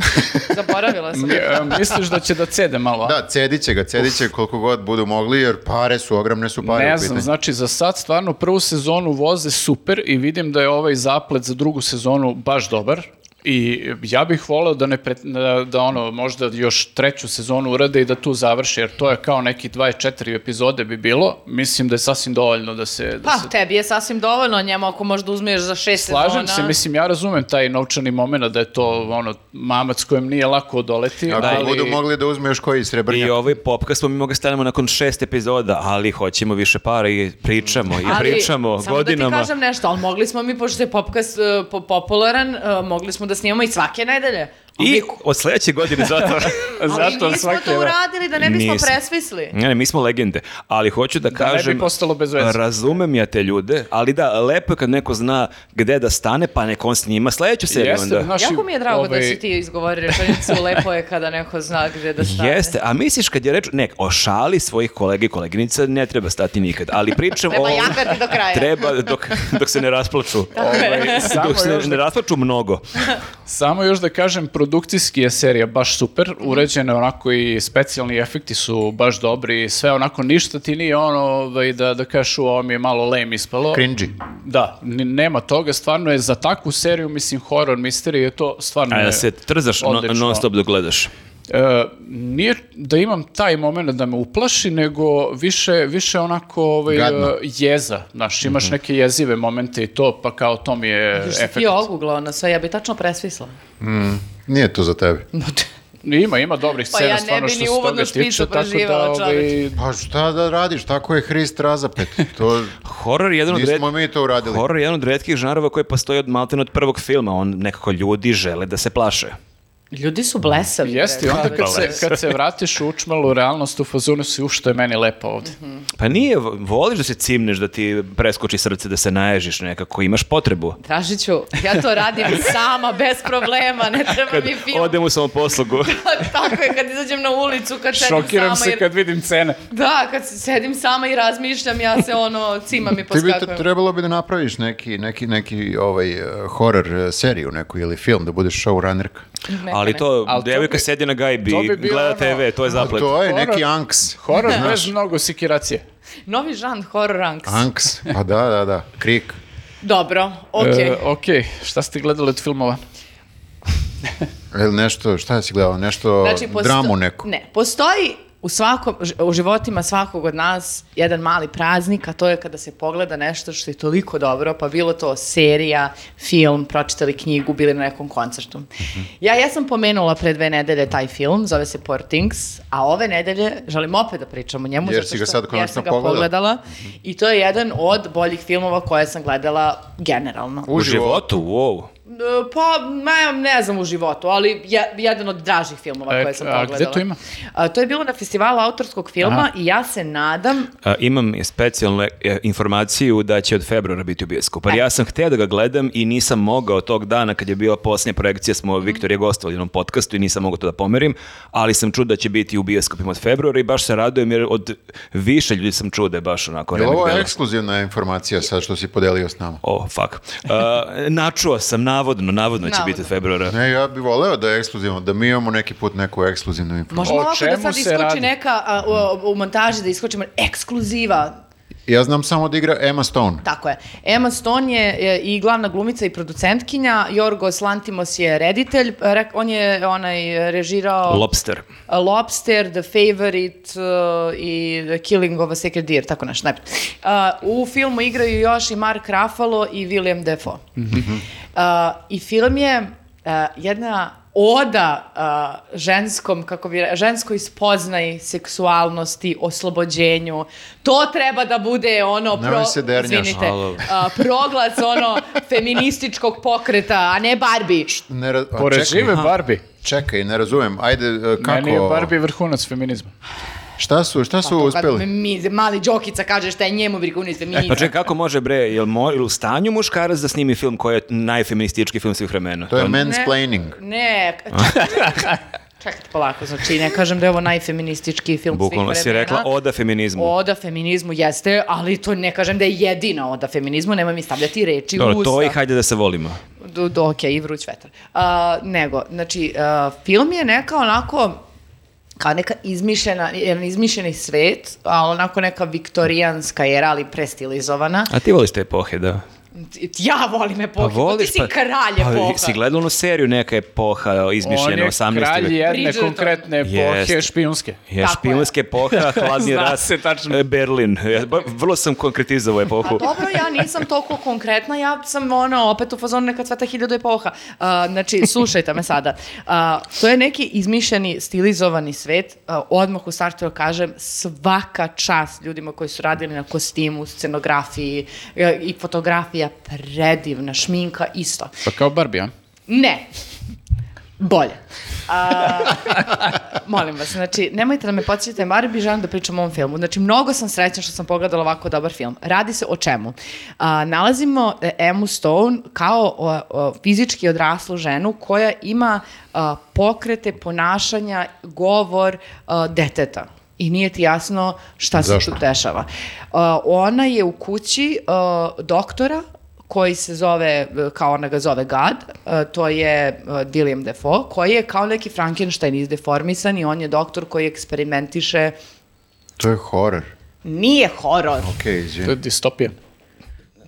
A: zaboravila sam.
C: E, Misliš da će da cede malo? a?
B: Da, cedit će ga, cedit će koliko god budu mogli, jer pare su, ogromne su pare
C: Ne
B: u
C: znam,
B: pitanju.
C: znači za sad stvarno prvu sezonu voze super i vidim da je ovaj zaplet za drugu sezonu baš dobar. I ja bih voleo da ne pre- da, da ono možda još treću sezonu urade i da tu završe jer to je kao neki 24 epizode bi bilo. Mislim da je sasvim dovoljno da se da se
A: Pa, tebi je sasvim dovoljno njemu ako možda uzmeš za šest sezona.
C: Slažem se, mislim, ja razumem taj novčani moment da je to ono, mamac kojem nije lako odoleti,
B: Ako
C: ali...
B: budu mogli da uzme još koji srebrnjak.
D: I ovaj popka smo mi mogli stanemo nakon šest epizoda, ali hoćemo više para i pričamo i
A: Ali,
D: pričamo
A: samo
D: godinama.
A: da ti kažem nešto, ali mogli smo mi, pošto je popkas e, po- popularan, e, mogli smo da snimamo i svake nedelje. Ali
D: I od sledeće godine zato...
A: (laughs) Ali
C: Zato
A: nismo
C: svaki-
A: to uradili da ne bismo
D: Nismo.
A: presvisli.
D: Ne, ne, mi smo legende, ali hoću da
C: ne bi
D: kažem...
C: postalo bez veze.
D: Razumem ja te ljude, ali da, lepo je kad neko zna gde da stane, pa nek on snima sledeću seriju
C: Jeste,
D: onda.
C: znaš, i
A: Jako mi je drago
C: ovaj-
A: da si ti izgovorio rečenicu, lepo je kada neko zna gde da stane. (laughs)
D: Jeste, a misliš kad je reč, nek, o šali svojih kolega i koleginica ne treba stati nikad, ali
A: (laughs)
D: pričam
A: Treba
D: o...
A: jahati do kraja. Da.
D: Treba dok, dok se ne rasplaču.
C: Ovaj, samo,
D: dok se
C: još
D: ne
C: da,
D: rasplaču mnogo.
C: samo još da kažem, produkcijski je serija baš super,
D: Mhm.
C: uređena onako i specijalni efekti su baš dobri, sve onako ništa ti nije ono ovaj, da, da kažeš "U, ovo mi je malo lame ispalo.
B: Cringy.
C: Da, n- nema toga, stvarno je za takvu seriju, mislim, horror, misterij je to stvarno...
D: A
C: je
D: da se trzaš no,
C: odlično.
D: non stop dok gledaš.
C: E, nije da imam taj moment da me uplaši, nego više, više onako ovaj,
B: Gadno.
C: e, jeza. Znaš, imaš
D: Mhm.
C: neke jezive momente i to, pa kao to mi je
A: Što si
C: efekt.
A: ti ogugla na sve, ja bi tačno presvisla.
B: Nije to za tebe.
C: Ima, ima dobrih
A: Pa
C: scena,
A: ja ne
C: stvarno
A: bi
C: što
A: ni
C: se
A: uvodnu
C: toga
A: špicu
C: tiče, tako da
A: preživela,
C: ovaj,
A: čoveče.
B: Pa šta da radiš, tako je Hrist razapet.
D: (laughs)
B: To,
D: Horor je jedan od red...
B: nismo mi to uradili.
D: Horor je jedan od retkih žanrova koji postoji od maltene od prvog filma. On nekako ljudi žele da se plaše.
A: Ljudi su blesavi.
C: Jeste, i
A: bre,
C: onda kad
A: čoveče.
C: se, kad se vratiš u učmalu realnost u fazonu si u što je meni lepo ovde.
A: Mhm.
D: Pa nije, voliš da se cimneš, da ti preskoči srce, da se naježiš nekako, imaš potrebu.
A: Tražit ću, ja to radim sama, bez problema, ne treba
D: Kad
A: mi film. Pa
D: odem u samoposlugu.
A: Tako je, kad izađem na ulicu, kad sedim
C: Šokiram
A: sama.
C: se
A: jer-
C: kad vidim cene.
A: Da, kad sedim sama i razmišljam, ja se ono, cimam i
B: Ti bi te-
A: poskakujem.
B: trebalo bi da napraviš neki, neki, neki ovaj, eh, horror eh, seriju neku ili film, da budeš showrunnerka.
A: Neka,
D: (laughs) Ali
A: neka.
D: to,
C: Ali to
D: devojka
C: bi-
D: sedi na gajbi,
C: to bi
D: i
C: bilo
D: gleda
C: ono-
D: TV, to je zaplet.
B: To je neki
C: Horror.
B: anks.
C: Horor bez mnogo sikiracije.
A: Novi žan, horror ranks.
B: Anks, pa da, da, da, krik.
A: Dobro, okej.
C: E, ok, šta ste gledali od filmova?
B: Pa Ili nešto, šta si gledao, nešto,
A: Znači,
C: Znači,
A: posto-
B: dramu neku.
A: Ne, postoji u, svakom, ž- u životima svakog od nas jedan mali praznik, a to je kada se pogleda nešto što je toliko dobro, pa bilo to serija, film, pročitali knjigu, bili na nekom koncertu.
B: Mhm.
A: Ja jesam pomenula pre dve nedelje taj film, zove se Poor Things, a ove nedelje želim opet da pričam o njemu.
B: Jer
A: zato
B: si ga
A: što-
B: sad
A: jer
B: konačno
A: sam ga
B: pogledala. Mhm.
A: pogledala. I to je jedan od boljih filmova koje sam gledala generalno.
D: U
B: Uživo.
D: životu, wow.
A: E, Pa, ne, ne znam u životu, ali je, jedan od dražih filmova
C: E,
A: koje sam
C: a gde
A: pogledala.
C: to ima?
A: A, to je bilo na festivalu autorskog filma
C: Aha.
A: i ja se nadam...
D: A, imam i specijalnu e, informaciju da će od februara biti u bioskopu. Jer ja sam hteo da ga gledam i nisam mogao tog dana kad je bila posljednja projekcija, smo Viktor je gostovali u jednom podcastu i nisam mogao to da pomerim, ali sam čuo da će biti u bioskopima od februara i baš se radujem jer od više ljudi sam čuo da je baš onako
B: Jel
D: remake
B: ovo
D: delo.
B: je ekskluzivna informacija sad što si podelio s nama?
D: O, fuck. E, načuo sam, navodno, navodno će
A: Navodno.
D: biti od februara.
B: Ne, ja bih voleo da je ekskluzivno, da mi imamo neki put neku ekskluzivnu informaciju.
A: Možemo
C: O
A: ovako da
C: čemu
A: sad
C: se
A: iskoči
C: radi?
A: neka a, u, u montaži, da iskočimo ekskluziva.
B: Ja znam samo da igra Emma Stone.
A: Tako je. Emma Stone je e, i glavna glumica i producentkinja, Jorgos Lantimos je reditelj, Rek- on je onaj e, režirao...
D: Lobster.
A: A Lobster, The Favorite uh, i The Killing of a Sacred Deer, tako nešto, najbolje. Uh, u filmu igraju još i Mark Ruffalo i William Defoe.
B: Mhm.
A: Uh, I film je uh, jedna oda uh, ženskom, kako bi re, ženskoj spoznaji, seksualnosti, oslobođenju. To treba da bude ono...
B: Nemoj se dernjaš,
A: izvinite,
D: alo.
A: uh, proglas ono feminističkog pokreta, a ne Barbie.
B: Ne, ra- a,
C: Pa Pored
B: čekaj,
C: žive Barbie.
B: čekaj, ne razumem. Ajde, e, kako...
C: Meni je Barbie vrhunac feminizma.
B: Šta su, šta
A: Pa
B: su
A: to kad
B: uspeli?
A: mi- Mi, mali Đokica kaže šta je njemu, briga, unijete mi
D: Pa
A: igra.
D: čekaj, kako može bre, jel mo, jel u stanju muškarac da snimi film koji je najfeministički film svih vremena?
B: To je
A: Ne,
B: mansplaining.
A: Ne, čekajte, čekajte polako, znači ne kažem da je ovo najfeministički film
D: Bukvalno
A: svih
D: si
A: vremena.
D: rekla oda feminizmu.
A: Oda feminizmu jeste, ali to ne kažem da je jedina oda feminizmu, nema mi stavljati reči u
D: Dobro,
A: usta.
D: to i hajde da se volimo.
A: do, do, ok, i vruć vetar. A, nego, znači, a, film je neka onako, kao neka izmišljena, jedan izmišljeni svet, a onako neka viktorijanska era, ali prestilizovana.
D: A ti voliš te epohe, da?
A: Ti- Ja volim epohe, pa ti si kralj
D: pa
A: epoha.
D: Si gledala onu seriju neka epoha
C: On
D: izmišljena,
C: je
D: 18.
C: kralj
D: veka?
C: jedne
A: Bridgerton.
C: konkretne epohe
D: Jeste.
C: špijunske.
D: Je,
A: Tako je.
D: špijunske epoha,
C: (laughs)
D: hladni
C: Zna
D: rat,
C: se tačno.
D: e, Berlin. Ja ba- vrlo sam konkretizovao
A: Pa
D: epohu.
A: dobro, ja nisam toliko konkretna, ja sam ono, opet u fazonu neka cveta hiljadu epoha. A, znači, slušajte me sada. A, to je neki izmišljeni, stilizovani svet. A, odmah u startu joj kažem, svaka čast ljudima koji su radili na kostimu, scenografiji e, i fotografija, predivna, šminka, isto.
C: Pa kao Barbie, a?
A: Ne. Bolje. A, molim vas, znači, nemojte da me podsjetite, Mari bi želim da pričam o ovom filmu. Znači, mnogo sam srećna što sam pogledala ovako dobar film. Radi se o čemu? A, nalazimo e, Emu Stone kao o, o, fizički odraslu ženu koja ima a, pokrete, ponašanja, govor a, deteta. I nije ti jasno šta se
B: Zašto?
A: tu dešava. A, ona je u kući a, doktora koji se zove, e, kao ona ga zove Gad, e, to je e, William Defoe, koji je kao neki Frankenstein izdeformisan i on je doktor koji eksperimentiše,
B: To je horror.
A: nije horor,
B: Okej, izvini.
C: To je distopija.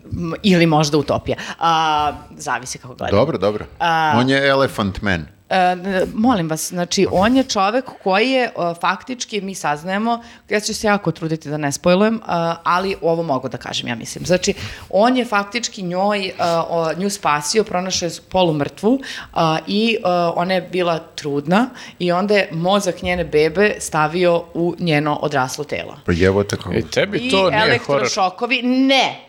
A: m, ili možda utopija, a, zavisi kako gledate.
B: Dobro, dobro. On je Elephant Man.
A: E, n- molim vas, znači on je čovek koji je e, faktički, mi saznajemo, ja ću se jako truditi da ne spojlujem, ali ovo mogu da kažem, ja mislim. Znači, on je faktički njoj, e, o- nju spasio, pronašao je polumrtvu a, i e, ona je bila trudna i onda je mozak njene bebe stavio u njeno odraslo telo.
B: Pa jevo tako.
C: I E, tebi
A: I
C: to nije horor.
A: elektrošokovi, ne,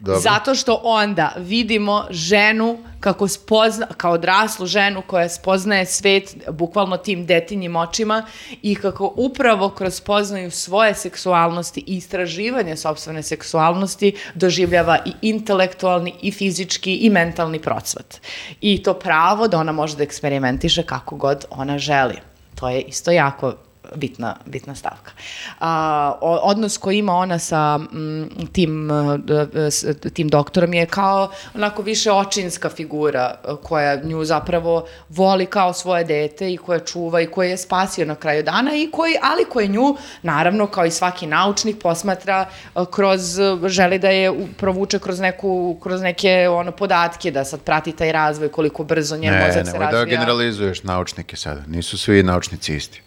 B: Dobro.
A: zato što onda vidimo ženu kako spozna, kao odraslu ženu koja spoznaje svet bukvalno tim detinjim očima i kako upravo kroz spoznaju svoje seksualnosti i istraživanje sobstvene seksualnosti doživljava i intelektualni i fizički i mentalni procvat. I to pravo da ona može da eksperimentiše kako god ona želi. To je isto jako bitna, bitna stavka. A, o- odnos koji ima ona sa mm, tim, e, d- s- tim doktorom je kao onako više očinska figura e, koja nju zapravo voli kao svoje dete i koja čuva i koja je spasio na kraju dana i koji, ali koji nju naravno kao i svaki naučnik posmatra e, kroz, e, želi da je u- provuče kroz, neku, kroz neke ono, podatke da sad prati taj razvoj koliko brzo njen
B: Ne,
A: mozak se
B: nemoj da
A: razvija.
B: generalizuješ naučnike sada. Nisu svi naučnici isti.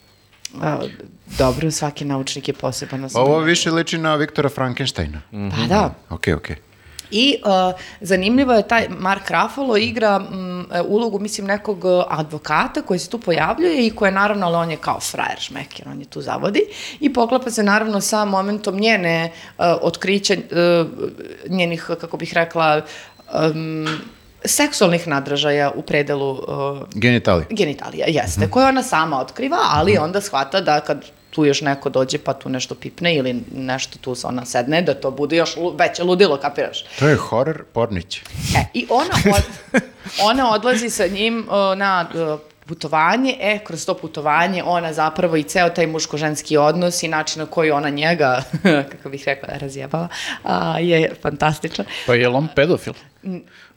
A: A, dobro, svaki naučnik je poseban. na svom
B: Ovo više liči na Viktora Frankensteina.
A: Pa da.
B: Ok, ok.
A: I uh, zanimljivo je taj Mark Ruffalo igra mm, e, ulogu, mislim, nekog e, advokata koji se tu pojavljuje i koji je naravno, ali on je kao frajer šmeker, on je tu zavodi i poklapa se naravno sa momentom njene uh, otkrića, e, njenih, kako bih rekla, em, seksualnih nadražaja u predelu e,
B: Genitali.
A: genitalija, jeste, koje ona sama otkriva, ali onda shvata da kad tu još neko dođe pa tu nešto pipne ili nešto tu se ona sedne, da to bude još lu- veće ludilo, kapiraš?
B: To je horror pornić.
A: E, I ona, od, ona odlazi sa njim uh, na uh, putovanje, e, kroz to putovanje ona zapravo i ceo taj muško-ženski odnos i način na koji ona njega, kako bih rekla, razjebala, a, je fantastičan.
C: Pa je on pedofil?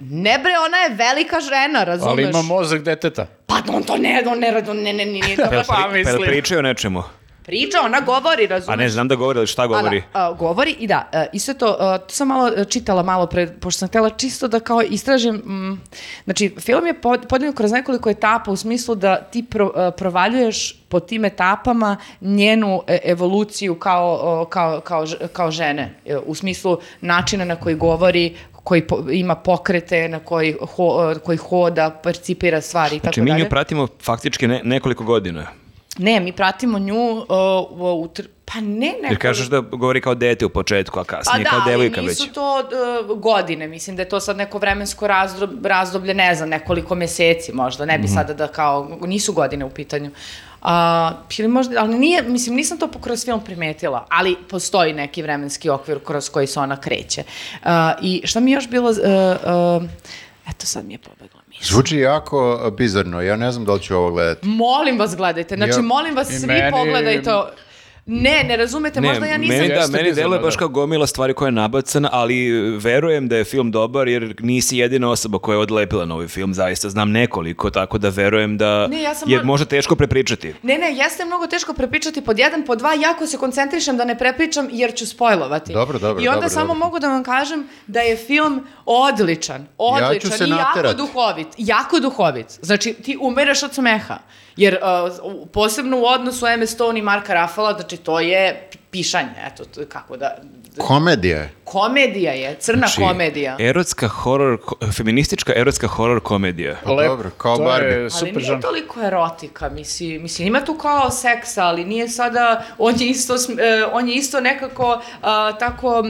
A: Ne bre, ona je velika žena, razumeš?
C: Ali ima mozak deteta.
A: Pa on to ne, on ne, on ne, ne, ne, nije dobro.
C: Pa
D: Pa jel
C: mislim.
D: pričaju o nečemu?
A: Priča, ona govori, razumeš?
D: A ne znam da govori, ali šta govori?
A: A da, a, govori i da, e, isto je to, e, to sam malo e, čitala malo pre, pošto sam htjela čisto da kao istražim, mm, znači film je pod, podeljen kroz nekoliko etapa u smislu da ti pro, e, provaljuješ po tim etapama njenu e, evoluciju kao, o, kao, kao, ž- kao žene, e, u smislu načina na koji govori, koji po- ima pokrete, na koji, ho, e, koji hoda, percipira stvari i tako
D: Znači,
A: dalje. E,
D: mi nju pratimo faktički ne- nekoliko godina.
A: Ne, mi pratimo nju o, u, u tr- pa ne
D: Jer
A: nekoliko
D: kažeš da govori kao dete u početku, a
A: Pa
D: kasnije
A: da,
D: kao
A: ali
D: devojka
A: nisu
D: već.
A: to e, godine, mislim da je to sad neko vremensko razdob- razdoblje, ne znam, nekoliko meseci možda, ne bi sada da kao, nisu godine u pitanju. A, A, ili možda, ali nije, mislim, nisam to po- kroz film primetila, ali postoji neki vremenski okvir kroz koji se ona kreće. A, I šta mi je još bilo... e, e, eto, sad mi je pobegla mi.
B: Zvuči jako a, bizarno, ja ne znam da li ću ovo gledati.
A: Molim vas gledajte, znači
B: Ja-
A: molim vas
C: I
A: svi
C: meni-
A: pogledajte. o- Ne, ne razumete, možda ja nisam...
D: meni, da,
C: Jeste
D: meni
C: bizarno,
D: deluje baš
C: da.
D: kao gomila stvari koja je nabacana, ali e, verujem da je film dobar jer nisi jedina osoba koja je odlepila novi film, zaista znam nekoliko, tako da verujem da
A: Ne, ja sam
D: je
A: mal-
D: možda teško prepričati.
A: Ne, ne, jeste mnogo teško prepričati pod jedan, pod dva, jako se koncentrišem da ne prepričam jer ću spojlovati.
B: Dobro, dobro,
A: I onda
B: dobro,
A: samo
B: dobro.
A: mogu da vam kažem da je film odličan, odličan
B: se
A: i jako
B: naterati.
A: duhovit, jako duhovit. Znači, ti umereš od smeha, jer uh, u- posebno u odnosu Emma Stone i Marka Rafala, znači to je pišanje, eto, to je kako da...
B: Komedija je.
A: Komedija je, crna
D: Znači,
A: komedija.
D: Erotska horor, ko- feministička erotska horor komedija.
B: Pa dobro, kao
C: to
B: Barbie.
C: je super
A: ali nije
C: žanr.
A: toliko erotika, mislim, mislim, ima tu kao seksa, ali nije sada, on je isto, sm- e, on je isto nekako a, tako,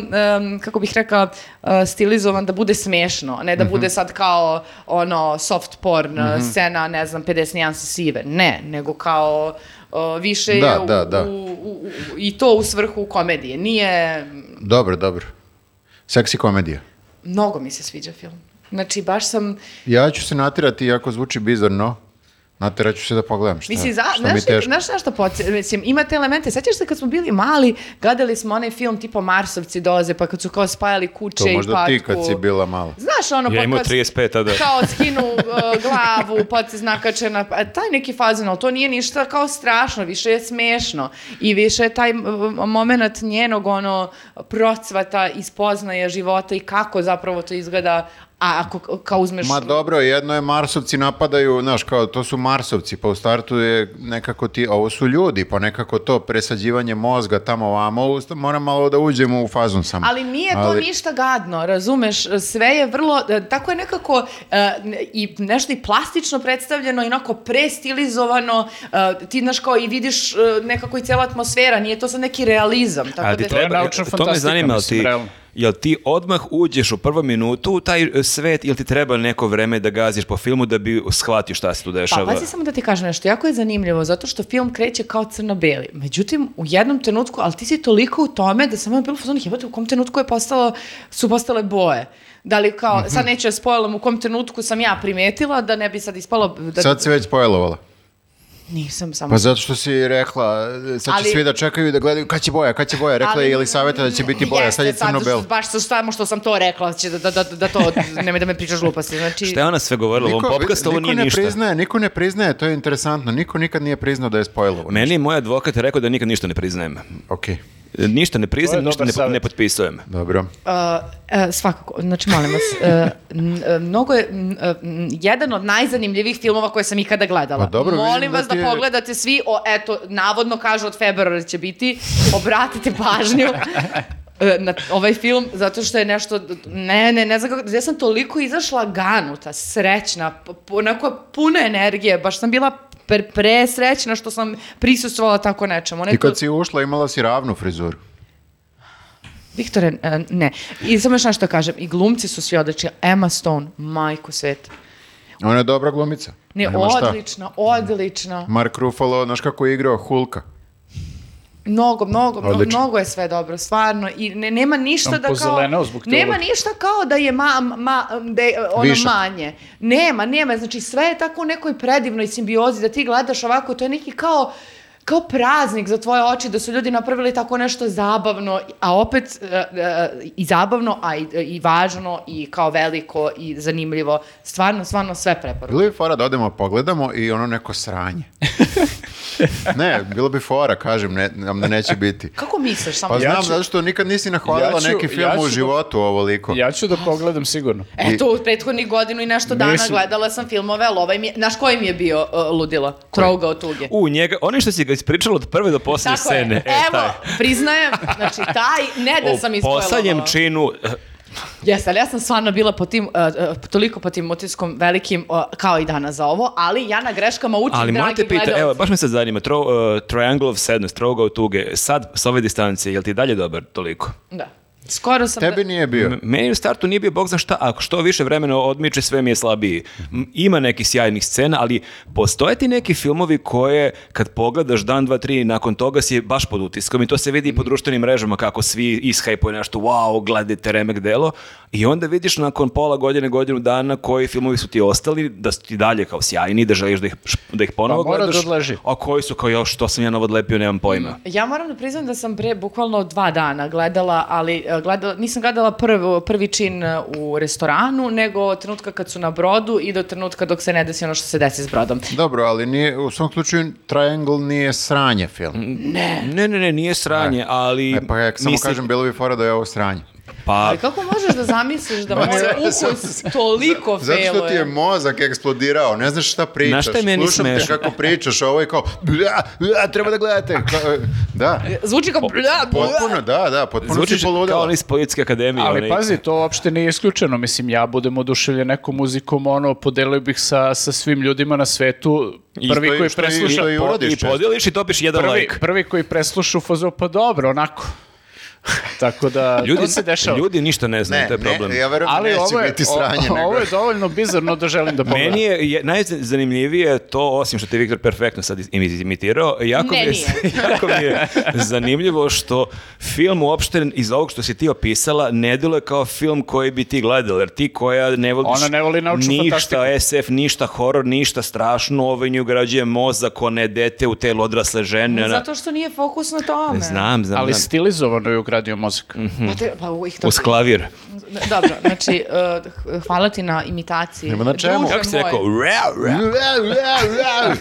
A: em, kako bih rekla, a, stilizovan da bude smešno, a ne da
B: Mhm.
A: bude sad kao ono soft porn e, scena, ne znam, 50 nijansi sive, ne, nego kao o, više je
B: Da,
A: u-
B: da, da.
A: u- u- u- i to u svrhu komedije, nije,
B: Dobro, dobro. Seksi komedija.
A: mnogo mi se sviđa film. Znači, baš sam,
B: Ja ću se natirati, iako zvuči bizarno, natirat ću se da pogledam šta,
A: Mislim, za,
B: šta mi
A: znaš,
B: je teško.
A: znaš na što podsje- mislim, imate elemente, sećaš se kad smo bili mali, gledali smo onaj film tipa Marsovci doze, pa kad su kao spajali kuće
B: To
A: i patku.
B: možda ti kad si bila mala.
A: Znaš ono,
D: Ja
A: pa
D: imao
A: kad-
D: 35 tada.
A: (laughs)
D: (laughs)
A: Kao skinu uh, glavu, pa se znakače na... a Taj neki fazon, ali to nije ništa kao strašno, više je smešno. I više je taj uh, moment njenog ono procvata i spoznaje života i kako zapravo to izgleda, a ako kao uzmeš...
B: Ma dobro, jedno je Marsovci napadaju, znaš, kao to su Marsovci, pa u startu je nekako ti, a ovo su ljudi, pa nekako to presađivanje mozga tamo vamo, usta- moram malo da uđemo u fazon sam.
A: Ali nije to
B: Ali-
A: ništa gadno, razumeš, sve je vrlo, e, tako je nekako e, ne- i nešto i plastično predstavljeno i onako prestilizovano, e, ti znaš kao i vidiš e, nekako i cijela atmosfera, nije to sad neki realizam. Tako
D: A ti
A: da-
D: treba,
C: je naučna
D: to me
C: fantastika,
D: zanima, jel
C: mislim,
D: ti,
C: realno.
D: jel ti odmah uđeš u prvu minutu u taj e, svet ili ti treba neko vreme da gaziš po filmu da bi shvatio šta se tu dešava?
A: Pa, pazi samo da ti kažem nešto, jako je zanimljivo, zato što film kreće kao crno-beli. Međutim, u jednom trenutku, ali ti si toliko u tome da sam ono bilo fazon, jebate, u kom trenutku je postalo, su postale boje. Da li kao,
B: Mhm.
A: sad neću da spojlam u kom trenutku sam ja primetila, da ne bi sad ispalo... Da,
B: Sad se već spojlovala.
A: Nisam samo...
B: Pa zato što si rekla, e, sad će
A: Ali-
B: svi da čekaju i da gledaju kad će boja, kad će boja. Rekla je Jelisaveta da će biti boja, sad je
A: Jeste, zato
B: crno-belo.
A: što- Baš sa- samo što sam to rekla, će da, da, da, da to, nemoj da me pričaš gluposti. Znači,
D: Šta je ona sve govorila u ovom podcastu, ovo
B: niko
D: nije
B: ne
D: ništa.
B: priznaje, niko ne priznaje, to je interesantno. Niko nikad nije priznao da je spojlovo.
D: Meni je moj advokat rekao da nikad ništa ne priznajem.
B: Okej,
D: E, Ništa ne priznajem,
C: dobar
D: ništa ne, po-
C: savjet.
D: ne potpisujem.
B: dobro.
A: Uh, e, svakako, znači molim vas, e, n- e, mnogo je, n- e, n- jedan od najzanimljivih filmova koje sam ikada gledala.
B: Pa dobro,
A: molim
B: vidim da
A: vas da,
B: ti je-
A: pogledate svi, o, eto, navodno kažu od februara će biti, obratite pažnju e, na ovaj film, zato što je nešto, ne, ne, ne znam kako, ja sam toliko izašla ganuta, srećna, p- p- onako puno energije, baš sam bila pre, presrećna što sam prisustvovala tako nečemu. Ona je
B: I
A: E, to-
B: kad si ušla imala si ravnu frizuru.
A: Viktore, e, ne. I samo još nešto da kažem. I glumci su svi odlični. Emma Stone, majku sveta.
B: Ona je dobra glumica.
A: Ne,
B: Nema šta.
A: odlična, odlična.
B: Mark Ruffalo, znaš kako je igrao Hulka.
A: Mnogo, mnogo, mnogo,
B: Odlično.
A: mnogo je sve dobro, stvarno. I ne, nema ništa
C: Sam
A: da kao...
C: pozeleneo zbog toga.
A: Nema ništa kao da je ma, ma, da je ono
B: Višak.
A: manje. Nema, nema. Znači sve je tako u nekoj predivnoj simbiozi da ti gledaš ovako, to je neki kao kao praznik za tvoje oči da su ljudi napravili tako nešto zabavno, a opet e, e, i zabavno, a i, i važno i kao veliko i zanimljivo. Stvarno, stvarno sve preporučujem.
B: Bilo bi fora da odemo pogledamo i ono neko
C: (laughs)
B: sranje. ne, bilo bi fora, kažem, ne, nam da neće biti.
A: Kako misliš samo?
B: Pa znam,
C: ću-
B: zato što nikad nisi nahvalila
C: Ja ću-
B: neki film
C: ja ću
B: u
C: da-
B: životu ovoliko.
C: Ja ću da pogledam sigurno.
A: Eto, u prethodnih godinu i nešto dana
C: Mislim-
A: gledala sam filmove, ali ovaj mi je, znaš koji mi je bio uh, ludilo? Trouga od tuge.
D: U njega, oni što si ga ispričala od prve do posljednje
A: Tako je,
D: scene. e,
A: evo,
D: taj.
A: priznajem, znači taj, ne da
D: (laughs) U
A: sam ispojila.
D: poslednjem
A: ovo.
D: činu, e,
A: Jeste, ali ja sam stvarno bila po tim, uh, uh, toliko po tim utiskom velikim, uh, kao i danas za ovo, ali ja na greškama učim,
D: ali
A: dragi
D: morate pita,
A: gledaoci.
D: evo, baš me sad zanima, tro, e, uh, Triangle of Sadness, Trougao tuge, sad s ove distancije, je li ti dalje dobar toliko?
A: Da. Skoro sam...
B: Tebi nije bio.
D: M- Meni u startu nije bio bog za šta, ako što više vremena odmiče, sve mi je slabiji. M, Ima nekih sjajnih scena, ali postoje ti neki filmovi koje, kad pogledaš dan, dva, tri, nakon toga si baš pod utiskom i to se vidi i po društvenim mrežama kako svi ishajpuju nešto, wow, gledajte remek delo i onda vidiš nakon pola godine, godinu dana koji filmovi su ti ostali, da su ti dalje kao sjajni, da želiš da ih, da ih ponovo
C: Pa mora da
D: gledaš,
C: odleži.
D: a koji su kao, još, što sam ja novo odlepio, nemam pojma.
A: Ja moram da priznam da sam pre bukvalno dva dana gledala, ali e, gledala, nisam gledala prv, prvi čin e, u restoranu, nego od trenutka kad su na brodu i do trenutka dok se ne desi ono što se desi s brodom.
B: Dobro, ali nije, u svom slučaju Triangle nije sranje film.
D: Ne, ne, ne, nije sranje, ali...
B: E, pa ja samo
D: mislim-
B: kažem, bilo bi fora da je ovo sranje.
D: Pa,
A: Ali kako možeš da zamisliš da moj ukus toliko
B: Zato
A: failuje?
B: što ti je mozak eksplodirao, ne znaš šta pričaš.
D: Znaš šta je meni
B: Slušam te
D: smešno?
B: kako pričaš, a ovo je kao, "Bla, bla, treba da gledate. Kao,
C: (laughs)
B: Da,
A: Zvuči kao... bla, bla.
B: potpuno, da, da, potpuno si
D: Zvučiš kao
B: poludela.
D: oni iz Politiske akademije.
C: Ali
D: onaj-
C: pazi, to uopšte nije isključeno. Mislim, ja budem oduševljen nekom muzikom, ono, podelio bih sa, sa svim ljudima na svetu.
B: I
C: Prvi
B: što i-
C: koji
B: što i-
C: presluša...
B: što i
C: po-
B: uradiš
D: I
B: često.
D: podeliš i topiš jedan
C: prvi,
D: like.
C: prvi koji presluša u fazu, pa dobro, onako. Tako da, ljudi, to se dešava.
D: ljudi ništa ne znaju,
B: Ne,
D: to je problem.
B: ne, ja verujem da
C: Ali ovo
B: neće
C: je,
B: biti sranje.
C: o-
B: nego-
C: ovo je dovoljno bizarno da želim da pogledam.
D: Meni je, je najzanimljivije to, osim što te Viktor perfektno sad im- imitirao, jako mi,
A: Ne,
D: je,
A: nije.
D: (laughs) jako mi je zanimljivo što film uopšte iz ovog što si ti opisala ne deluje kao film koji bi ti gledala, jer ti koja ne voliš
C: Ona ne voli naučnu
D: ništa
C: fantastiku.
D: SF, ništa horor, ništa strašno, ovaj nju ugrađuje mozak, one dete u telo odrasle žene. ona-
A: Zato što nije fokus na tome.
D: Znam, znam.
C: Ali
D: znam.
C: stilizovano je ugradio
B: Mm.
C: mozak. Da,
A: Pa, te, pa uvijek to...
D: Uz klavir.
A: Dobro, znači, e, h- hvala ti na imitaciji.
B: Nema na čemu.
A: Druže
D: Kako si
A: moj,
D: rekao? Rau, rau.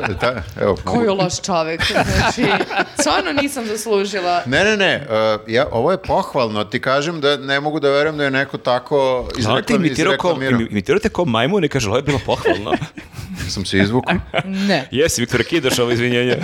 B: Ta- ta- da, evo,
A: Koji je loš čovek. Znači, stvarno nisam zaslužila.
B: Ne, ne, ne, uh, ja, ovo je pohvalno, ti kažem da ne mogu da verujem da je neko tako
D: Znam te
B: izreklam,
D: imitirao ko,
B: izreklamirao.
D: im- imitirao te ko majmun i kaže, ovo je bilo pohvalno.
B: Sam se izvukao.
A: Ne.
D: (laughs) Jesi, Viktor, kidaš ovo izvinjenje.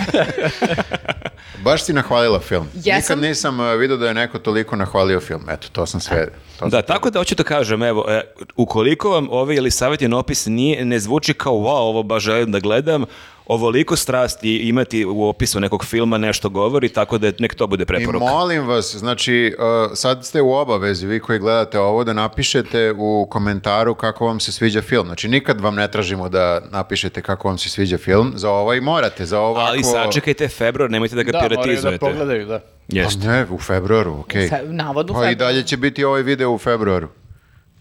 B: Baš si nahvalila film.
A: Jesam.
B: Nikad nisam uh, vidio da je neko toliko nahvalio film. Eto, to sam sve. To sam-
D: (laughs) da, tako da hoću da kažem, evo, e, ukoliko vam ovaj Elisavetin opis nije, ne zvuči kao, wow, ovo baš želim da gledam, ovoliko strasti imati u opisu nekog filma nešto govori, tako da nek to bude
B: I
D: preporuka.
B: molim vas, znači, uh, sad ste u obavezi, vi koji gledate ovo, da napišete u komentaru kako vam se sviđa film. Znači, nikad vam ne tražimo da napišete kako vam se sviđa film. Za ovaj morate, za ovako...
D: Ali sačekajte februar, nemojte da ga
C: Da, moraju da
D: piratizujete.
C: pogledaju, da.
B: Pa
D: Jeste.
B: ne, u februaru, okej.
A: Fe- navodno u
B: Pa i
A: februaru.
B: dalje će biti ovaj video u februaru.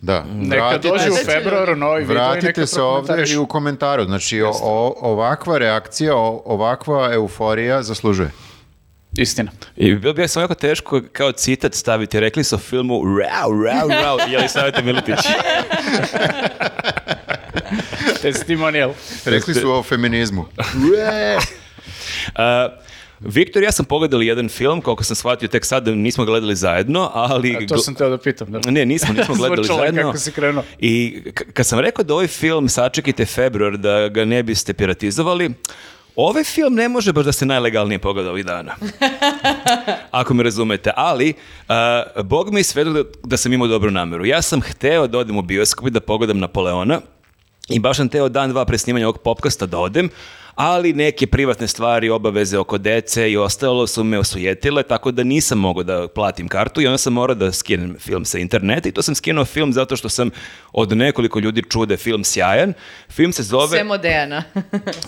B: Da.
C: Neka
B: Vratite
C: dođe
B: se-
C: u februaru novi video i neka
B: Vratite se ovde
C: prokomentarišu.
B: i u komentaru. Znači, o- o- ovakva reakcija, o- ovakva euforija zaslužuje.
C: Istina.
D: I bilo bi samo jako teško kao citat staviti, rekli su o filmu rau, rau, rau, i Elisavetin (laughs) Miletić.
C: Testimonijal.
B: Rekli su o feminizmu.
D: Uh, Viktor, i ja sam pogledali jedan film, koliko sam shvatio tek sad, nismo ga gledali zajedno, ali...
C: A to sam teo da pitam. Da. (laughs)
D: Ne, nismo, nismo gledali
C: Zvučalo je
D: zajedno.
C: kako si krenuo.
D: I k- kad sam rekao da ovaj film sačekite februar, da ga ne biste piratizovali, ovaj film ne može baš da se najlegalnije pogleda ovih dana. Ako me razumete, ali uh, Bog mi je svedok da, da sam imao dobru nameru. Ja sam hteo da odem u bioskop i da pogledam Napoleona i baš sam teo dan, dva pre snimanja ovog popkasta da odem, ali neke privatne stvari, obaveze oko dece i ostalo su me osujetile, tako da nisam mogao da platim kartu i onda sam morao da skinem film sa interneta i to sam skinuo film zato što sam od nekoliko ljudi čude film sjajan. Film se zove...
A: Sem od (laughs) Dejana.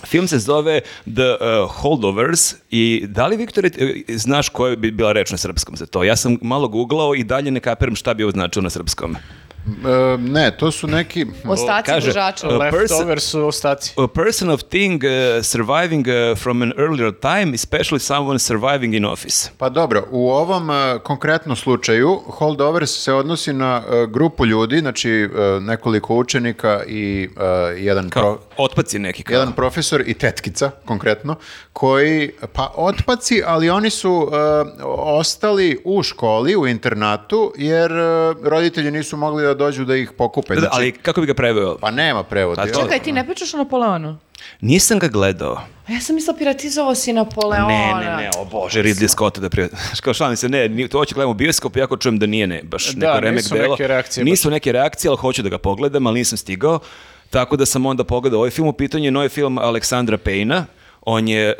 D: Film se zove The uh, Holdovers i da li, Viktore, ti- e, znaš koja bi bila reč na srpskom za to? Ja sam malo googlao i dalje ne kapiram šta bi ovo značilo na srpskom.
B: E, ne, to su neki...
A: Ostaci
D: Kaže,
A: gužača.
D: uh,
C: Leftover su ostaci.
D: A person of thing uh, surviving uh, from an earlier time, especially someone surviving in office.
B: Pa dobro, u ovom e, konkretnom slučaju holdovers se odnosi na e, grupu ljudi, znači e, nekoliko učenika i e, jedan
D: Kao,
B: pro-
D: otpaci neki. Kao.
B: jedan profesor i tetkica konkretno koji pa otpaci ali oni su e, ostali u školi u internatu jer e, roditelji nisu mogli da dođu da ih pokupe
D: Da,
B: znači,
D: ali kako bi ga preveo?
B: pa nema prevoda
D: A
B: jel?
D: to-
A: Čekaj, ti ne pričaš o Napoleonu?
D: Nisam ga gledao.
A: A Pa ja sam mislila piratizovao si Napoleona.
D: Ne, ne, ne, o bože, Ridley Scotta da (laughs) prije... Kao šalim se, ne, ni- to hoću gledam u bioskopu, jako čujem da nije ne, baš
C: Da,
D: neko remek
C: nisu
D: delo.
C: neke reakcije baš.
D: Nisu neke reakcije, ali hoću da ga pogledam, ali nisam stigao. Tako da sam onda pogledao ovaj film, u pitanju je novi film Aleksandra Pejna, On je e,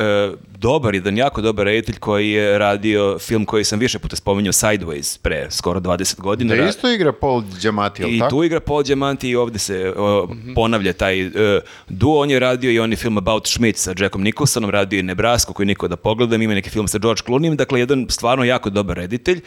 D: dobar, jedan jako dobar reditelj koji je radio film koji sam više puta spominjao, Sideways, pre skoro 20 godina.
B: Da
D: Ra-
B: isto igra Paul Giamatti, jel
D: i
B: tako? Mhm.
D: tu igra Paul Diamanti i ovde se o, ponavlja taj e, duo. On je radio i onaj film About Schmidt sa Jackom Nicholsonom, radio je Nebrasko koji niko da pogledam, ima neki film sa George Clooneyem, dakle jedan stvarno jako dobar reditelj.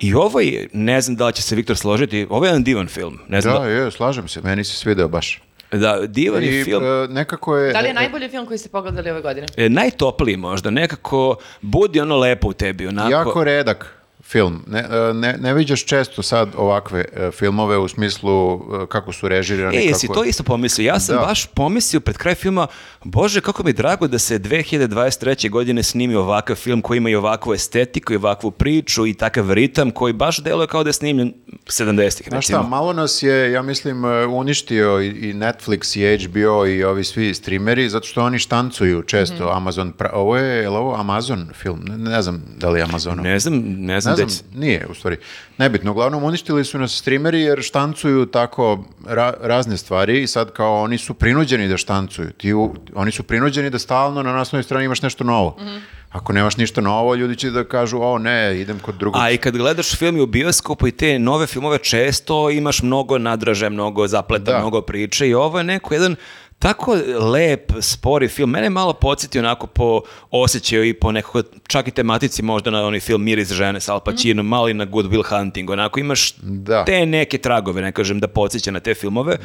D: I ovaj, ne znam da li će se Viktor složiti, ovo je jedan divan film. Ne znam
B: Da, je, slažem se, meni se svideo baš.
D: da, da, divan je
B: I
D: film.
B: e, nekako je...
A: Da li je najbolji film koji ste pogledali ove godine?
D: E, najtopliji možda, nekako budi ono lepo u tebi, onako.
B: e, Jako redak film. Ne, e, ne, ne viđaš često sad ovakve e, filmove u smislu e, kako su režirani.
D: E, jesi
B: kako...
D: to isto pomislio? Ja sam
B: Da.
D: baš pomislio pred kraj filma, bože, kako mi je drago da se 2023. godine snimi ovakav film koji ima i ovakvu estetiku i ovakvu priču i takav ritam koji baš deluje kao da je snimljen 70-ih,
B: Znaš šta,
D: recimo.
B: malo nas je, ja mislim, e, uništio i, i Netflix i HBO i ovi svi streameri, zato što oni štancuju često
D: Mhm.
B: Amazon. Pra... Ovo je, je li ovo Amazon film? Ne, ne znam da li je Amazonov.
D: Ne znam, ne znam, da
B: Ne
D: ne
B: znam, nije u stvari. Nebitno, uglavnom uništili su nas streameri jer štancuju tako ra- razne stvari i sad kao oni su prinuđeni da štancuju. Ti u- oni su prinuđeni da stalno na naslovnoj strani imaš nešto novo.
D: Mhm.
B: Ako nemaš ništa novo, ljudi će da kažu, o ne, idem kod drugog.
D: A i kad gledaš film i u bioskopu i te nove filmove često imaš mnogo nadraže, mnogo zapleta,
B: Da.
D: mnogo priče i ovo je neko jedan tako lep, spori film. Mene je malo podsjeti onako po osjećaju i po nekako, čak i tematici možda na onaj film Mir iz žene sa Al Pacinom, malo i na Good Will Hunting, onako imaš
B: Mhm. Da.
D: te neke tragove, ne kažem, da podsjeća na te filmove.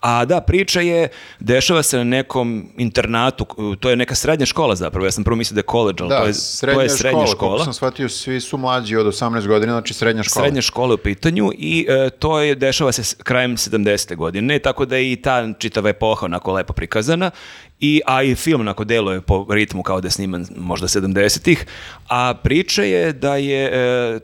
D: A da, priča je, dešava se na nekom internatu, to je neka srednja škola zapravo, ja sam prvo mislio da je college, ali
B: Da,
D: to, je, to je srednja škola.
B: Koliko sam shvatio, svi su mlađi od 18 godina, znači srednja škola.
D: Srednja škola je u pitanju i e, to je, dešava se s- krajem 70. godine, tako da je i ta čitava epoha onako lepo prikazana, i, a i film onako deluje po ritmu kao da je sniman možda 70-ih, a priča je da je e,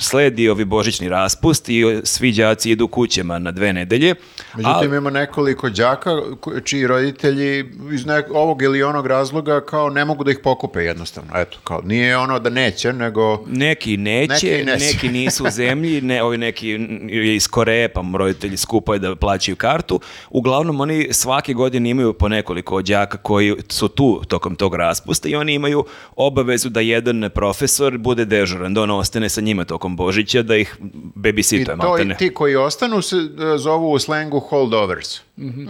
D: sledi ovi božićni raspust i e, svi đaci idu kućama na dve nedelje.
B: Međutim,
D: a-
B: ima nekoliko đaka ko- čiji roditelji iz nek- ovog ili onog razloga kao ne mogu da ih pokupe jednostavno. Eto, kao nije ono da neće, nego...
D: Neki neće,
B: Neki
D: neki,
B: i neće.
D: nisu u zemlji, ne, ovi neki n- je iz Koreje, pa mu roditelji skupaju da plaćaju kartu. Uglavnom, oni svake godine imaju po nekoliko đaka koji su tu tokom tog raspusta i oni imaju obavezu da jedan profesor bude dežuran, da on ostane sa njima tokom Božića, da ih
B: I
D: babysituje,
B: to i
D: maltene.
B: ti koji ostanu se e, zovu u slengu holdovers.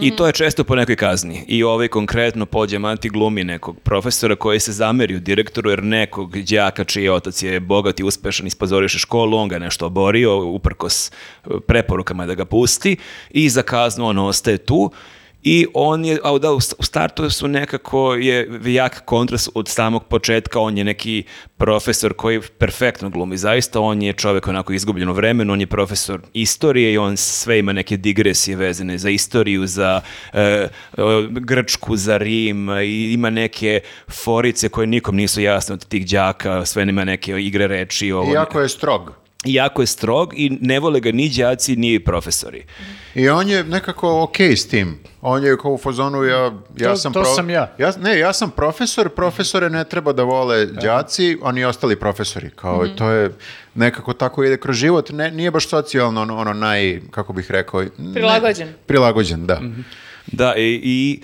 D: I to je često po nekoj kazni. I ovaj konkretno pođe manti glumi nekog profesora koji se zamerio direktoru jer nekog đaka čiji otac je bogat i uspešan ispozoriše školu, on ga je nešto oborio uprkos eh, preporukama da ga pusti i za kaznu on ostaje tu. I on je, a da, u st- u startu su nekako je jak kontrast od samog početka, on je neki profesor koji perfektno glumi, zaista on je čovjek onako izgubljen u vremenu, on je profesor istorije i on sve ima neke digresije vezane za istoriju, za e, e, Grčku, za Rim i ima neke forice koje nikom nisu jasne od tih đaka, sve nema neke igre reči. Ovo,
B: I jako je strog.
D: jako je strog i ne vole ga ni đaci ni profesori.
B: I on je nekako okej s tim. On je kao u fazonu, ja, ja
C: To-
B: sam...
C: to sam ja.
B: Ne, ja sam profesor, profesore ne treba da vole đaci, oni ostali profesori. Kao, i To je nekako tako ide kroz život. Ne, nije baš socijalno ono, ono naj, kako bih rekao... ne-
A: Prilagođen.
B: prilagođen, da.
C: Mhm.
D: Da, i, i,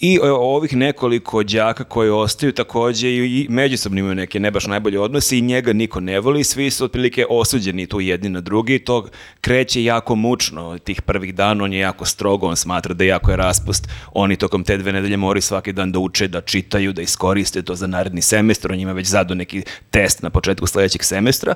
D: i e, ovih nekoliko đaka koji ostaju takođe i, i međusobno imaju neke ne baš najbolje odnose i njega niko ne voli, svi su otprilike osuđeni tu jedni na drugi i to kreće jako mučno tih prvih dana, on je jako strogo, on smatra da jako je raspust, oni tokom te dve nedelje moraju svaki dan da uče, da čitaju, da iskoriste to za naredni semestar, on njima već zadu neki test na početku sledećeg semestra.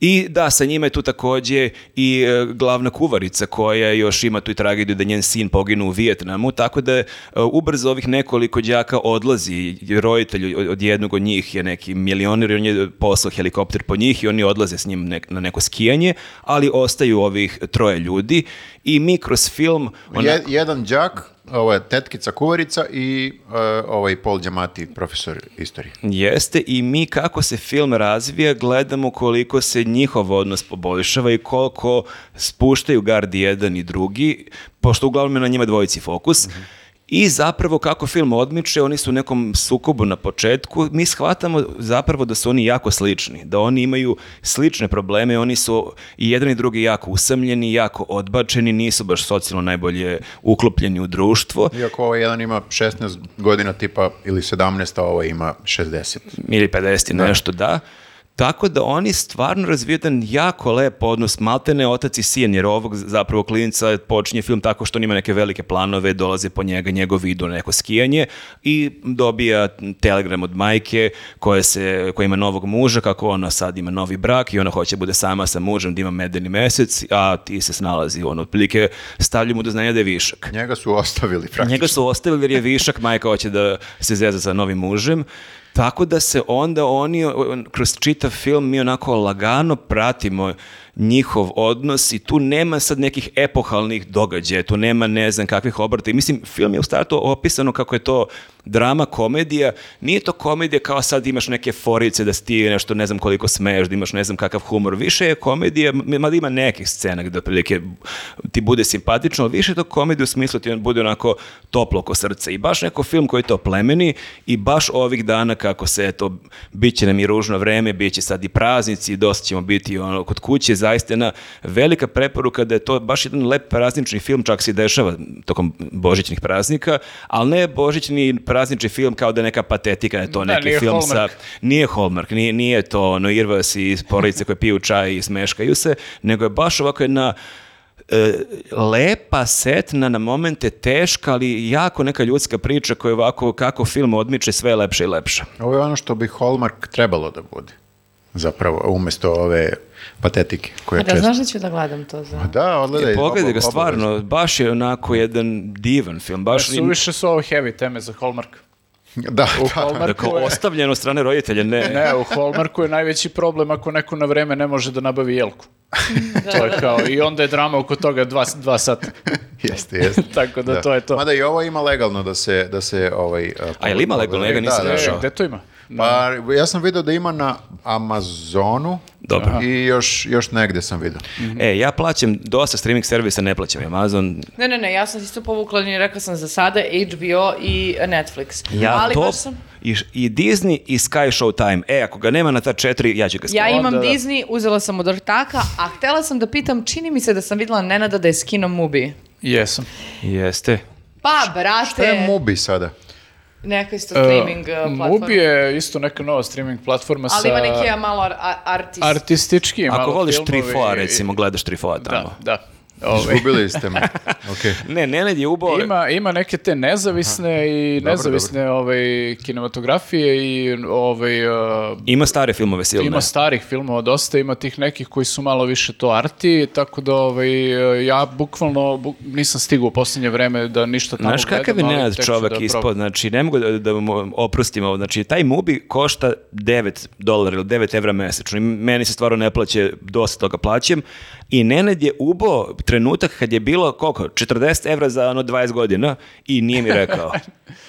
D: I da, sa njima je tu takođe i e, glavna kuvarica koja još ima tu i tragediju da njen sin poginu u Vijetnamu, tako da e, ubrzo ovih nekoliko đaka odlazi, roditelj od- od jednog od njih je neki milioner i on je poslao helikopter po njih i oni odlaze s njim nek- na neko skijanje, ali ostaju ovih troje ljudi i mi kroz film...
B: Je,
D: onako-
B: jedan đak, ovo je tetkica kuvarica i e, ovaj Paul Giamatti, profesor istorije.
D: Jeste i mi kako se film razvija gledamo koliko se njihov odnos poboljšava i koliko spuštaju gardi jedan i drugi, pošto uglavnom je na njima dvojici fokus. I zapravo kako film odmiče, oni su u nekom sukobu na početku, mi shvatamo zapravo da su oni jako slični, da oni imaju slične probleme, oni su i jedan i drugi jako usamljeni, jako odbačeni, nisu baš socijalno najbolje uklopljeni u društvo.
B: Iako ovaj jedan ima 16 godina tipa ili 17, a ovaj ima 60.
D: ili 50 i nešto, da. Tako da oni stvarno razviju jedan jako lep odnos, maltene otac i sin, jer ovog zapravo klinica počinje film tako što on ima neke velike planove, dolaze po njega, njegov idu na neko skijanje i dobija telegram od majke koja, se, koja ima novog muža, kako ona sad ima novi brak i ona hoće da bude sama sa mužem, da ima medeni mesec, a ti se snalazi, ono, otprilike stavlju mu do znanja da je višak.
B: Njega su ostavili praktično.
D: Njega su ostavili jer je višak, majka hoće da se zeza sa novim mužem. Tako da se onda oni, on- kroz čitav film, mi onako lagano pratimo njihov odnos i tu nema sad nekih epohalnih događaja, tu nema ne znam kakvih obrata. I mislim, film je u startu opisano kako je to drama, komedija. Nije to komedija kao sad imaš neke forice da si ti nešto ne znam koliko smeješ, da imaš ne znam kakav humor. Više je komedija, m- mada ima nekih scena gde otprilike ti bude simpatično, ali više je to komedija u smislu ti on bude onako toplo oko srca. I baš neko film koji to plemeni i baš ovih dana kako se eto, bit će nam i ružno vreme, bit će sad i praznici, i dosta ćemo biti ono, kod kuće, zaista jedna velika preporuka da je to baš jedan lep praznični film, čak se i dešava tokom božićnih praznika, ali ne božićni praznični film kao da je neka patetika, da je to
C: Da,
D: neki
C: nije
D: film sa...
C: Hallmark.
D: Nije Hallmark, nije, nije to ono Irvas i porodice koje piju čaj i smeškaju se, nego je baš ovako jedna e, lepa, setna, na momente teška, ali jako neka ljudska priča koja je ovako, kako film odmiče, sve je lepša i lepša.
B: Ovo je ono što bi Hallmark trebalo da bude. Zapravo, umesto ove patetike koje
A: Da,
B: često...
A: znaš da ću da gledam to za...
B: Da, odgledaj.
D: E, pogledaj
B: oba-
D: ga, stvarno,
B: obavezno.
D: baš je onako jedan divan film, baš da
C: Su više su ovo heavy teme za Hallmark.
B: Da, da.
C: U
D: dakle,
C: Hallmarku je,
D: ostavljen od strane roditelja, ne.
C: ne, u Hallmarku je najveći problem ako neko na vreme ne može da nabavi
A: (laughs)
C: jelku. to
A: Da.
C: je kao, i onda je drama oko toga dva, dva sata.
B: (laughs) Jeste, jeste.
C: (laughs) Tako da, to je to.
B: Mada i ovo ima legalno da se... Da se ovaj,
D: A jel ima legalno? Ja ga nisam
B: Da, da,
C: E,
D: našao.
B: da.
C: gde to ima?
B: Pa, ja sam vidio da ima na Amazonu
D: Dobro.
B: i još, još negde sam vidio.
D: E, ja plaćam dosta streaming servisa, ne plaćam Amazon.
A: Ne, ne, ne, ja sam isto povukla i rekla sam za sada HBO i Netflix.
D: Ja
A: Ali
D: to,
A: baš sam...
D: i, i Disney i Sky Showtime. E, ako ga nema na ta četiri, ja ću ga
A: Ja
D: skidati.
A: imam
C: da.
A: Disney, uzela sam od ortaka, a htela sam da pitam, čini mi se da sam videla Nenada da je skinuo Mubi.
C: Jesam.
D: Jeste.
A: Pa, brate,
B: To
C: E.
B: je Mubi sada.
A: neka isto streaming uh, platforma.
C: Mubi je isto neka nova streaming platforma
A: Ali
C: sa...
A: ima neki ja, malo ar- a- artist.
C: artistički
D: Ako voliš
C: tri
D: Trifoa, recimo, gledaš Trifoa
C: Da,
D: tamo.
C: da. Ovaj.
B: Izgubili ste
D: (laughs)
B: me. Okay.
D: Ne, Nenad je ubao...
C: Ima, ima neke te nezavisne i
B: Dobro,
C: nezavisne ovaj, kinematografije i ovaj, uh,
D: Ima stare filmove silne.
C: ima starih filmova dosta, ima tih nekih koji su malo više to arti, tako da ovaj, uh, ja bukvalno bu- nisam stigao u posljednje vreme da ništa tamo
D: Znaš kakav je
C: gledam, ali
D: Nenad
C: tek ću
D: čovek
C: da probam.
D: ispod, znači ne mogu da, da mu oprostim ovo, znači taj Mubi košta 9 dolara ili 9 evra mesečno i meni se stvarno ne plaće, dosta toga plaćam i Nenad je ubo trenutak kad je bilo koliko, 40 evra za ono 20 godina i nije mi
C: (laughs)
D: rekao.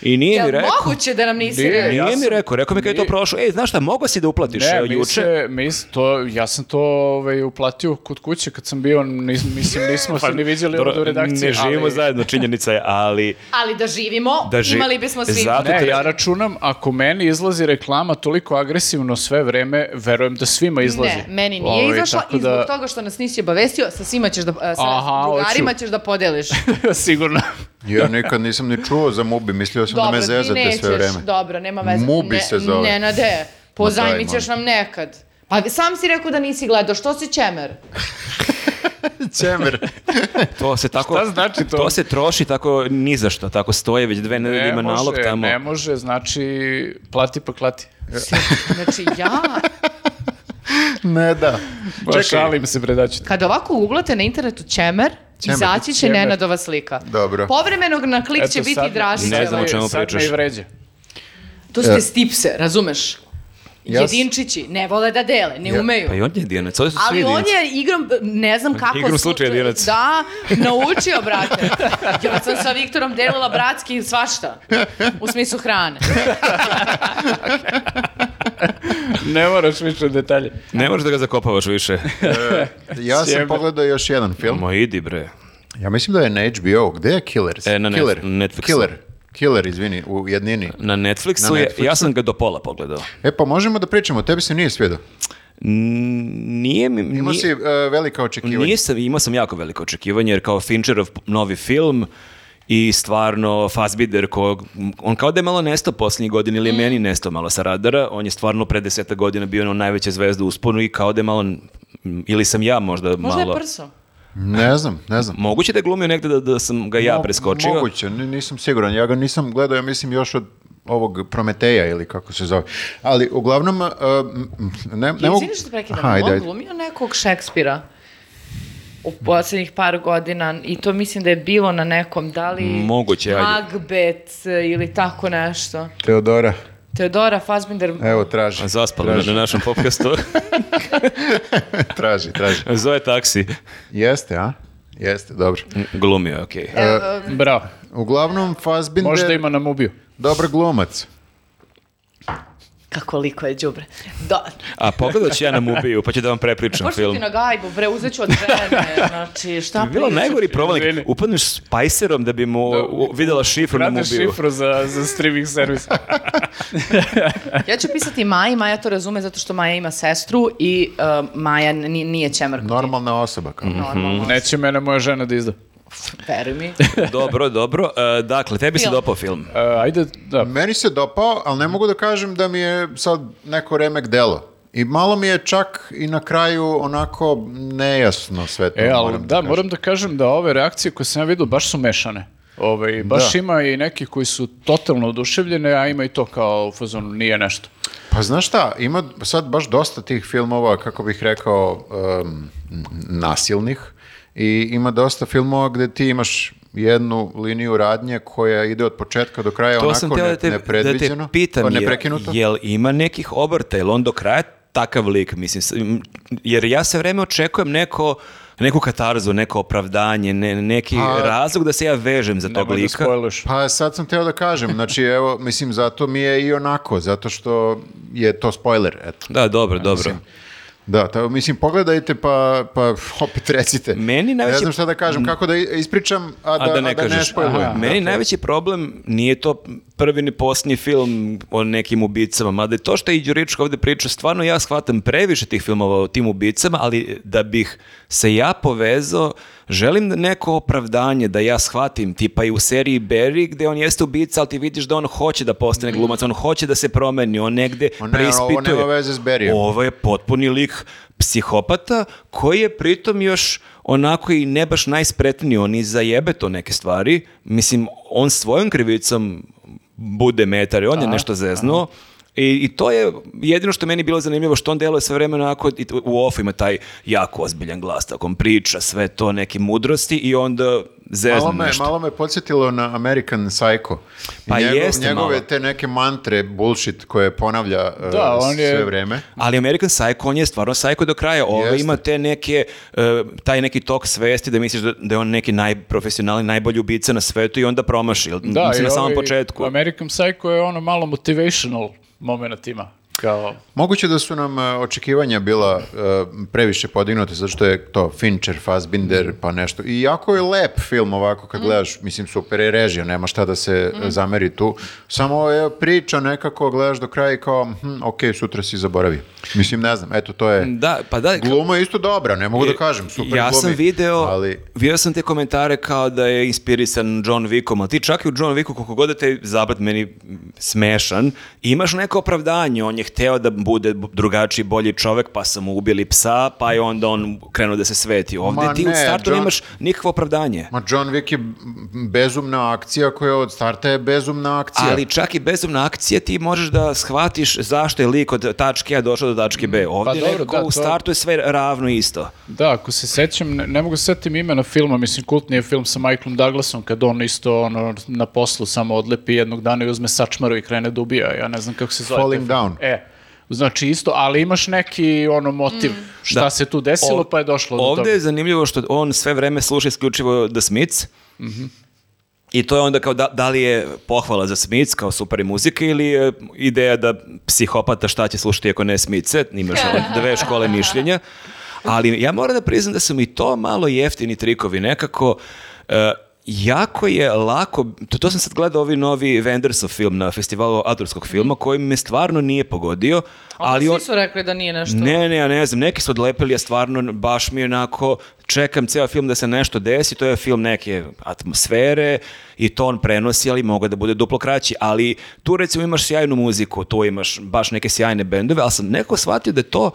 D: I nije
A: Jel
D: mi rekao.
A: moguće da nam nisi
C: Nije.
A: rekao?
D: Nije
C: Ja
D: mi
C: sam-
D: rekao, rekao mi kad je to
C: Nije.
D: prošlo, ej, znaš šta, mogao si da uplatiš
C: Ne,
D: evo,
C: mi
D: juče.
C: se- mi s- to, ja sam to ovaj, uplatio kod kuće kad sam bio, nis, mislim,
D: (laughs)
C: nismo se ni vidjeli
D: Pa Dobro,
C: ovdje u redakciji.
D: Ne živimo
C: ali-
D: zajedno, činjenica je, ali
A: Ali da živimo,
D: Da ži-
A: imali bismo svi.
D: Zato-
C: Ne,
D: Tre-
C: ja računam, ako meni izlazi reklama toliko agresivno sve vreme, verujem da svima izlazi.
A: Ne, meni nije
C: Ovaj,
A: izašla
C: tako
A: i zbog toga što nas nisi obavestio, sa svima ćeš da, sa
C: Aha,
A: drugarima
C: hoću.
A: ćeš da podeliš.
C: (laughs) Sigurno.
B: Ja nikad nisam ni čuo za Mubi, mislio sam da me zezate sve vreme.
A: dobro, nema veze.
B: Mubi se zove.
A: Nenade, pozajmit ćeš
B: Ma
A: nam nekad. Pa sam si rekao da nisi gledao, što si čemer?
B: Cemer.
D: to se tako...
C: Šta znači to?
D: To se troši tako ni za što, tako stoje već dve nedelje, ima nalog tamo.
C: ne može, znači plati pa klati.
A: Znači ja,
B: ne da.
C: Čekaj. Šalim se da predaći.
A: kad ovako uglate na internetu čemer,
B: Čemer.
A: izaći će
C: Čemer.
A: Nenadova slika.
B: Dobro.
A: Povremenog na klik će biti Dražićeva.
D: Ne znam o čemu
C: Sad me
D: pričaš.
C: i vređa.
A: To
B: E.
A: su te stipse, razumeš?
B: Ja s-
A: Jedinčići, ne vole da dele, ne
B: Ja-
A: umeju.
D: Pa i on je jedinac, ovo su
A: Ali
D: svi
A: on
D: jedinci. Pa
A: je igrom, ne znam kako...
D: Igrom slučaja
A: slučaj-
D: jedinac.
A: Da, naučio,
B: (laughs)
A: brate. Ja sam sa Viktorom delila bratski svašta. U smislu hrane.
C: Ne moraš više u detalje.
D: Ne možeš da ga zakopavaš više.
B: Ja sam
C: Sjever.
B: pogledao još jedan film.
D: Ma idi bre.
B: Ja mislim da je na HBO. Gde je Killers?
D: E, na net-
B: Killer.
D: Netflixu.
B: Killer. Killer, izvini, u jednini.
D: Na Netflixu,
B: Na
D: je-
B: Netflixu.
D: ja sam ga do pola pogledao.
B: E pa možemo da pričamo, tebi se nije svijedao.
D: N- Nije mi...
B: Imao
D: nije-
B: si e, velika očekivanja.
D: Nisam, imao sam jako veliko očekivanje jer kao Fincherov novi film i stvarno Fassbinder kog, on kao da je malo nestao posljednjih godina
A: Mm.
D: ili je meni nestao malo sa radara, on je stvarno pre deseta godina bio ono najveća zvezda u usponu i kao da je malo, m, ili sam ja možda,
A: Možda
D: malo...
A: je prso.
B: Ne znam, ne znam.
D: Moguće da je glumio negde da, da sam ga ja
B: Mo-
D: preskočio.
B: Moguće, ni- nisam siguran. Ja ga nisam gledao, ja mislim još od ovog Prometeja ili kako se zove. Ali uglavnom, uh, m- m- ne, ne
A: Ne
B: mogu...
A: Izvini što te da prekidam,
B: Aha, ajde,
A: on
B: ajde.
A: glumio nekog Šekspira u posljednjih par godina i to mislim da je bilo na nekom, da li
D: Moguće, ajde.
A: Macbeth ili tako nešto.
B: Teodora,
A: Teodora Fassbinder,
B: evo, traži.
D: A Zaspala me na našem podcastu.
B: (laughs) traži, traži.
D: Zove taksi.
B: Jeste, a? Jeste, dobro.
D: Glumio je, okej.
A: E.
C: Bravo.
B: Uglavnom, Fassbinder,
C: Možda ima na mubiju.
B: dobar glumac.
A: kako liko je đubre. Da,
D: A pogledat ću ja na Mubiju, pa ću da vam prepričam
A: pošto
D: film.
A: ti na gajbu, bre, uzet ću od
D: (laughs)
A: žene, znači šta
D: Bi bilo
A: pričaš?
D: najgori problem,
C: Izvini.
D: upadneš s Pajserom da bi mu u- videla šifru na
C: Radeš
D: Mubiju.
C: šifru za, za streaming servis.
D: (laughs)
A: Ja ću pisati Maji, Maja to razume zato što Maja ima sestru i uh, Maja ni- nije čemarka.
D: Da.
B: Normalna osoba. Kao.
D: Mhm.
A: Normalno,
C: Neće mene moja žena da izda.
A: veruj mi.
D: dobro, dobro. E, dakle, tebi se
A: Film.
D: dopao film.
C: E, ajde, da.
B: Meni se dopao, ali ne mogu da kažem da mi je sad neko remek delo. I malo mi je čak i na kraju onako nejasno sve to.
C: E, ali
B: moram
C: da,
B: kažem.
C: moram da kažem da ove reakcije koje sam ja vidio baš su mešane. Ove, baš
B: Da.
C: ima i neki koji su totalno oduševljene, a ima i to kao u fazonu nije nešto.
B: Pa znaš šta, ima sad baš dosta tih filmova, kako bih rekao, em, nasilnih i ima dosta filmova gde ti imaš jednu liniju radnje koja ide od početka do kraja
D: To sam
B: onako
D: teo
B: ne,
D: da te, da te
B: nepredviđeno,
D: pitam,
B: pa
D: je-
B: neprekinuto.
D: jel ima nekih obrta, jel on do kraja takav lik, mislim, s- m, jer ja sve vreme očekujem neko, neku katarzu, neko opravdanje, ne- neki razlog da se ja vežem za tog
C: Nemoj da
D: lika.
C: spojlaš.
B: Pa sad sam teo da kažem, znači evo, mislim, zato mi je i onako, zato što je to spoiler, eto.
D: Da, dobro, dobro.
B: Da, ta, mislim, pogledajte pa, pa opet recite.
D: Meni najveći-
B: Ne znam šta da kažem, kako da i- ispričam, a da,
D: A da ne
B: a da ne
D: kažeš.
B: spoilujem.
D: Aha. Meni najveći problem nije to prvi ni posljednji film o nekim ubicama, mada je to što je i Đuričko ovde pričao, stvarno ja shvatam previše tih filmova o tim ubicama, ali da bih se ja povezao, želim neko opravdanje da ja shvatim, tipa i u seriji Barry gde on jeste ubica, ali ti vidiš da on hoće da postane glumac, on hoće da se promeni, on negde
B: O ne, ono, ovo
D: preispituje.
B: nema veze s Barryjem.
D: Ovo je potpuni lik psihopata koji je pritom još onako i ne baš najspretniji, on i zajebe to neke stvari. Mislim, on svojom krivicom bude metar i on je nešto zeznuo. I, I to je jedino što je meni bilo zanimljivo, što on deluje sve vreme onako, i t- u ofu ima taj jako ozbiljan glas, tako on priča sve to neke mudrosti i onda zeznu
B: Malo me,
D: nešto.
B: malo me podsjetilo na American Psycho. I
D: Pa jeste
B: njegove
D: malo.
B: te neke mantre, bullshit koje ponavlja uh,
C: Da, on je-
B: sve vreme.
D: Ali American Psycho, on je stvarno psycho do kraja. Ovo
B: Jeste.
D: ima te neke, e, taj neki tok svesti da misliš da, da je on neki najprofesionalni, najbolji ubica na svetu i onda promaši. jel?
C: Da,
D: Mislim,
C: i
D: na samom
C: ovaj
D: početku.
C: American Psycho je ono malo motivational moment ima. Kao,
B: Moguće da su nam uh, očekivanja bila uh, previše podignute, zato što je to Fincher, Fassbinder, pa nešto. I jako je lep film ovako
A: Mm.
B: kad gledaš, mislim super je režija, nema šta da se uh, zameri tu. Samo je priča nekako, gledaš do kraja i kao, hm, ok, sutra si zaboravi. Mislim, ne znam, eto to je...
D: Da, pa da.
B: Gluma je isto dobra, ne mogu da kažem, super
D: ja sam
B: glumi,
D: video,
B: ali...
D: video sam te komentare kao da je inspirisan John Wickom, ali ti čak i u John Wicku koliko god da te je zabrat meni smešan, imaš neko opravdanje, on je hteo da bude drugačiji, bolji čovek, pa su mu ubili psa, pa je onda on krenuo da se sveti. Ovde
B: Ma
D: ti u
B: ne,
D: startu
B: John-
D: nemaš nikakvo opravdanje.
B: Ma John Wick je bezumna akcija koja od starta je bezumna akcija.
D: Ali čak i bezumna akcija ti možeš da shvatiš zašto je lik od tačke A došao do tačke B. Ovdje
C: dobro,
D: nekako
C: da, to-
D: u startu je sve ravno isto.
C: da, ako se sećam, ne, ne mogu se setim imena filma, mislim, kultni je film sa Michaelom Douglasom, kad on isto ono, na poslu samo odlepi jednog dana i uzme sačmaru i krene da ubija, ja ne znam kako se zove. taj
B: Falling
C: film.
B: Down.
C: E, znači isto, ali imaš neki ono motiv, šta
D: Da.
C: se tu desilo,
D: Ov-
C: pa je došlo do
D: Ovdje
C: toga.
D: je zanimljivo što on sve vreme sluša isključivo The Smiths. I to je onda kao da, da li je pohvala za Smiths kao super muzike ili je ideja da psihopata šta će slušati ako ne Smithe, imaš ono dve škole mišljenja. Ali ja moram da priznam da su mi to malo jeftini trikovi nekako. e, jako je lako, to, to sam sad gledao ovi novi Vendersov film na festivalu autorskog filma koji me stvarno nije pogodio, ali on,
A: Svi su rekli da nije nešto.
D: ne, ne, ja ne znam, neki su odlepili, ja stvarno baš mi je onako, čekam ceo film da se nešto desi, to je film neke atmosfere i to on prenosi, ali moga da bude duplo kraći, ali tu recimo imaš sjajnu muziku, tu imaš baš neke sjajne bendove, ali sam neko shvatio da je to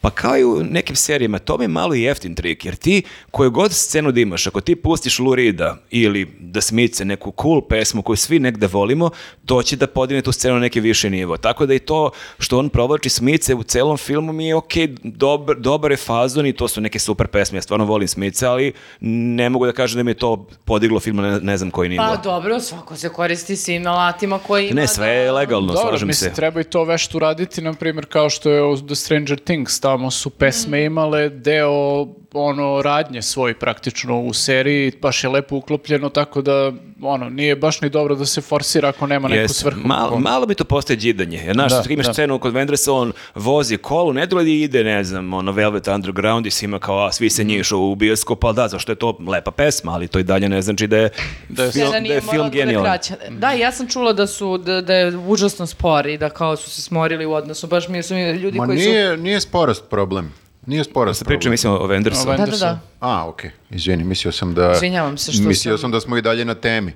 D: Pa kao i u nekim serijama, to mi je malo i jeftin trik, jer ti koju god scenu da imaš, ako ti pustiš Lurida ili da smice neku cool pesmu koju svi negde volimo, to će da podine tu scenu na neki viši nivo. Tako da i to što on provlači smice u celom filmu mi je ok, dobar, dobar je fazon i to su neke super pesme, ja stvarno volim smice, ali ne mogu da kažem da mi je to podiglo film na ne, ne znam koji nivo.
A: Pa dobro, svako se koristi svim alatima koji ima. da
D: ne, sve je legalno,
C: Dobro,
D: slažem
C: mislim,
D: se.
C: treba i to vešt uraditi, na primjer, kao što je u The Stranger Things, tamo su pesme imale deo ono, radnje svoj praktično u seriji, baš je lepo uklopljeno, tako da, ono, nije baš ni dobro da se forsira ako nema neku
D: Jeste.
C: svrhu.
D: Mal, malo mi to postaje đidanje. Jer, znaš,
C: Da,
D: da, imaš
C: da.
D: scenu kod Vendresa, on vozi kolu, ne dolazi i ide, ne znam, ono Velvet Underground i svima kao, a, svi se njišu u bioskop, ali da, zašto je to lepa pesma, ali to i dalje ne znači da je, da je, film,
A: Scena
D: da
A: nije
D: je
A: morala
D: film
A: da bude
D: genijalan.
A: kraća. Da, ja sam čula da su, da, da je užasno spori, da kao su se smorili u odnosu, baš mi su mi ljudi
B: Ma
A: koji
B: nije, nije sporost problem. Nije sporost
D: Pričam,
B: problem.
D: mislim, o Vendersu.
C: Ovaj-
A: su... Da, da, da.
B: A, okej. Izvini, mislio sam da...
A: Izvinjavam se što
B: Mislio
A: sam-
B: sam da smo i dalje na temi.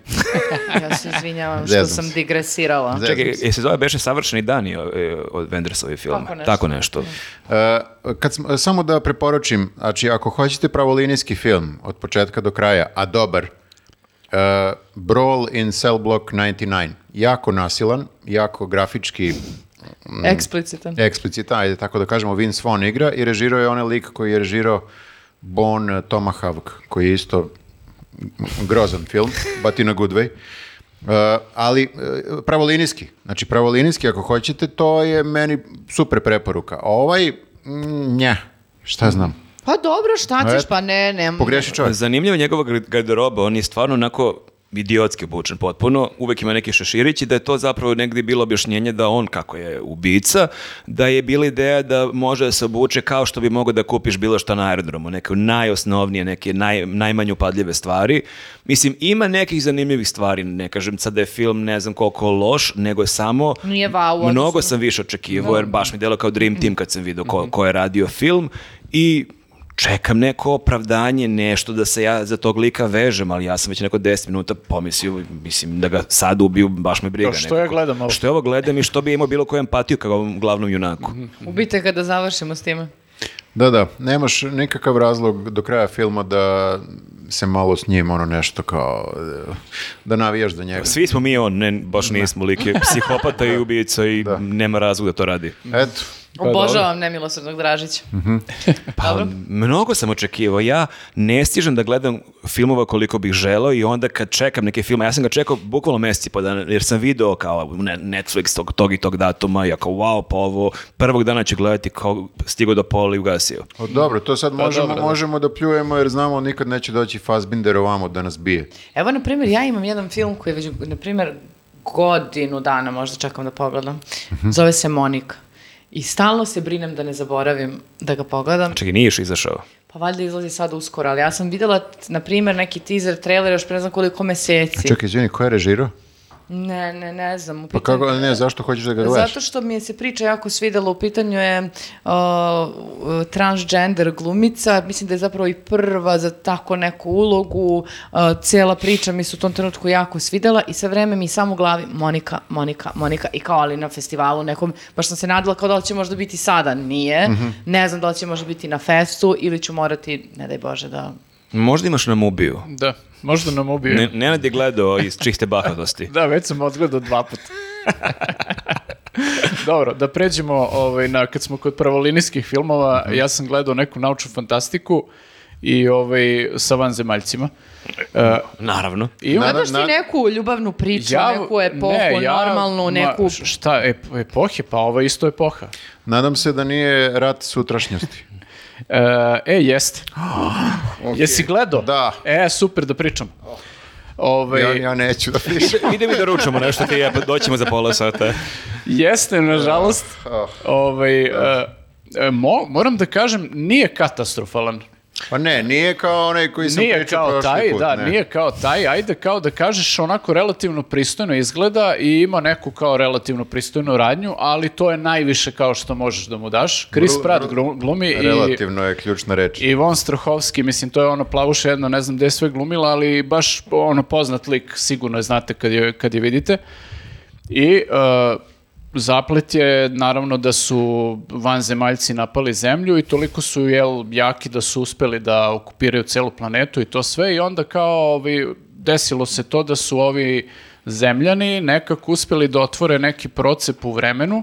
A: Ja se
B: (laughs)
A: izvinjavam što
B: Zezam
A: sam
B: se.
A: digresirala.
B: Zezam
D: Čekaj,
B: se.
D: je se zove Beše savršeni dani o- e, od Vendersovi filma?
A: Tako nešto. Da.
D: Tako nešto.
B: E, kad sam, samo da preporočim, znači ako hoćete pravolinijski film od početka do kraja, a dobar, e, Brawl in Cell Block 99. Jako nasilan, jako grafički
A: Eksplicitan.
B: E. eksplicitan, ajde tako da kažemo, Vince Vaughn igra i režirao je onaj lik koji je režirao Bon Tomahawk, koji je isto grozan film, but in a good way. E, ali e, pravolinijski, znači pravolinijski ako hoćete, to je meni super preporuka. A ovaj, mm, nja, šta znam,
A: Pa dobro, šta
B: Ajde.
A: ćeš, pa ne, ne.
B: pogreši čovjek.
D: Zanimljivo je njegova gar- garderoba, on je stvarno onako idiotski obučen potpuno, uvek ima neki šeširić i da je to zapravo negdje bilo objašnjenje da on kako je ubica, da je bila ideja da može da se obuče kao što bi mogao da kupiš bilo šta na aerodromu, neke najosnovnije, neke naj, najmanje upadljive stvari. Mislim, ima nekih zanimljivih stvari, ne kažem sad da je film ne znam koliko loš, nego je samo
A: Nije wow u odnosu
D: mnogo
A: na-
D: sam više očekivao, jer baš mi delo kao Dream Team kad sam vidio ko, ko je radio film i čekam neko opravdanje, nešto da se ja za tog lika vežem, ali ja sam već neko 10 minuta pomislio, mislim da ga sad ubiju, baš me briga.
C: Da, što ja gledam ovo?
D: Što ja ovo gledam i što bi imao bilo koju empatiju kao ovom glavnom junaku.
A: Mhm. Ubite kada završimo s time.
B: Da, da, nemaš nikakav razlog do kraja filma da se malo s njim ono nešto kao, e, da navijaš za njega.
D: Svi smo mi on, ne, baš nismo lik je
C: Da.
D: psihopata i ubijica i nema razloga da to radi.
B: Eto,
A: Obožavam nemilosrdnog Dražića.
B: Mhm.
D: Pa, mnogo sam očekivao. Ja ne stižem da gledam filmova koliko bih želeo i onda kad čekam neke filme, ja sam ga čekao bukvalno meseci po dana, jer sam video kao ne- Netflix tog, tog i tog datuma i ako wow, pa ovo prvog dana ću gledati kao stigo do pola i ugasio.
B: O, Pa dobro, to sad možemo,
C: dobro, da.
B: možemo da pljujemo jer znamo nikad neće doći Fassbinder ovamo da nas bije.
A: Evo, na primjer, ja imam jedan film koji već, na primjer, godinu dana možda čekam da pogledam.
B: Mhm.
A: Zove se Monika. I stalno se brinem da ne zaboravim da ga pogledam.
D: Čekaj, nije još izašao.
A: Pa valjda izlazi sad uskoro, ali ja sam vidjela, t- na primjer, neki teaser, trailer još pre ne znam koliko meseci.
B: Čekaj, izvini, ko je režirao?
A: Ne, ne, ne znam. u
B: Pa
A: pitanju
B: kako,
A: je-
B: ne, zašto hoćeš da ga gledaš?
A: Zato što mi je se priča jako svidela, u pitanju je uh, transgender glumica, mislim da je zapravo i prva za tako neku ulogu, uh, cijela priča mi se u tom trenutku jako svidela i sa vreme mi samo u glavi Monika, Monika, Monika i kao ali na festivalu nekom, baš sam se nadala kao da li će možda biti sada, nije,
C: Mhm.
A: ne znam da li će možda biti na festu ili ću morati, ne daj Bože da...
D: Možda imaš na Mubiju.
C: Da, možda nam ubije.
D: Ne, Nenad je gledao iz čiste bahatosti.
C: Da, već sam odgledao dva puta. (laughs) Dobro, da pređemo ovaj, na, kad smo kod pravolinijskih filmova,
D: Mhm.
C: ja sam gledao neku naučnu fantastiku i ovaj, sa vanzemaljcima. E,
D: Naravno.
C: i onda-
A: Gledaš ti
B: na-
A: neku ljubavnu priču, Znači, neku epohu,
C: ne, ja-
A: normalnu,
C: ma,
A: neku...
C: šta, ep- epohe? Pa ovo je isto epoha.
B: Nadam se da nije rat
C: (laughs)
B: sutrašnjosti.
C: E, e,
B: (gasps)
C: jeste. Jesi gledao?
B: Da.
C: E, super, da pričam. Ovaj,
B: Ja, ja neću da pišem.
D: Ide mi da ručamo nešto ti i ja, pa doćemo za pola sata.
C: Jeste, nažalost.
B: Ah, ah.
C: Ovaj, e, e, mo- moram da kažem, nije katastrofalan.
B: Pa ne, nije kao onaj koji sam
C: Nije
B: pričao
C: kao
B: prošli
C: taj,
B: put.
C: da,
B: ne.
C: nije kao taj, ajde kao da kažeš onako relativno pristojno izgleda i ima neku kao relativno pristojnu radnju, ali to je najviše kao što možeš da mu daš. Chris
B: Gru-
C: Pratt
B: gru-
C: glu- glumi i...
B: Relativno je ključna reč.
C: I Von Strahovski, mislim, to je ono plavuše jedno, ne znam gde je sve glumila, ali baš ono poznat lik, sigurno je znate kad je, kad je vidite. I uh, zaplet je naravno da su vanzemaljci napali zemlju i toliko su jel, jaki da su uspeli da okupiraju celu planetu i to sve i onda kao ovi, desilo se to da su ovi zemljani nekako uspeli da otvore neki procep u vremenu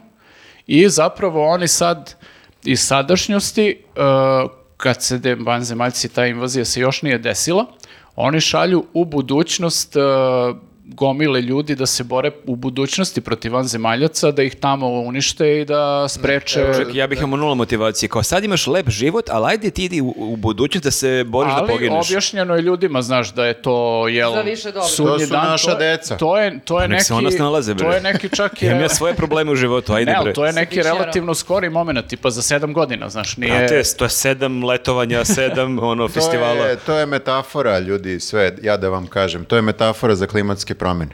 C: i zapravo oni sad iz sadašnjosti, uh, kad se de- vanzemaljci, ta invazija se još nije desila, oni šalju u budućnost uh, gomile ljudi da se bore u budućnosti protiv vanzemaljaca, da ih tamo unište i da spreče...
D: Čak ja bih imao nula motivacije. Kao sad imaš lep život, ali ajde ti idi u, u budućnost da se boriš da
C: Ali
D: pogineš.
C: objašnjeno je ljudima, znaš, da je to, jel...
A: Za više dobro.
C: sudnji
B: To su
C: dan,
B: naša
C: to je-
B: deca.
C: To je, to je
D: Pa Nek
C: neki...
D: se ona snalaze, bre.
C: To je neki
D: (laughs)
C: čak i...
D: Imam ja svoje probleme u životu, ajde
C: Ne, ali
D: bre.
C: to je neki
A: Bićero.
C: relativno skori moment, tipa za sedam godina, znaš, nije...
D: Brate, to je sedam
C: (laughs)
D: letovanja, sedam ono,
B: To
D: festivala.
B: Je, to je metafora, ljudi, sve, ja da vam kažem. To je metafora za klimatske promjene.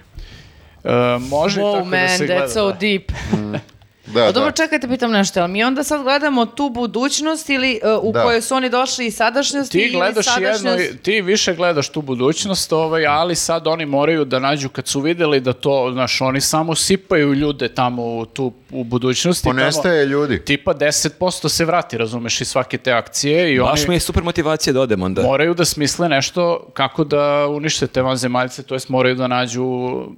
C: E, može i
A: Wow,
C: tako
A: man,
C: da se gleda.
A: that's so
C: da.
A: deep.
B: Da,
A: A Pa dobro,
B: da.
A: čekajte, pitam nešto, ali mi onda sad gledamo tu budućnost ili e, u
B: Da.
A: kojoj su oni došli i sadašnjosti
C: Ti
A: ili
C: gledaš
A: sadašnjost...
C: jedno, ti više gledaš tu budućnost, ovaj, ali sad oni moraju da nađu kad su videli da to, znaš, oni samo sipaju ljude tamo u, tu, u budućnosti.
B: Ponestaje
C: tamo,
B: ljudi.
C: Tipa 10% se vrati, razumeš, iz svake te akcije i
D: Baš mi
C: oni
D: je super motivacija da odem onda.
C: moraju da smisle nešto kako da unište te vanzemaljce, to jest moraju da nađu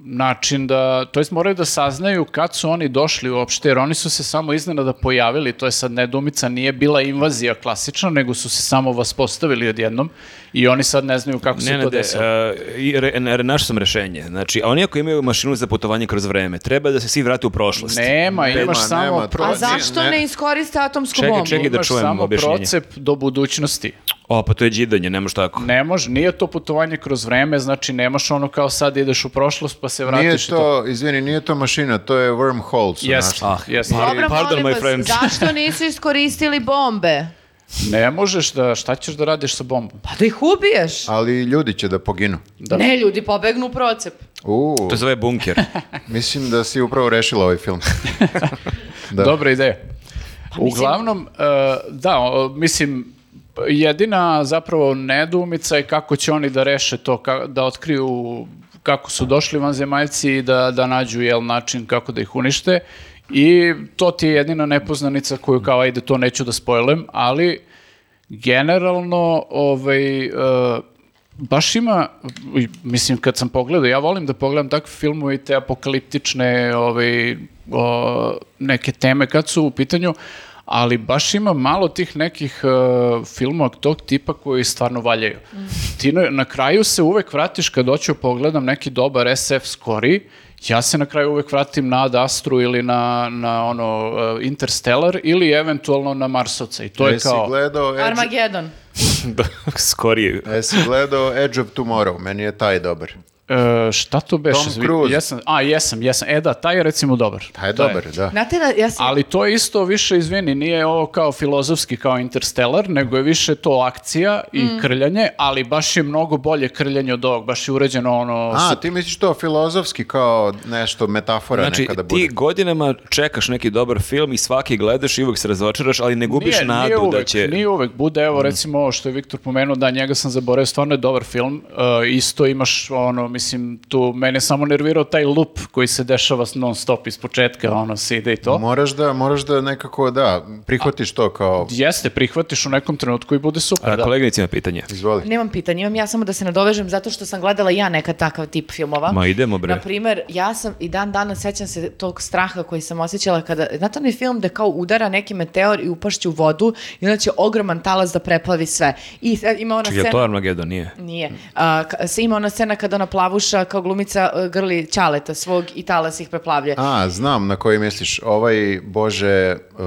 C: način da, to jest moraju da saznaju kad su oni došli uopšte, jer oni su se samo iznenada pojavili, to je sad nedumica, nije bila invazija klasična, nego su se samo vaspostavili odjednom i oni sad ne znaju kako se to
D: Nenade,
C: desilo.
D: uh, i re, ne, re- našao sam rešenje. Znači, oni ako imaju mašinu za putovanje kroz vreme, treba da se svi vrate u prošlost.
C: Nema, imaš
B: nema,
C: samo
B: to-
A: A
C: procep-
A: zašto
B: Ne.
A: ne, iskoriste atomsku
D: Čekaj,
A: bombu?
D: čekaj. da
C: imaš
D: čujem
C: samo
D: objašnjenje.
C: procep do budućnosti.
D: O, pa to je džidanje, nemaš tako.
C: Ne može, nije to putovanje kroz vreme, znači nemaš ono kao sad ideš u prošlost pa se vratiš.
B: Nije
C: i to.
B: to, izvini, nije to mašina, to je wormhole. su
C: Jeste,
B: našli.
D: Ah,
C: jeste.
D: pa-
A: Dobro,
D: Pardon,
A: molim
D: my
A: vas,
D: friend.
A: zašto nisu iskoristili bombe?
C: Ne možeš da, šta ćeš da radiš sa bombom?
A: Pa da ih ubiješ.
B: Ali ljudi će da poginu.
A: Ne, ljudi pobegnu u procep.
B: U,
D: To se zove
C: (laughs)
D: bunker.
B: mislim da si upravo rešila ovaj film. Da.
C: Dobra ideja. Uglavnom, e, da, o, mislim, jedina zapravo nedumica je kako će oni da reše to, ka- da otkriju kako su došli vanzemaljci i da, da nađu jel, način kako da ih unište. I to ti je jedina nepoznanica koju kao, ajde, to neću da spojlem, ali generalno ovaj, e, baš ima, i, mislim kad sam pogledao, ja volim da pogledam takve filmove i te apokaliptične ovaj, o, neke teme kad su u pitanju, ali baš ima malo tih nekih e, filmova tog tipa koji stvarno valjaju. Ti na, na kraju se uvek vratiš kad hoću pogledam neki dobar SF skori, ja se na kraju uvek vratim na Ad Astru ili na, na ono e, Interstellar ili eventualno na Marsovca i to je
B: Jesi
C: kao...
B: gledao Edge,
A: Armagedon.
D: da, skorije.
B: jesi gledao Edge of Tomorrow, meni je taj dobar.
C: E, šta to beše?
B: Tom
C: Zvi-
B: Cruise.
C: Jesam, a, jesam, jesam. E da, taj je recimo dobar.
B: Taj je
C: To
B: dobar, da.
A: Znate da, ja sam...
C: Ali to je isto više, izvini, nije ovo kao filozofski, kao Interstellar, nego je više to akcija i krljanje, ali baš je mnogo bolje krljanje od ovog, baš je uređeno ono...
B: A,
C: super.
B: ti misliš to filozofski kao nešto, metafora
D: Znači,
B: nekada bude.
D: ti godinama čekaš neki dobar film i svaki gledaš i uvek se razočaraš, ali ne gubiš
C: Nije-
D: nadu
C: nije uvek,
D: da će... Mm.
C: Nije uvek, bude, evo recimo ovo što je Viktor pomenuo, da njega sam zaboravio, stvarno je dobar film, E, isto imaš ono, mislim, tu mene je samo nervirao taj lup koji se dešava non stop iz
D: Da.
C: početka, ono, se ide i to.
B: Moraš da, moraš da nekako, da, prihvatiš to kao,
C: Jeste, prihvatiš u nekom trenutku i bude super.
D: A,
C: da.
D: Koleginici ima pitanje.
B: izvoli.
A: Nemam pitanja, imam ja samo da se nadovežem zato što sam gledala ja nekad takav tip filmova.
D: Ma idemo, bre.
A: Naprimer, ja sam i dan danas sećam se tog straha koji sam osjećala kada, znate onaj film da kao udara neki meteor i upašće u vodu i onda će ogroman talas da preplavi sve. I sad ima ona
D: Čekaj, je li
A: scena...
D: to Armageddon? Nije.
A: Nije. A, ka- se ima ona scena kada ona plavuša kao glumica e, grli ćaleta svog i talas ih preplavlja.
B: A, znam na koji misliš. Ovaj, bože, uh,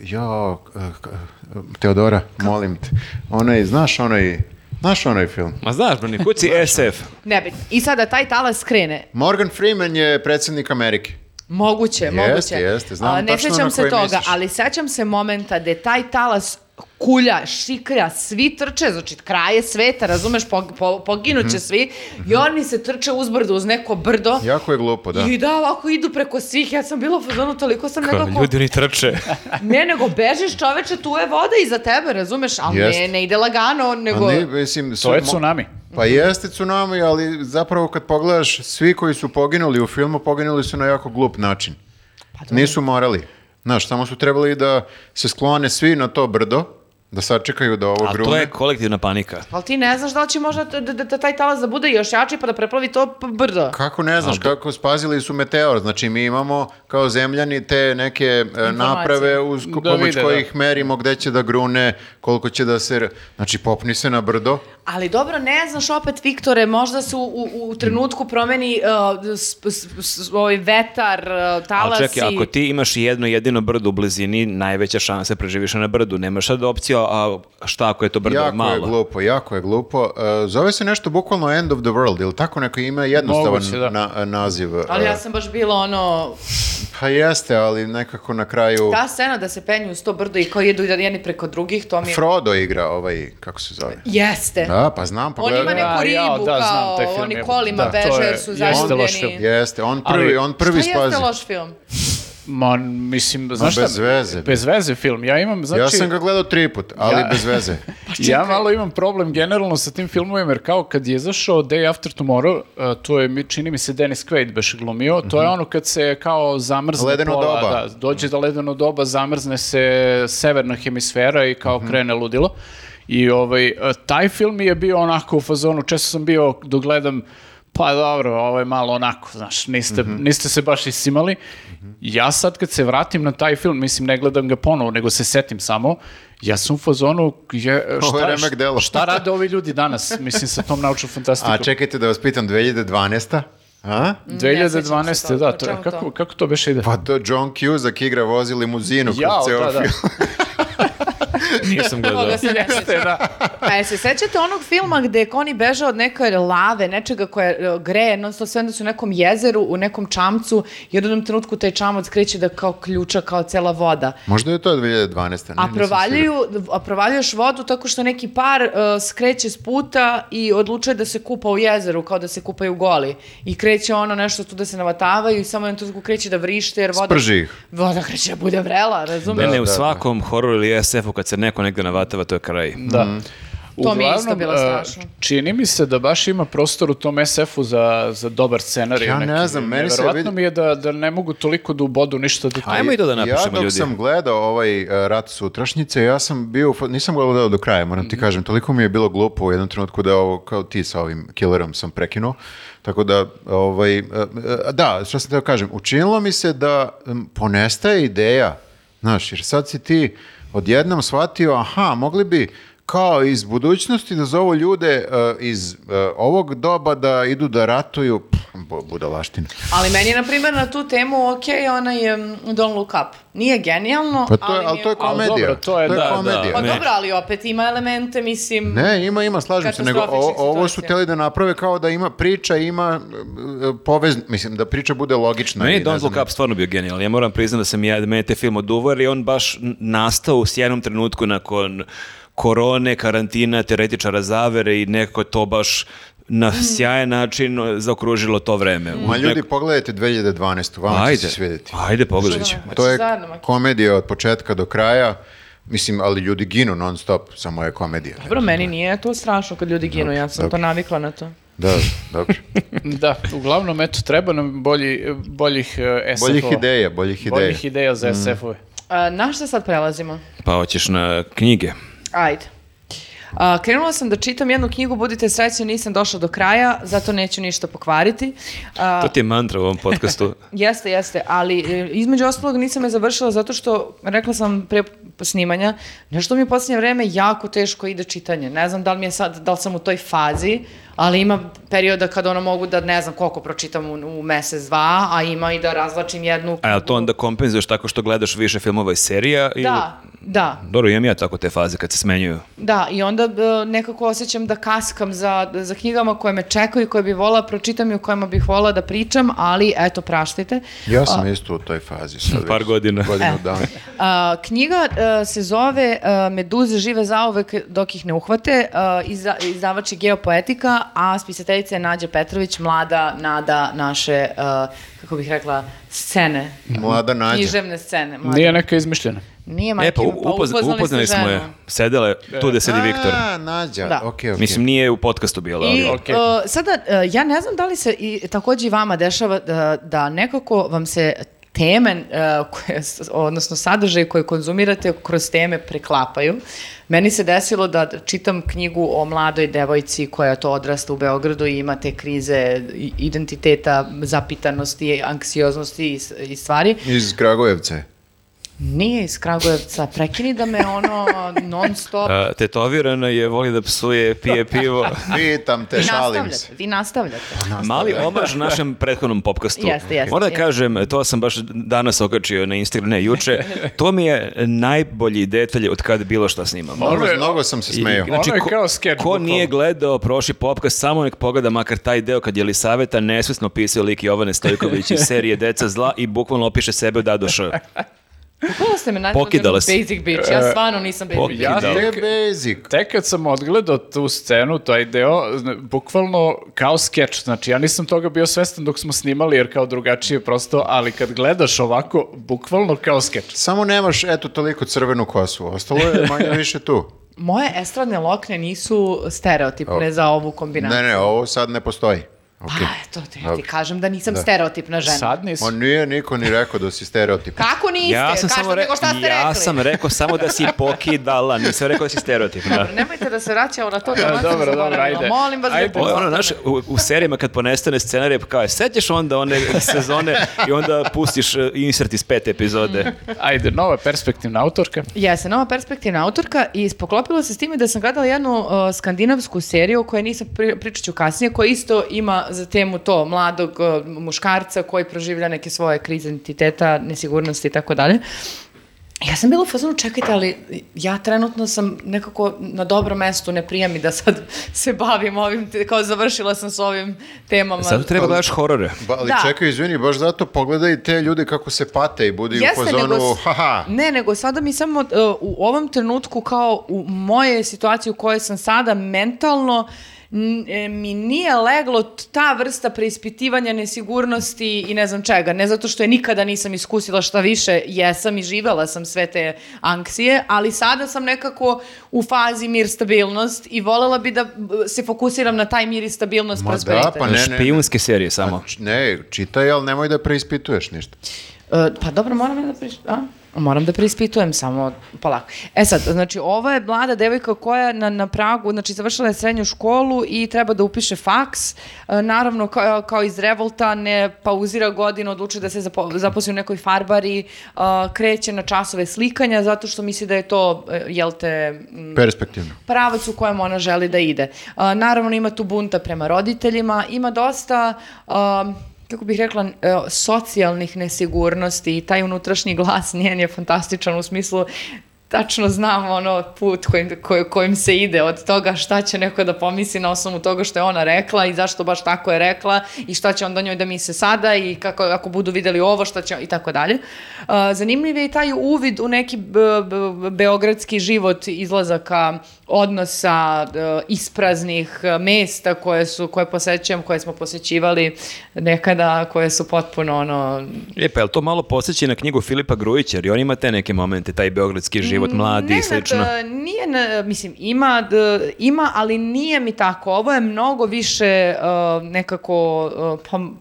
B: jo, uh, k- uh, Teodora, molim te. Onaj, znaš onaj, znaš onaj film?
D: Ma znaš, Brani, kuci SF.
A: Nebitno. I sada taj talas krene.
B: Morgan Freeman je predsjednik Amerike.
A: Moguće, moguće.
B: jeste, znam
A: A, ne
B: tačno
A: sjećam
B: na
A: se
B: koji
A: toga,
B: misliš.
A: ali sećam se momenta gde taj talas kulja, šiklja, svi trče, znači kraje sveta, razumeš, pog, po-
B: Mhm.
A: poginuće svi i oni se trče uzbrdo uz neko brdo
B: Jako je glupo, da.
A: i da ovako idu preko svih, ja sam bila u fazonu, toliko sam nekako...
D: Ljudi ni trče.
A: Ne, nego bežiš čoveče, tu je voda iza tebe, razumeš, ali ne,
B: Jeste.
A: ne ide lagano,
B: A
A: nego...
B: ne, mislim,
C: To je
B: mo-
C: tsunami.
B: Pa jeste tsunami, ali zapravo kad pogledaš, svi koji su poginuli u filmu, poginuli su na jako glup način.
A: Pa
B: Nisu morali. Znaš, samo su trebali da se sklone svi na to brdo, da sačekaju da ovo
D: A to
B: grune.
D: je kolektivna panika.
A: Ali ti ne znaš da li će možda t- da, da, da taj talas da bude još jači pa da preplavi to p- brdo.
B: Kako ne znaš, kako spazili su meteor. Znači, mi imamo kao zemljani te neke e, naprave uz ko-
C: Da
B: pomoć
C: vide, da.
B: kojih merimo gde će da grune, koliko će da se... Znači, popni se na brdo.
A: Ali dobro, ne znaš opet, Viktore, možda se u, u, u trenutku promeni uh, s, s, s- ovaj vetar, uh,
D: Ali
A: talas
D: čekaj,
A: i...
D: ako ti imaš jedno jedino brdo u blizini, najveća šansa je preživiš na brdu. Nemaš sad opciju, a šta ako je to brdo
B: jako je
D: malo?
B: glupo, jako je glupo. E, zove se nešto bukvalno End of the World, ili tako neko ima jednostavan
C: Moguće, da.
B: na- naziv. e,
A: Ali ja sam baš bila ono,
B: Pa jeste, ali nekako na kraju...
A: ta scena da se penju uz to brdo i kao jedu jedni preko drugih, to mi je...
B: Frodo igra ovaj, kako se zove?
A: Jeste.
B: Da, pa znam,
A: On
B: pogledaj.
A: ima neku
C: A,
A: ribu,
C: ja, da, znam
A: kao
C: taj film,
A: oni
C: je-
A: kolima
C: da, to
A: beže,
C: je-
A: jer su
C: jeste
A: zaljubljeni.
C: loš film.
B: Jeste, on
C: Ali-
B: prvi, on prvi
A: Šta jeste
B: spazi.
A: loš film?
C: Ma, mislim, znaš šta?
B: bez veze.
C: Bez veze film. Ja imam, znači...
B: Ja sam ga gledao tri put, ali
C: Ja-
B: bez
C: (laughs)
B: veze.
C: Ja malo imam problem generalno sa tim filmovima, jer kao kad je izašao Day After Tomorrow, uh, to je, mi- čini mi se, Dennis Quaid beš glumio, to je ono kad se kao zamrzne
B: Mhm. Ledeno
C: pola,
B: doba.
C: da, dođe do ledeno doba, zamrzne se severna hemisfera i kao
B: Mhm.
C: krene ludilo. I ovaj, uh, taj film mi je bio onako u fazonu, često sam bio dok gledam pa dobro, ovo je malo onako, znaš, niste,
B: Mhm.
C: niste se baš isimali. Ja sad kad se vratim na taj film, mislim, ne gledam ga ponovo, nego se setim samo, ja sam u fazonu, je,
B: Ovo je
C: šta,
B: remek delo.
C: šta rade ovi ljudi danas, mislim, sa tom naučnom
B: (laughs)
C: fantastikom?
B: A čekajte da vas pitam, 2012. A?
A: Ne sjećam se
C: 2012.
A: toga,
C: da,
A: o
C: to,
A: čemu to?
C: kako, kako to beše ide?
B: Pa to John Cusack igra vozi limuzinu kroz
C: Jao,
B: ceo
C: da, da.
B: film.
D: (laughs) Nisam gledao.
A: Toga se ne sjećam. A Pa jel se sećate onog filma gde je Connie bežao od neke lave, nečega koje e, greje, non stop sve onda su u nekom jezeru, u nekom čamcu i u jednom trenutku taj čamac kreće da kao ključa, kao cela voda.
B: Možda je to 2012.
A: A
B: ne, nisam siguran.
A: provaljuju, a provaljuješ vodu tako što neki par e, skreće s puta i odlučuje da se kupa u jezeru, kao da se kupaju goli. I kreće ono nešto tu da se navatavaju i samo jednom trenutku kreće da vrište jer voda...
B: Sprži ih.
A: Voda kreće da bude vrela,
D: Ne,
A: razumiješ?
D: ne,
B: Da,
D: u
B: da,
D: svakom hororu ili SF-u kad se neko negde navatava, to je kraj.
C: Da.
A: To mi je isto
C: Uglavnom,
A: bilo
C: e,
A: strašno.
C: Čini mi se da baš ima prostor u tom SF-u za, za dobar scenarij.
B: Ja ne
C: neki.
B: znam, meni se
C: Neverovatno
B: vidi-
C: mi je da, da ne mogu toliko da ubodu ništa da...
D: Ajmo i to da napišemo,
B: ja dok
D: ljudi.
B: sam gledao ovaj e, rat sutrašnjice, ja sam bio, u fa- nisam ga gledao do kraja, moram
D: Mhm.
B: ti kažem, toliko mi je bilo glupo u jednom trenutku da ovo, kao ti sa ovim killerom sam prekinuo, tako da, ovaj, e, e, da, što sam teo kažem, učinilo mi se da em, ponestaje ideja, znaš, jer sad si ti odjednom shvatio, aha, mogli bi kao iz budućnosti da zovu ljude e, iz e, ovog doba da idu da ratuju, Pff, bu- budalaština.
A: Ali meni je, na primjer, na tu temu ok, ona je mm, Don't Look Up. Nije genijalno,
B: Pa to je, ali
A: mi
B: to je
A: cool.
B: komedija.
C: dobro, to je- da,
D: da.
B: komedija.
A: Pa
D: Ne.
A: dobro, ali opet ima elemente, mislim...
B: Ne, ima, ima, slažem se, nego o-
A: Katastrofičnih
B: ovo su
A: situacija.
B: htjeli da naprave kao da ima priča, ima e, e, povez, mislim, da priča bude logična. i
D: Meni je
B: ne
D: Don't
B: znam.
D: Look Up stvarno bio genijalan. Ja moram priznati da sam ja, da mene te film oduvao, jer je on baš n- nastao u sjednom trenutku nakon korone, karantina, teoretičara zavere i nekako je to baš na sjajan način e, zaokružilo to vreme. U
B: Ma ljudi,
D: neko-
B: pogledajte 2012. Vama će
D: ajde,
B: se svidjeti.
D: ajde pogledat ću.
A: Ma
B: To
A: će
B: je
A: zajedno, ma-
B: komedija od početka do kraja, mislim, ali ljudi ginu non stop, samo je komedija.
A: Dobro, meni nije to strašno kad ljudi ginu, ja sam
B: dobro.
A: to navikla na to.
B: Da, dobro.
A: (laughs)
C: Da, uglavnom, eto, treba nam bolji, boljih SF-ova.
B: Boljih ideja, boljih ideja.
C: Boljih ideja za SF-ove.
A: A, na šta sad prelazimo?
D: Pa hoćeš na knjige.
A: Ajde. A, krenula sam da čitam jednu knjigu, budite srećni, nisam došla do kraja, zato neću ništa pokvariti. A,
D: To ti je mantra u ovom podcastu.
A: Jeste, jeste, ali e, između ostalog nisam je završila zato što, rekla sam pre snimanja, nešto mi u posljednje vreme jako teško ide čitanje. Ne znam da li mi je sad, da li sam u toj fazi, ali ima perioda kada ono mogu da ne znam koliko pročitam u, u mesec, dva, a ima i da razlačim jednu...
D: A jel to onda kompenzuješ tako što gledaš više filmova i serija? ili-
A: Da, Da,
D: Dobro, imam ja tako te faze kad se smenjuju.
A: da, i onda e, nekako osjećam da kaskam za, za knjigama koje me čekaju i koje bih volala da pročitam i o kojima bih volala da pričam, ali eto, praštite.
B: Ja sam isto u toj fazi. Sad
D: Par
B: već
D: godina.
B: Godinu dana.
A: A, knjiga e, se zove e, Meduze žive zauvek dok ih ne uhvate, uh, izda, izdavač je Geopoetika, a spisateljica je Nađa Petrović, mlada nada naše, e, kako bih rekla, scene,
B: Mlada nađa.
A: književne scene. Mlada.
C: Nije neka izmišljena.
A: Nije
D: E,
A: majke,
D: pa
A: pa
D: upozna- upoznali,
A: upoznali ste
D: smo je.
A: ženu.
D: Sedela je tu gde sedi Viktor.
B: A, nađa.
A: Da.
B: okej, okej.
D: Mislim, nije u podcastu bila.
A: I
D: ali-
C: okej.
A: e, sada, e, ja ne znam da li se i, takođe i vama dešava da, da nekako vam se teme, e, koje, s- odnosno sadržaj koje konzumirate kroz teme preklapaju. Meni se desilo da čitam knjigu o mladoj devojci koja to odrasta u Beogradu i ima te krize i- identiteta, zapitanosti, anksioznosti i, s- i stvari.
B: Iz Kragujevce.
A: Nije iz Kragujevca, prekini da me ono non stop
D: A, tetovirana je, voli da psuje,
A: (laughs)
D: pije pivo.
B: Pitam te,
A: Vi
B: šalim
A: nastavljate,
B: se.
A: vi nastavljate.
D: Mali omaž našem prethodnom popkastu.
A: Jeste, jeste.
D: Moram da kažem, to sam baš danas okačio na Instagram, ne, juče. To mi je najbolji detalj od kad bilo šta snimam.
C: Ono je-
B: Mnogo sam se smejao.
D: I, znači,
C: Ono je
D: ko-
C: kao skeč,
D: Ko
C: bukvalno.
D: nije gledao prošli popkast, samo nek pogleda makar taj deo kad je Elisaveta nesvesno pisao lik Jovane Stojković iz serije Deca zla i bukvalno opiše sebe u Dadoša.
A: Pukala ste me na
D: Pokidala si.
A: basic bitch, ja stvarno nisam basic bitch.
D: Pokidala.
C: Ja
D: Da.
B: Te
C: tek,
B: basic.
C: tek kad sam odgledao tu scenu, taj deo, zna- bukvalno kao skeč, znači ja nisam toga bio svestan dok smo snimali jer kao drugačije prosto, ali kad gledaš ovako, bukvalno kao skeč.
B: Samo nemaš, eto, toliko crvenu kosu. Ostalo je manje više
A: (laughs)
B: tu.
A: Moje estradne lokne nisu stereotipne
B: O.
A: za ovu kombinaciju.
B: Ne, ne, ovo sad ne postoji.
A: Pa
B: Okay.
A: eto, te, ti
B: Dobro.
A: kažem da nisam stereotipna žena.
C: Sad nisam.
B: On nije niko ni rekao da si stereotip.
A: Kako niste?
D: Ja sam, samo
A: re...
D: re-
A: nego šta ste
D: ja
A: rekli?
D: sam rekao samo da si pokidala, nisam rekao da si stereotipna.
A: Dobro, Nemojte da se vraćamo na to. Da vas sam
C: dobro,
A: zaboravila.
C: dobro, ajde.
A: Molim vas,
C: Ajde.
A: da
D: Ovo je ono,
A: pozvate
D: znaš,
A: me.
D: u, u serijama kad ponestane scenarij, pa kao je, sećaš onda one (laughs) sezone i onda pustiš e, insert iz pete epizode.
C: Ajde, nova perspektivna autorka.
A: Jesen, nova perspektivna autorka i spoklopilo se s time da sam gledala jednu uh, skandinavsku seriju o kojoj nisam pri, pričat ću kasnije, koja isto ima za temu to mladog uh, muškarca koji proživlja neke svoje krize identiteta, nesigurnosti i tako dalje. Ja sam bila u fazonu, čekajte, ali ja trenutno sam nekako na dobrom mestu, ne prija mi da sad (laughs) se bavim ovim, te- kao završila sam s ovim temama.
D: Zato treba gledaš horore.
B: Ba, ali
A: Da.
B: čekaj, izvini, baš zato pogledaj te ljude kako se pate i budi u pozonu,
A: s-
B: haha.
A: Ne, nego sada mi samo uh, u ovom trenutku kao u moje situaciji u kojoj sam sada mentalno n- e, mi nije leglo t- ta vrsta preispitivanja nesigurnosti i ne znam čega. Ne zato što je nikada nisam iskusila šta više, jesam i živela sam sve te anksije, ali sada sam nekako u fazi mir stabilnost i volela bi da b- se fokusiram na taj mir i stabilnost
B: Ma da,
A: prosperitet.
B: Pa ne, ne, ne.
D: Špijunske serije samo.
B: Č- Znači, Ne, čitaj, ali nemoj da preispituješ ništa.
A: E, pa dobro, moram ja da preiš... A? Moram da preispitujem samo polako. E sad, znači, ova je mlada devojka koja na, na pragu, znači, završila je srednju školu i treba da upiše faks. E, naravno, kao, kao iz revolta, ne pauzira godinu, odlučuje da se zapo, zaposli u nekoj farbari, e, kreće na časove slikanja, zato što misli da je to, e, jel te, m,
B: Perspektivno.
A: pravac u kojem ona želi da ide. A, naravno ima tu bunta prema roditeljima, ima dosta a, kako bih rekla, n- e, socijalnih nesigurnosti i taj unutrašnji glas njen je fantastičan u smislu tačno znam ono put kojim, koj- kojim se ide od toga šta će neko da pomisli na osnovu toga što je ona rekla i zašto baš tako je rekla i šta će onda njoj da misle sada i kako, ako budu videli ovo šta će i tako dalje. A, Zanimljiv je i taj uvid u neki b- b- beogradski život izlazaka odnosa e, ispraznih e, mesta koje su koje posećujem, koje smo posećivali nekada, koje su potpuno ono
D: Lijepa, je li E, pa to malo posjeći na knjigu Filipa Grujića, jer i on ima te neke momente, taj beogradski život,
A: Mm,
D: mladi i
A: Nenad,
D: slično.
A: e, nije, na- mislim, ima, d- ima, ali nije mi tako. Ovo je mnogo više e, nekako e, pa, m,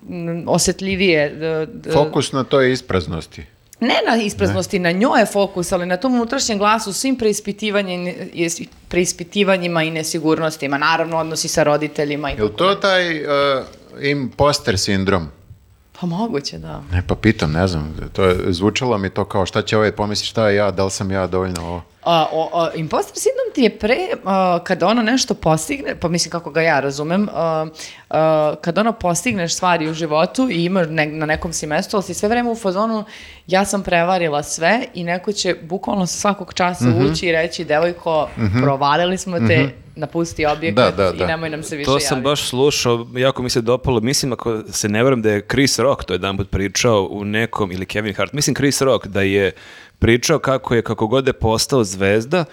A: osetljivije. d- d-
B: Fokus na toj ispraznosti.
A: Ne na ispraznosti, na njoj je fokus, ali na tom unutrašnjem glasu, svim preispitivanjima, preispitivanjima i nesigurnostima. Naravno, odnosi sa roditeljima. I...
B: Je li to taj uh, imposter sindrom?
A: Pa moguće, da.
B: Ne, pa pitam, ne znam, to je, zvučalo mi to kao šta će ovaj pomisli, šta je ja, da li sam ja dovoljno ovo?
A: a, o, o, imposter sindrom ti je pre, a, kada ono nešto postigne, pa mislim kako ga ja razumem, a, a, kada ono postigneš stvari u životu i imaš ne, na nekom si mestu, ali si sve vreme u fazonu ja sam prevarila sve i neko će bukvalno svakog časa
B: Mhm.
A: ući i reći devojko, provalili smo te, napusti objekat
B: Da, da, da.
A: i nemoj nam se više
D: To sam
A: javiti."
D: baš slušao, jako mi se dopalo. Mislim, ako se ne varam da je Chris Rock to jedan put pričao u nekom, ili Kevin Hart, mislim Chris Rock da je pričao kako je, kako god je postao zvezda,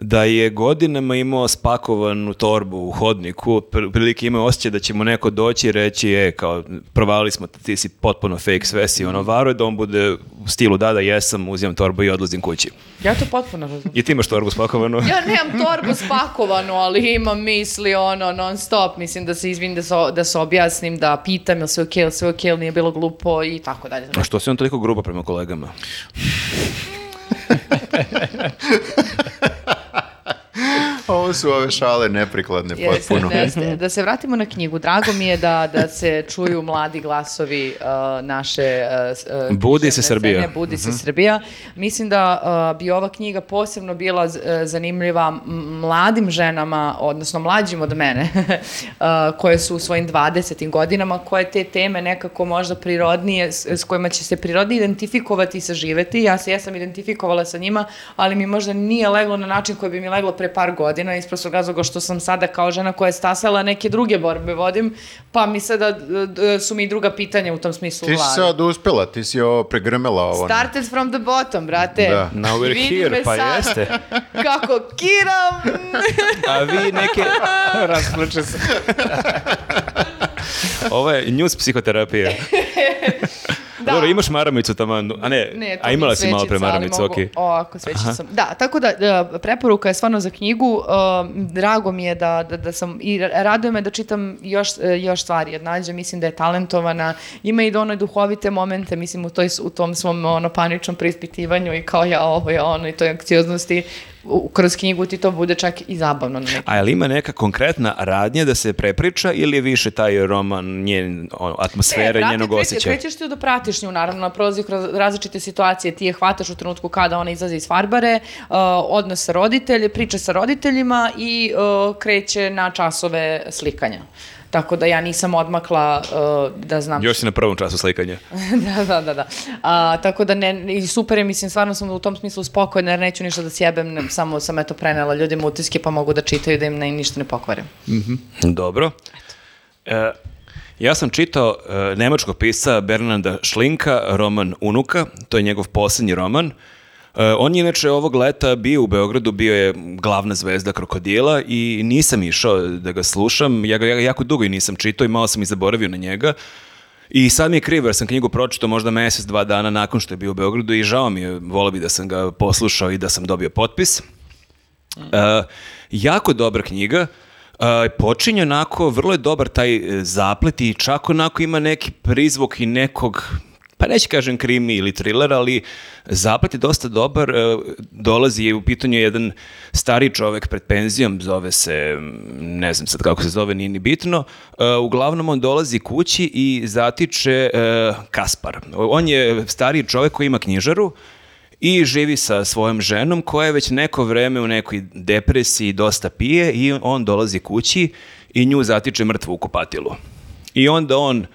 D: da je godinama imao spakovanu torbu u hodniku, pr- prilike imao osjećaj da će mu neko doći i reći, e, kao, provalili smo te, ti si potpuno fake sve si, ono, varuje da on bude u stilu, da, da, jesam, uzimam torbu i odlazim kući.
A: Ja to potpuno razumem.
D: I ti imaš torbu spakovanu?
A: Ja nemam torbu spakovanu, ali imam misli ono non stop. Mislim da se izvinim, da se, da se objasnim, da pitam ili sve okej, ili sve okej, ili nije bilo glupo i tako dalje. Znači,
D: A što si on toliko grubo prema kolegama?
B: Ovo su ove šale neprikladne
A: Jeste,
B: potpuno.
A: jeste. Da se vratimo na knjigu. Drago mi je da, da se čuju mladi glasovi uh, naše... uh, s- uh,
D: Budi se
A: književne
D: Srbija.
A: scene, Budi
B: Mhm.
A: se Srbija. Mislim da uh, bi ova knjiga posebno bila z- e, zanimljiva m- mladim ženama, odnosno mlađim od mene, (laughs) uh, koje su u svojim 20. godinama, koje te teme nekako možda prirodnije, s, s kojima će se prirodnije identifikovati i saživeti. Ja se jesam identifikovala sa njima, ali mi možda nije leglo na način koji bi mi leglo pre par godina, iz prostog razloga što sam sada kao žena koja je stasala neke druge borbe vodim, pa mi sada d- d- su mi i druga pitanja u tom smislu u
B: Ti si
A: glavi.
B: sad uspela, ti si ovo pregrmela ovo.
A: Started from the bottom, brate.
B: Da.
D: Now we're
A: Vidi
D: here,
A: me
D: pa
A: sad
D: jeste.
A: (laughs) Kako kiram.
D: (laughs) A
A: (laughs)
D: vi neke... Rasplače se. (laughs) Ovo je news psihoterapija.
A: (laughs) Da.
D: Dobro, imaš maramicu taman, a ne,
A: Ne, to
D: a imala
A: mi
D: si malo pre
A: svećica, ali
D: maramicu,
A: mogu-
D: okej.
A: Ovako, svećica sam. Da, tako da, e, preporuka je stvarno za knjigu. e, Drago mi je da, da, da sam, i ra- raduje me da čitam još, e, još stvari od Nađe. Mislim da je talentovana. Ima i do one duhovite momente, mislim, u, toj, s- u tom svom ono, paničnom preispitivanju i kao ja ovo, ja ono, i toj akcioznosti. U- Kroz knjigu ti to bude čak i zabavno na neki
D: A je li ima neka konkretna radnja da se prepriča ili je više taj roman, njen, ono, atmosfera
A: E, prati-
D: njenog
A: kreće-
D: osjećaja?
A: Krećeš ti do pratišnju, naravno, prolazi kroz različite situacije, ti je hvataš u trenutku kada ona izlazi iz farbare, uh, odnos sa roditelje, priče sa roditeljima i uh, kreće na časove slikanja. Tako da ja nisam odmakla uh, da znam
D: Još si na prvom času slikanja.
A: (laughs) da, da, da, da. A, tako da ne, i super je, mislim, stvarno sam u tom smislu spokojna jer neću ništa da sjebem, ne- samo sam eto prenela ljudima utiske pa mogu da čitaju da im ne, ništa ne pokvare.
D: Dobro. E, ja sam čitao e, nemačkog pisca Bernarda Šlinka, roman Unuka, to je njegov posljednji roman. E, on je inače ovog leta bio u Beogradu, bio je glavna zvezda krokodila i nisam išao da ga slušam, ja ga ja ga jako dugo i nisam čitao i malo sam i zaboravio na njega. I sad mi je krivo jer sam knjigu pročitao možda mjesec, dva dana nakon što je bio u Beogradu i žao mi je, volao bi da sam ga poslušao i da sam dobio potpis. E, jako dobra knjiga. E, počinje onako, vrlo je dobar taj e, zaplet i čak onako ima neki prizvuk i nekog pa neću kažem krimi ili thriller, ali zaplet je dosta dobar. E, Dolazi je u pitanju jedan stari čovek pred penzijom, zove se, m, ne znam sad kako se zove, nije ni bitno. E, Uglavnom on dolazi kući i zatiče e, Kaspar. On je stari čovek koji ima knjižaru i živi sa svojom ženom koja je već neko vreme u nekoj depresiji dosta pije i on dolazi kući i nju zatiče mrtvu u kupatilu. I onda on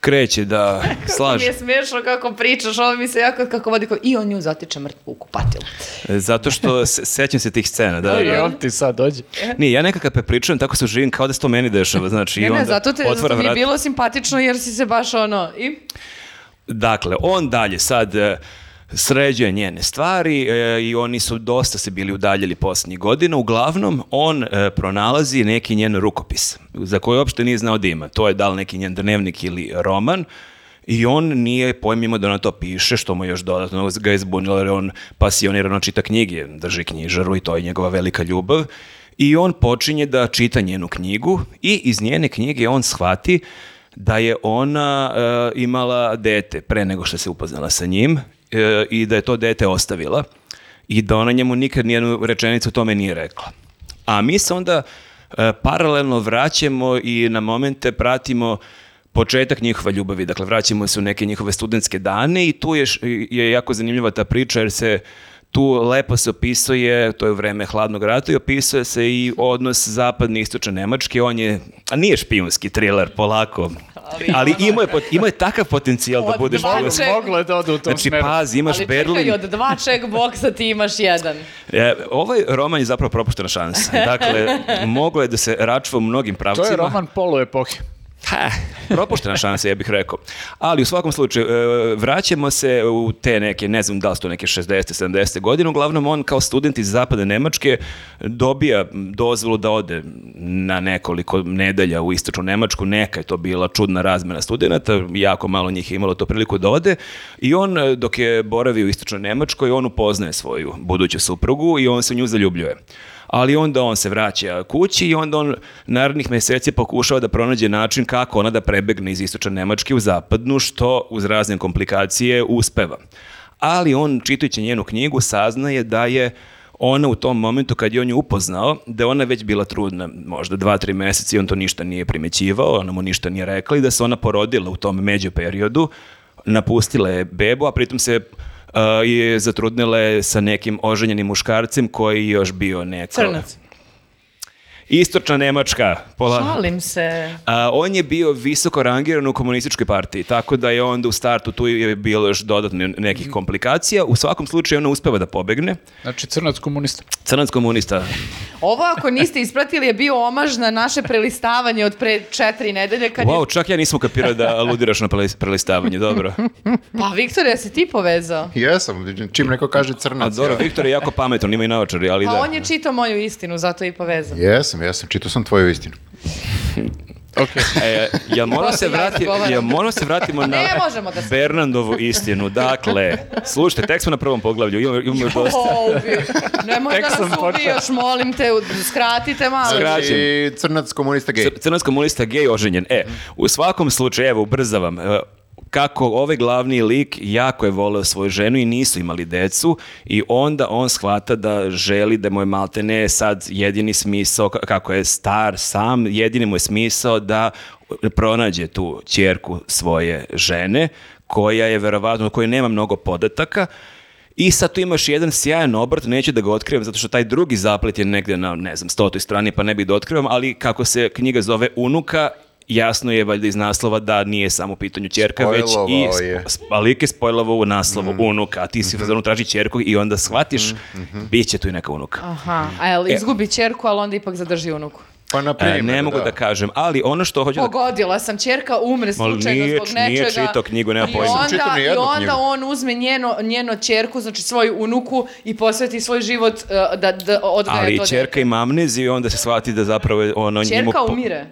D: kreće
A: (laughs)
D: da
A: Mi
D: slaže.
A: je smiješno kako pričaš, ovo mi se jako kako vodi kao, i on nju zatiče mrtvu u kupatilu.
D: Zato što se, sećam se tih scena. Da,
C: I
D: ja,
C: on ti sad dođe.
D: nije, ja nekakav prepričavam, tako se živim kao da se to meni dešava. Znači, i
A: Ne,
D: onda
A: ne, zato te
D: otvara
A: zato mi je
D: vrat.
A: bilo simpatično jer si se baš ono i
D: Dakle, on dalje sad e, sređuje njene stvari e, i oni su dosta se bili udaljili posljednjih godina. Uglavnom, on e, pronalazi neki njen rukopis, za koji uopšte nije znao da ima. To je da li neki njen dnevnik ili roman. I on nije pojmimo da ona to piše, što mu još dodatno ga je zbunilo, jer on pasionirano čita knjige, drži knjižaru i to je njegova velika ljubav. I on počinje da čita njenu knjigu i iz njene knjige on shvati da je ona e, imala dete pre nego što se upoznala sa njim e, i da je to dete ostavila i da ona njemu nikad nijednu rečenicu o tome nije rekla. A mi se onda e, paralelno vraćamo i na momente pratimo početak njihove ljubavi, dakle vraćamo se u neke njihove studentske dane i tu je, š- je jako zanimljiva ta priča jer se Tu lepo se opisuje, to je vreme hladnog rata i opisuje se i odnos zapadne i istočne Nemačke. On je, a nije špijunski thriller, polako. Ali, imao, je, pot- imao je takav potencijal da
A: Od
D: budeš
A: dva
D: špijunski.
A: čoveka. Ček-
C: Moglo je da ode u tom
D: Znači,
C: smeru.
D: pazi, imaš
A: Ali
D: Berlin.
A: čekaj, od dva checkboxa ti imaš jedan.
D: E, ovaj roman je zapravo propuštena šansa. Dakle, moglo je da se račva u mnogim pravcima.
C: To je roman polu epohe.
D: Ha, propuštena šansa, ja bih rekao. Ali u svakom slučaju, e, vraćamo se u te neke, ne znam da li su to neke 60. 70. godine, uglavnom on kao student iz zapadne Nemačke dobija dozvolu da ode na nekoliko nedelja u istočnu Nemačku, neka je to bila čudna razmena studenta, jako malo njih je imalo to priliku da ode i on e, dok je boravio u istočnoj Nemačkoj, on upoznaje svoju buduću suprugu i on se u nju zaljubljuje ali onda on se vraća kući i onda on narednih meseci pokušava da pronađe način kako ona da prebegne iz istočne Nemačke u zapadnu, što uz razne komplikacije uspeva. Ali on, čitajući njenu knjigu, saznaje da je ona u tom momentu kad je on ju upoznao, da je ona već bila trudna, možda dva, tri meseca i on to ništa nije primećivao, ona mu ništa nije rekla i da se ona porodila u tom međuperiodu, napustila je bebu, a pritom se uh, je zatrudnila je sa nekim oženjenim muškarcem koji je još bio neko...
A: Crnac.
D: Istočna Nemačka. Pola...
A: Šalim se.
D: A, on je bio visoko rangiran u komunističkoj partiji, tako da je onda u startu tu je bilo još dodatno nekih komplikacija. U svakom slučaju ona uspeva da pobegne.
C: Znači, crnac komunista.
D: Crnac komunista.
A: Ovo ako niste ispratili je bio omaž na naše prelistavanje od pre četiri nedelje kad je...
D: Wow, čak ja nisam kapirao da aludiraš na prelis- prelistavanje,
A: (laughs)
D: dobro.
A: Pa Viktor, ja si ti povezao?
B: Jesam, čim neko kaže
D: A
B: crnac.
D: dobro,
B: ja-
D: Viktor je jako pametan, on ima i naočari, ali
A: Pa
D: da.
A: on je čitao moju istinu, zato je i povezao.
B: Jesam, jesam, čitao sam tvoju
D: (laughs)
B: istinu.
D: E, jel moramo se,
A: Ja
D: vrati,
A: razgovaram.
D: jel moramo se vratimo na
A: Ne možemo da se-
D: Bernandovu istinu. Dakle, slušajte, tek smo na prvom poglavlju, imamo, imamo još dosta.
A: O, ubi. Nemoj
C: Tek
A: da
C: sam
A: nas
C: počeo.
A: ubiješ, molim te, u- skratite malo.
D: Skra-
B: (laughs) Znači,
D: Skraćen.
B: crnac komunista gej.
D: Cr- Crnac komunista gej oženjen. E, u svakom slučaju, evo, ubrzavam, e, kako ovaj glavni lik jako je voleo svoju ženu i nisu imali decu i onda on shvata da želi da mu je maltene sad jedini smisao, ka- kako je star sam, jedini mu je smisao da pronađe tu ćerku svoje žene koja je verovatno, koja nema mnogo podataka I sad tu imaš jedan sjajan obrt, neću da ga otkrivam zato što taj drugi zaplet je negde na, ne znam, stotoj strani pa ne bih da otkrivam, ali kako se knjiga zove Unuka, jasno je valjda iz naslova da nije samo u pitanju čerka, već i
B: Spojlovao je. Mhm.
D: sp- sp- a lik je spojlovo u naslovu Unuka, a ti si u fazonu traži čerku i onda shvatiš, bit će tu i neka unuka.
A: Aha, a jel izgubi čerku, ali onda ipak zadrži unuku.
B: Pa na
D: E,
B: primjer,
D: ne mogu da. kažem, ali ono što hoću da
A: Pogodila sam, čerka umre
D: Ma,
A: slučajno
D: nije-
A: zbog nečega.
D: nije čitao knjigu, nema pojma.
A: I
B: Nisam čitao
A: onda,
B: ni
A: i
B: jednu
A: onda
B: knjigu.
A: on uzme njeno, njeno čerku, znači svoju unuku i posveti svoj život uh, da, da odgaja
D: Ali
A: to
D: čerka ima amneziju i onda se shvati da zapravo je ono
A: dete.
D: njemu...
A: Čerka
D: po-
A: umire.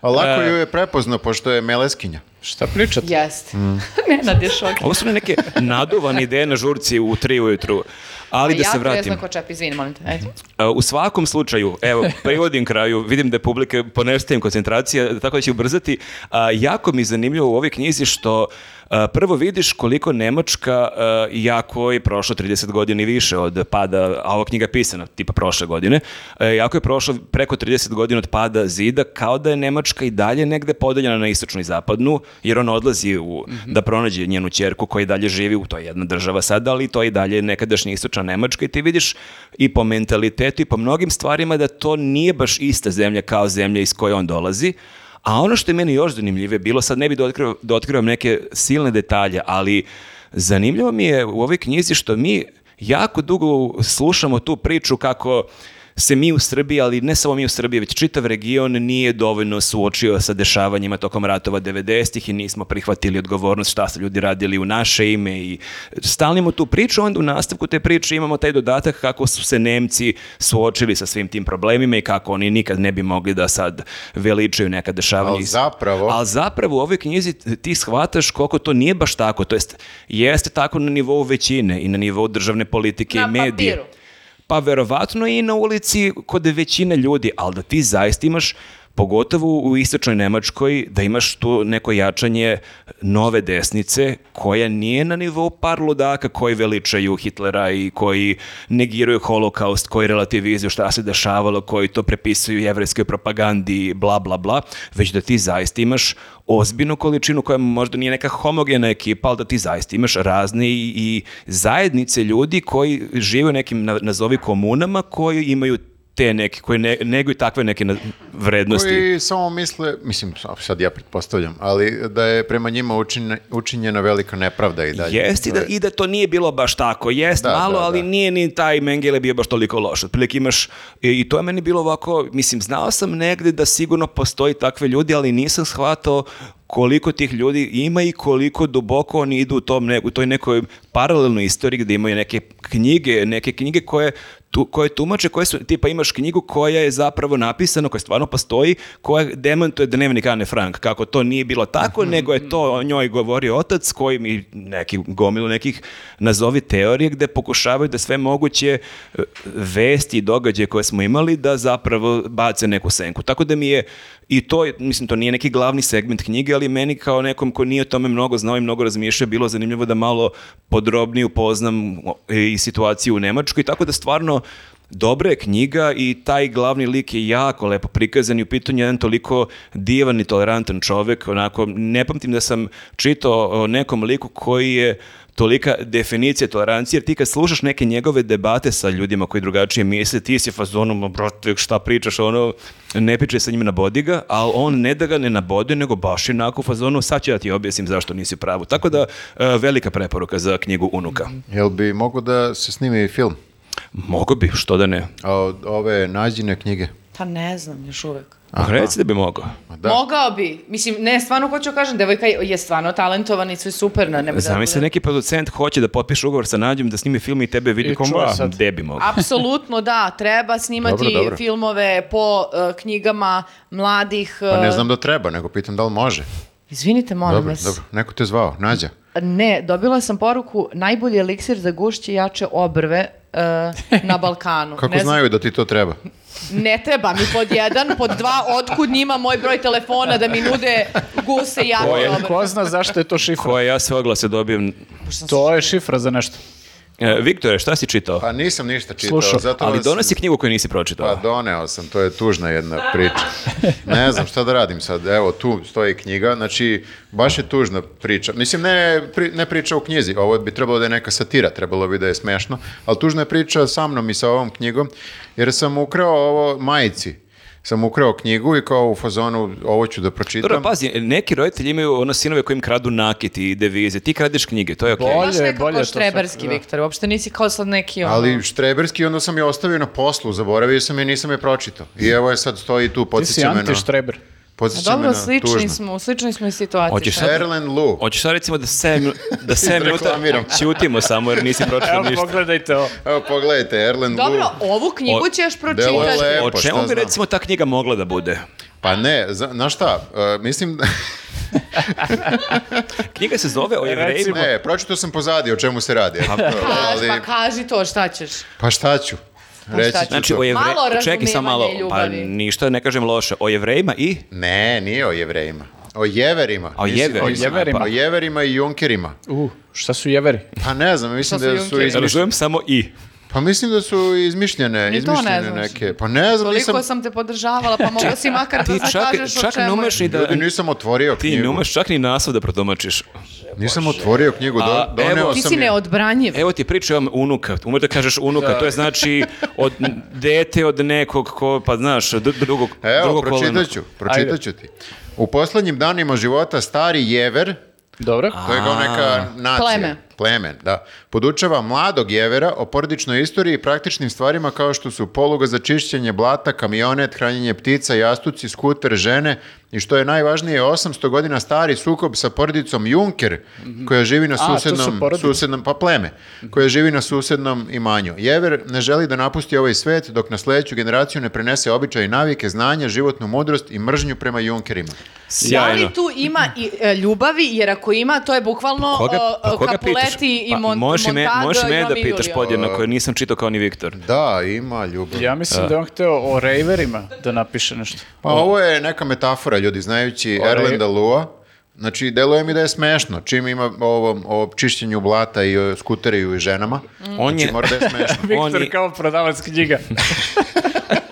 B: A lako
D: E.
B: ju je prepoznao, pošto je meleskinja.
C: Šta pričate?
A: Jeste.
D: Mm.
A: (laughs) Nenad je šok.
D: Ovo su
A: (laughs)
D: neke naduvane ideje na žurci u tri ujutru. Ali da se
A: Pa Ja
D: vratim.
A: ko čep, izvini, molim te. Ajde.
D: E, U svakom slučaju, evo, (laughs) privodim kraju, vidim da je publike ponestajem koncentracija, tako da će ubrzati. A, jako mi je zanimljivo u ovoj knjizi što a, prvo vidiš koliko Nemačka a, jako je prošlo 30 godina i više od pada, a ova knjiga je pisana tipa prošle godine, e, jako je prošlo preko 30 godina od pada zida, kao da je Nemačka i dalje negde podeljena na istočnu i zapadnu, jer ona odlazi u, da pronađe njenu ćerku koja i dalje živi u to je jedna država sada, ali to je i dalje nekadašnja istočna Nemačka i ti vidiš i po mentalitetu i po mnogim stvarima da to nije baš ista zemlja kao zemlja iz koje on dolazi. A ono što je meni još zanimljivije bilo, sad ne bi da otkrivam, da otkrivam neke silne detalje, ali zanimljivo mi je u ovoj knjizi što mi jako dugo slušamo tu priču kako se mi u Srbiji, ali ne samo mi u Srbiji, već čitav region nije dovoljno suočio sa dešavanjima tokom ratova 90-ih i nismo prihvatili odgovornost šta su ljudi radili u naše ime i stalnimo tu priču, onda u nastavku te priče imamo taj dodatak kako su se Nemci suočili sa svim tim problemima i kako oni nikad ne bi mogli da sad veličaju neka dešavanja.
B: Ali
D: iz-
B: zapravo-
D: Ali zapravo u ovoj knjizi ti shvataš koliko to nije baš tako, to jest jeste tako na nivou većine i na nivou državne politike
A: Na
D: i medije.
A: papiru.
D: Pa verovatno i na ulici kod većine ljudi, ali da ti zaista imaš pogotovo u istočnoj Nemačkoj, da imaš tu neko jačanje nove desnice koja nije na nivou par ludaka koji veličaju Hitlera i koji negiraju holokaust, koji relativizuju šta se dešavalo, koji to prepisuju jevrejskoj propagandi, bla, bla, bla, već da ti zaista imaš ozbiljnu količinu koja možda nije neka homogena ekipa, ali da ti zaista imaš razne i, i zajednice ljudi koji žive u nekim, na- nazovi, komunama koji imaju te neke, koji ne, neguju takve neke na- vrednosti.
B: Koji samo misle, mislim, sad ja pretpostavljam, ali da je prema njima učin- učinjena velika nepravda i dalje.
D: Jeste i
B: To
D: da,
B: je-
D: i da to nije bilo baš tako. Jest
B: Da,
D: malo,
B: da,
D: ali
B: da.
D: nije ni taj Mengele bio baš toliko loš. Otprilike imaš, i i to je meni bilo ovako, mislim, znao sam negde da sigurno postoji takve ljudi, ali nisam shvatao koliko tih ljudi ima i koliko duboko oni idu u, tom ne, u toj nekoj paralelnoj istoriji gde imaju neke knjige, neke knjige koje tu, koje tumače, koje su, tipa imaš knjigu koja je zapravo napisana, koja stvarno postoji, koja demantuje dnevnik Ane Frank, kako to nije bilo tako, nego je to o njoj govorio otac koji mi neki gomilu nekih nazovi teorije gde pokušavaju da sve moguće e, vesti i događaje koje smo imali da zapravo bace neku senku. Tako da mi je i to, je- mislim, to nije neki glavni segment knjige, ali meni kao nekom ko nije o tome mnogo znao i mnogo razmišljao, bilo zanimljivo da malo podrobnije upoznam o, i situaciju u Nemačkoj, tako da stvarno dobra je knjiga i taj glavni lik je jako lepo prikazan i u pitanju je jedan toliko divan i tolerantan čovek, onako ne pamtim da sam čitao o nekom liku koji je tolika definicija tolerancije, jer ti kad slušaš neke njegove debate sa ljudima koji drugačije misle, ti si fazonom, "Ma, brate, šta pričaš, ono, ne piče sa njima na bodiga, ali on ne da ga ne nabode, nego baš inako u fazonu, sad ću ja ti objasnim zašto nisi u pravu. Tako da, e, velika preporuka za knjigu Unuka.
B: Jel bi moglo da se snimi film?
D: Mogu bi, što da ne.
B: A od ove nađene knjige?
A: Pa ne znam još uvek.
D: Reci da bi mogao.
B: Ma Da.
A: Mogao bi. Mislim, ne, stvarno hoću da kažem, devojka je je stvarno talentovana i sve je super. Ne, ne bi da-
D: Zamisli, neki producent hoće da potpiše ugovor sa Nađom, da snimi film i tebe vidi
C: I
D: kao,
C: čuva
D: "Ma,
C: sad."
D: gde bi (laughs) mogao.
A: Apsolutno da, treba snimati
B: Dobro, dobro.
A: filmove po e, knjigama mladih.
B: Pa ne
A: e,
B: znam da treba, nego pitam da li može.
A: Izvinite, molim
B: Dobro,
A: vas.
B: dobro. Neko te zvao, Nađa.
A: Ne, dobila sam poruku najbolji eliksir za gušće i jače obrve e, na Balkanu.
B: (laughs) Kako
A: ne znam-
B: znaju da ti to treba?
A: Ne treba mi pod jedan, pod dva, otkud njima moj broj telefona da mi nude guse i jače
C: Ko, je,
A: obrve.
C: ko zna zašto je to šifra?
D: Koje ja sve oglase dobijem.
C: To je šifra za nešto.
D: E, Viktore, šta si čitao?
B: Pa nisam ništa čitao.
C: Slušao,
B: zato
D: Ali
B: vas-
D: donosi knjigu koju nisi pročitao.
B: Pa doneo sam, to je tužna jedna priča. Ne znam šta da radim sad. Evo, tu stoji knjiga, znači baš je tužna priča. Mislim, ne, pri- ne priča u knjizi, ovo bi trebalo da je neka satira, trebalo bi da je smešno, ali tužna je priča sa mnom i sa ovom knjigom, jer sam ukrao ovo majici. Sam ukrao knjigu i kao u fazonu ovo ću da pročitam.
D: Dobro, pazi, neki roditelji imaju ono sinove kojim kradu nakit i devize. Ti kradeš knjige, to je okej.
C: Bolje,
A: Baš nekako
C: bolje to
A: štreberski,
C: sad, da.
A: Viktor, uopšte nisi kao sad neki ono...
B: Ali štreberski onda sam je ostavio na poslu, zaboravio sam je, nisam je pročitao. I evo je sad stoji tu,
C: Ti si
B: podsjeća me na,
C: antištreber.
A: A
B: podsjeća me
A: Dobro,
B: na
A: slični
B: tužno.
A: smo, u sličnoj smo i situaciji.
D: Hoćeš
A: sad.
D: sad-
B: Erlen Lu.
D: Hoćeš sad recimo da 7 da sedam minuta
B: Reklamiram.
D: ćutimo samo jer nisi pročitao
C: Evo,
D: ništa.
C: pogledajte ovo.
B: Evo, pogledajte, Erlen
A: Dobro,
B: Lu.
A: ovu knjigu
D: O-
A: ćeš
B: Delo je
A: pročitati.
B: lepo,
D: O čemu
B: šta
D: bi
B: znam.
D: recimo ta knjiga mogla da bude?
B: Pa ne, zna, znaš šta, e, mislim,
D: Knjiga se zove o jevrejima.
B: ne, pročito sam pozadi o čemu se radi. eto,
A: Kaži,
B: ali,
A: pa kaži to, šta ćeš?
B: pa šta ću? Reći
A: šta
B: ću
A: ću?
D: Znači,
B: to.
D: o jevre...
A: Malo
D: Čekaj samo malo,
A: razumevanja i
D: pa
A: ljubavi.
D: ništa ne kažem loše. O jevrejima i...
B: Ne, nije o jevrejima. O jeverima.
D: A o
B: Mislim,
D: jeverima, pa-
C: jeverima.
B: O jeverima i junkerima.
C: U, šta su jeveri?
B: Pa ne znam, mislim
A: Šta su
B: da su
A: junkeri?
B: izmišljene.
D: Razumem samo i.
B: Pa mislim da su izmišljene,
A: Ni to ne
B: izmišljene
A: znaš.
B: neke. Pa ne znam,
A: Toliko
B: nisam,
A: sam te podržavala, pa mogla si makar da
D: Ti čak,
A: kažeš o
D: čak ne
A: čemu. je.
D: umeš ni da...
B: ljudi nisam otvorio
D: Ti
B: knjigu.
D: ne umeš čak ni naslov da protumačiš.
B: Nisam otvorio knjigu, do,
D: A,
B: doneo
D: evo-
B: sam
A: Ti si
B: je.
A: neodbranjiv.
D: Evo ti priča imam unuka, umeš da kažeš unuka, to je znači od dete od nekog ko, pa znaš, dru- drugog, drugo
B: Evo,
D: koleno.
B: pročitat ću, pročitat ću ti. U poslednjim danima života stari jever,
C: Dobro.
B: to je kao neka nacija.
A: Pleme.
B: Pleme, da. Podučava mladog jevera o porodičnoj istoriji i praktičnim stvarima kao što su poluga za čišćenje blata, kamionet, hranjenje ptica, jastuci, skuter, žene I što je najvažnije, 800 godina stari sukob sa porodicom Junker, koja živi na
C: A, to su
B: susednom,
C: porodice.
B: susednom, pa pleme, koja živi na susednom imanju. Jever ne želi da napusti ovaj svet dok na sledeću generaciju ne prenese običaje i navike, znanje, životnu mudrost i mržnju prema Junkerima.
A: Da
D: Sjajno.
A: li tu ima i, e, ljubavi, jer ako ima, to je bukvalno
D: Pa Koga,
A: o,
D: a
A: o,
D: koga pitaš?
A: Capuleti i
D: Pa,
A: Mon-
D: možeš i me,
A: Montago
D: možeš i
A: i
D: mene da
A: Romeo i
D: pitaš
A: Julio.
D: podjednako, jer nisam čitao kao ni Viktor.
B: Da, ima ljubav.
C: Ja mislim da je on hteo o rejverima da
A: (laughs)
C: napiše nešto.
B: Pa ovo je neka metafora, ljudi, znajući
D: Ovaj.
B: Erlenda Lua, znači, deluje mi da je smešno, čim ima o ovom, o čišćenju blata i o skuteriju i ženama,
D: On
B: znači,
D: je,
B: mora da je smešno.
C: Viktor
D: Oni-
C: kao prodavac knjiga.
D: (laughs)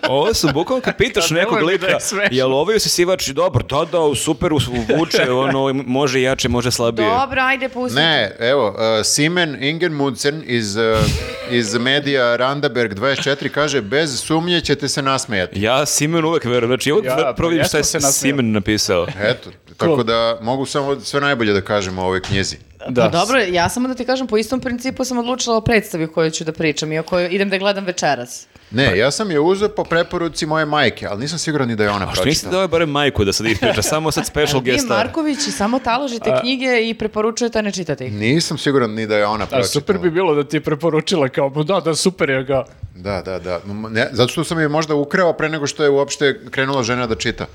D: ovo su bukvalno kad pitaš
C: Pa,
D: nekog
C: nemoj mi da
D: lika,
C: je smešno.
D: jel ovo je usisivač, dobro, da, da, super, us- uvuče, ono, može jače, može slabije.
A: Dobro, ajde, pusti.
B: Ne, evo, uh, Simen Ingemundsen iz, uh, iz medija Randaberg 24 kaže, bez sumnje ćete se nasmejati.
D: Ja Simen uvek verujem, znači ja uvek
C: Ja,
D: ja,
C: pa
D: providim šta je
C: jesmo se nasmijali.
D: Simen napisao.
B: Eto, tako da mogu samo sve najbolje da kažem o ovoj knjizi.
C: Da.
A: Pa dobro, ja samo da ti kažem, po istom principu sam odlučila o predstavi koju ću da pričam i o kojoj idem da je gledam večeras.
D: Pa-
B: Ne, ja sam je uzeo po preporuci moje majke, ali nisam siguran ni da je ona
D: A što niste
B: pročitala.
D: dao barem majku da sad ispriča, samo sad special
A: Vi
D: guest star.
A: Marković i samo taložite knjige i preporučujete, a ne čitate ih.
B: Nisam siguran ni da je ona pročitala.
C: A super bi bilo da ti je preporučila kao, "Ma da, da, super je ga.
B: Da, da, da. M- Ne, zato što sam je možda ukrao pre nego što je uopšte krenula žena da čita.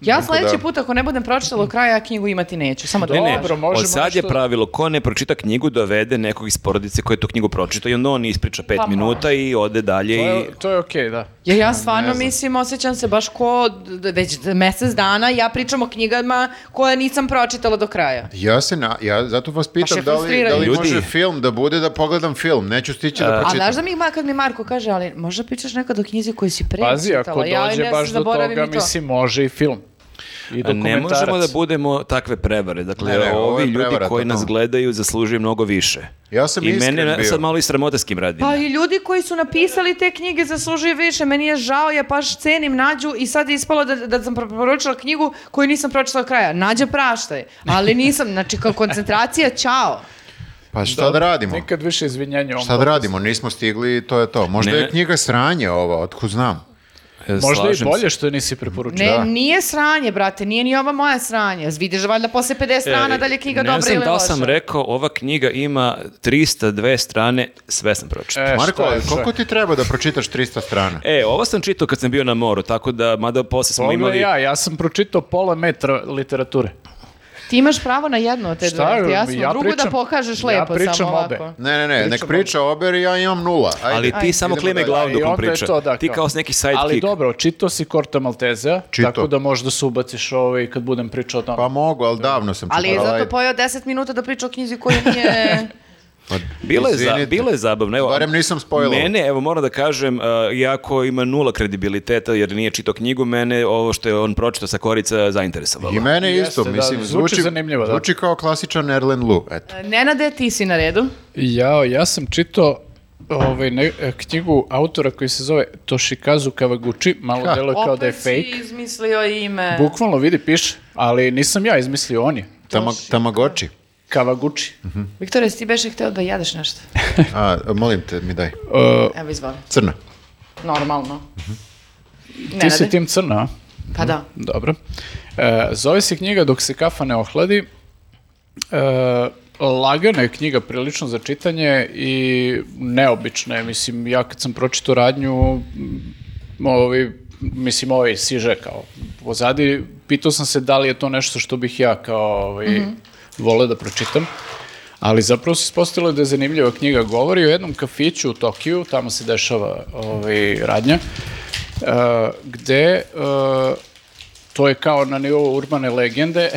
A: Ja
B: Tako da-
A: sledeći put ako ne budem pročitala do kraja, ja knjigu imati neću. Samo da
D: Ne, ne,
A: kažem.
C: Dobro, možemo
D: od sad je
C: nešto-
D: pravilo, ko ne pročita knjigu, dovede nekog iz porodice koji je tu knjigu pročita i onda on ispriča pet
A: Pa,
D: minuta i ode dalje
C: To
D: i...
C: je, to je okej, da.
A: Jer ja stvarno
B: znam.
A: mislim, osjećam se baš ko d- d- već d- mesec dana ja pričam o knjigama koje nisam pročitala do kraja.
B: Ja se na, ja zato vas pitam
A: je
B: da li, da li
D: frustrirajuće.
B: može
D: Ljudi.
B: film da bude da pogledam film, neću stići da
C: Pa
A: A
B: pročitam.
A: znaš da mi, ma- kad mi Marko kaže, ali možda pričaš nekad o knjizi koju si pre
C: Pazi, ako
A: čitala, ja
C: dođe
A: ne
C: baš do
A: zaboravim
C: toga,
A: i to.
C: mislim, može i film. I
D: A Ne
C: dokumentarac.
D: možemo da budemo takve prevare. Dakle,
B: Ne, ne, ovo
D: ovi
B: je
D: ljudi
B: prevara,
D: koji nas
B: totalno.
D: gledaju zaslužuju mnogo više.
B: Ja sam
D: I
B: iskren
D: mene
B: bio.
D: sad malo i sramote s kim radim.
A: Pa i ljudi koji su napisali te knjige zaslužuju više, meni je žao, ja baš cenim Nađu i sad je ispalo da, da sam preporučila knjigu koju nisam pročitala do kraja. Nađa praštaj, ali nisam, znači kao koncentracija, čao.
B: Pa šta da radimo?
C: Nikad više izvinjanja ovom
B: Šta da
C: podcastu.
B: radimo? Nismo stigli i to je to. Možda
D: Ne.
B: je knjiga sranje ova, otkud znam.
D: E,
C: Možda i
D: slažem se.
C: bolje što je nisi preporučio.
A: Ne, nije sranje, brate, nije ni ova moja sranje. Vidiš da valjda posle 50 strana
D: E,
A: da li je knjiga
D: ne
A: dobra
D: znam
A: ili
D: da li
A: loša.
D: sam rekao, ova knjiga ima 302 strane, sve sam pročitao.
C: E, šta
B: Marko,
C: je, šta je?
B: koliko ti treba da pročitaš 300 strana?
D: E, ovo sam čitao kad sam bio na moru, tako da, mada posle smo
C: Pogledaj
D: imali...
C: ja, ja sam pročitao pola metra literature.
A: Ti imaš pravo na jednu od te
C: Šta
A: dve,
C: je,
A: ja sam
C: ja
A: drugu da
C: pričam-
A: pokažeš
C: ja
A: lepo, samo
C: pričam
A: ovako.
C: obe.
B: Ne, ne, ne, nek priča Ober i ja imam nula. Ajde.
D: Ali ti samo
B: idemo
D: klime
B: dalje.
D: glavom
C: I
D: dok on
C: onda je
D: priča.
C: to, da,
D: ti kao s neki sidekick.
C: Ali dobro, čitao si Korta Maltezea,
B: Čitao.
C: tako da možda se ubaciš ovaj kad budem pričao o tome.
B: Pa mogu, ali davno sam
A: Ali je
B: čitao,
A: zato
C: Ovaj-
B: ajde.
A: pojao 10 minuta da priča o knjizi koja nije...
B: Ma,
D: Bilo je, za,
B: Pa, izvinite.
D: bilo je zabavno. Evo,
B: Barem nisam spojilo.
D: Mene, evo moram da kažem, uh, iako ima nula kredibiliteta jer nije čitao knjigu, mene ovo što je on pročitao sa korica zainteresovalo.
B: I mene
C: Jeste,
B: isto,
C: da,
B: mislim,
C: zvuči
B: zvuči,
C: zanimljivo, da.
B: zvuči kao klasičan Erlen Lu, eto.
A: (laughs) Nenade, ti si na redu.
C: Jao, ja sam čitao ovaj, ne- e, knjigu autora koji se zove Toshikazu Kawaguchi, malo delo kao da je
A: Opet si
C: fake.
A: izmislio ime.
C: Bukvalno vidi, piše, ali nisam ja izmislio, on je.
B: Tama, tamagoči.
C: Kawaguchi.
A: Viktore, si ti beše hteo da jedeš nešto?
B: A, molim te, mi daj.
C: E,
A: Evo, izvoli.
B: Crna.
A: Normalno.
C: Mhm. ti
A: Nenade?
C: si tim crna, a?
A: Pa da.
C: Dobro. E, zove se knjiga Dok se kafa ne ohladi. E, lagana je knjiga prilično za čitanje i neobična je. Mislim, ja kad sam pročito radnju, m, ovi, mislim, ovaj siže kao pozadi, pitao sam se da li je to nešto što bih ja kao ovaj, vole da pročitam. Ali zapravo se ispostavilo da je zanimljiva knjiga. Govori o jednom kafiću u Tokiju, tamo se dešava ovaj, radnja, e, gde e, to je kao na nivou urbane legende.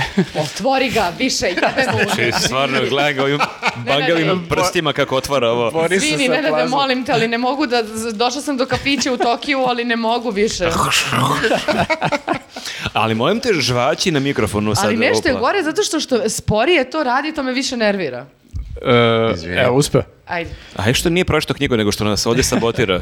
A: Otvori ga, više,
C: (laughs)
A: jebe mu.
D: Znači, stvarno, gledam (laughs) ga ovim
A: Ne, ne,
D: bangavim
A: ne.
D: prstima kako otvara ovo.
C: Bori se
A: Svini,
C: sa
A: Nenade,
C: plazom.
A: da molim te, ali ne mogu da... z- Došla sam do kafića u Tokiju, ali ne mogu
C: (laughs)
A: više.
D: Ali molim te žvaći na mikrofonu sad.
A: Ali nešto je
D: opla.
A: gore, zato što, što sporije to radi, to me više nervira.
C: E,
B: Izvini.
C: evo, uspeo.
A: Ajde.
D: A i što nije pročitao knjigu, nego što nas ovdje
A: (laughs)
D: sabotira.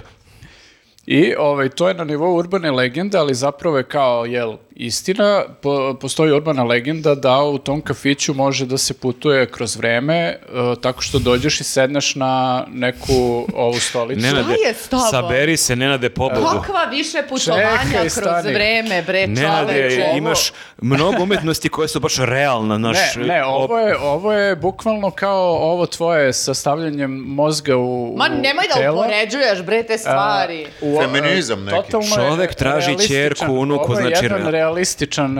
C: I ovaj, to je na nivou urbane legende, ali zapravo je kao jel, Istina, po- postoji urbana legenda da u tom kafiću može da se putuje kroz vreme e, tako što dođeš i sedneš na neku ovu stolicu.
D: Nenade,
A: je s tobom?
D: saberi se, Nenade, pobogu.
A: Kakva više putovanja
C: Čekaj,
A: kroz
C: stani.
A: vreme, bre,
C: E,
A: čoveče.
D: Nenade, imaš mnogo umetnosti koje su baš realna. Naš,
C: Ne, ne, ovo je, ovo je bukvalno kao ovo tvoje sastavljanjem mozga u,
A: Ma
C: u
A: nemoj da
C: tela.
A: upoređuješ, bre, te stvari. (laughs)
C: U-
B: Feminizam
C: e,
B: neki.
C: totalno je
D: Čovek traži
C: realističan.
D: ćerku, unuku,
C: Ovo je
D: znači,
C: jedan
D: re-
C: realističan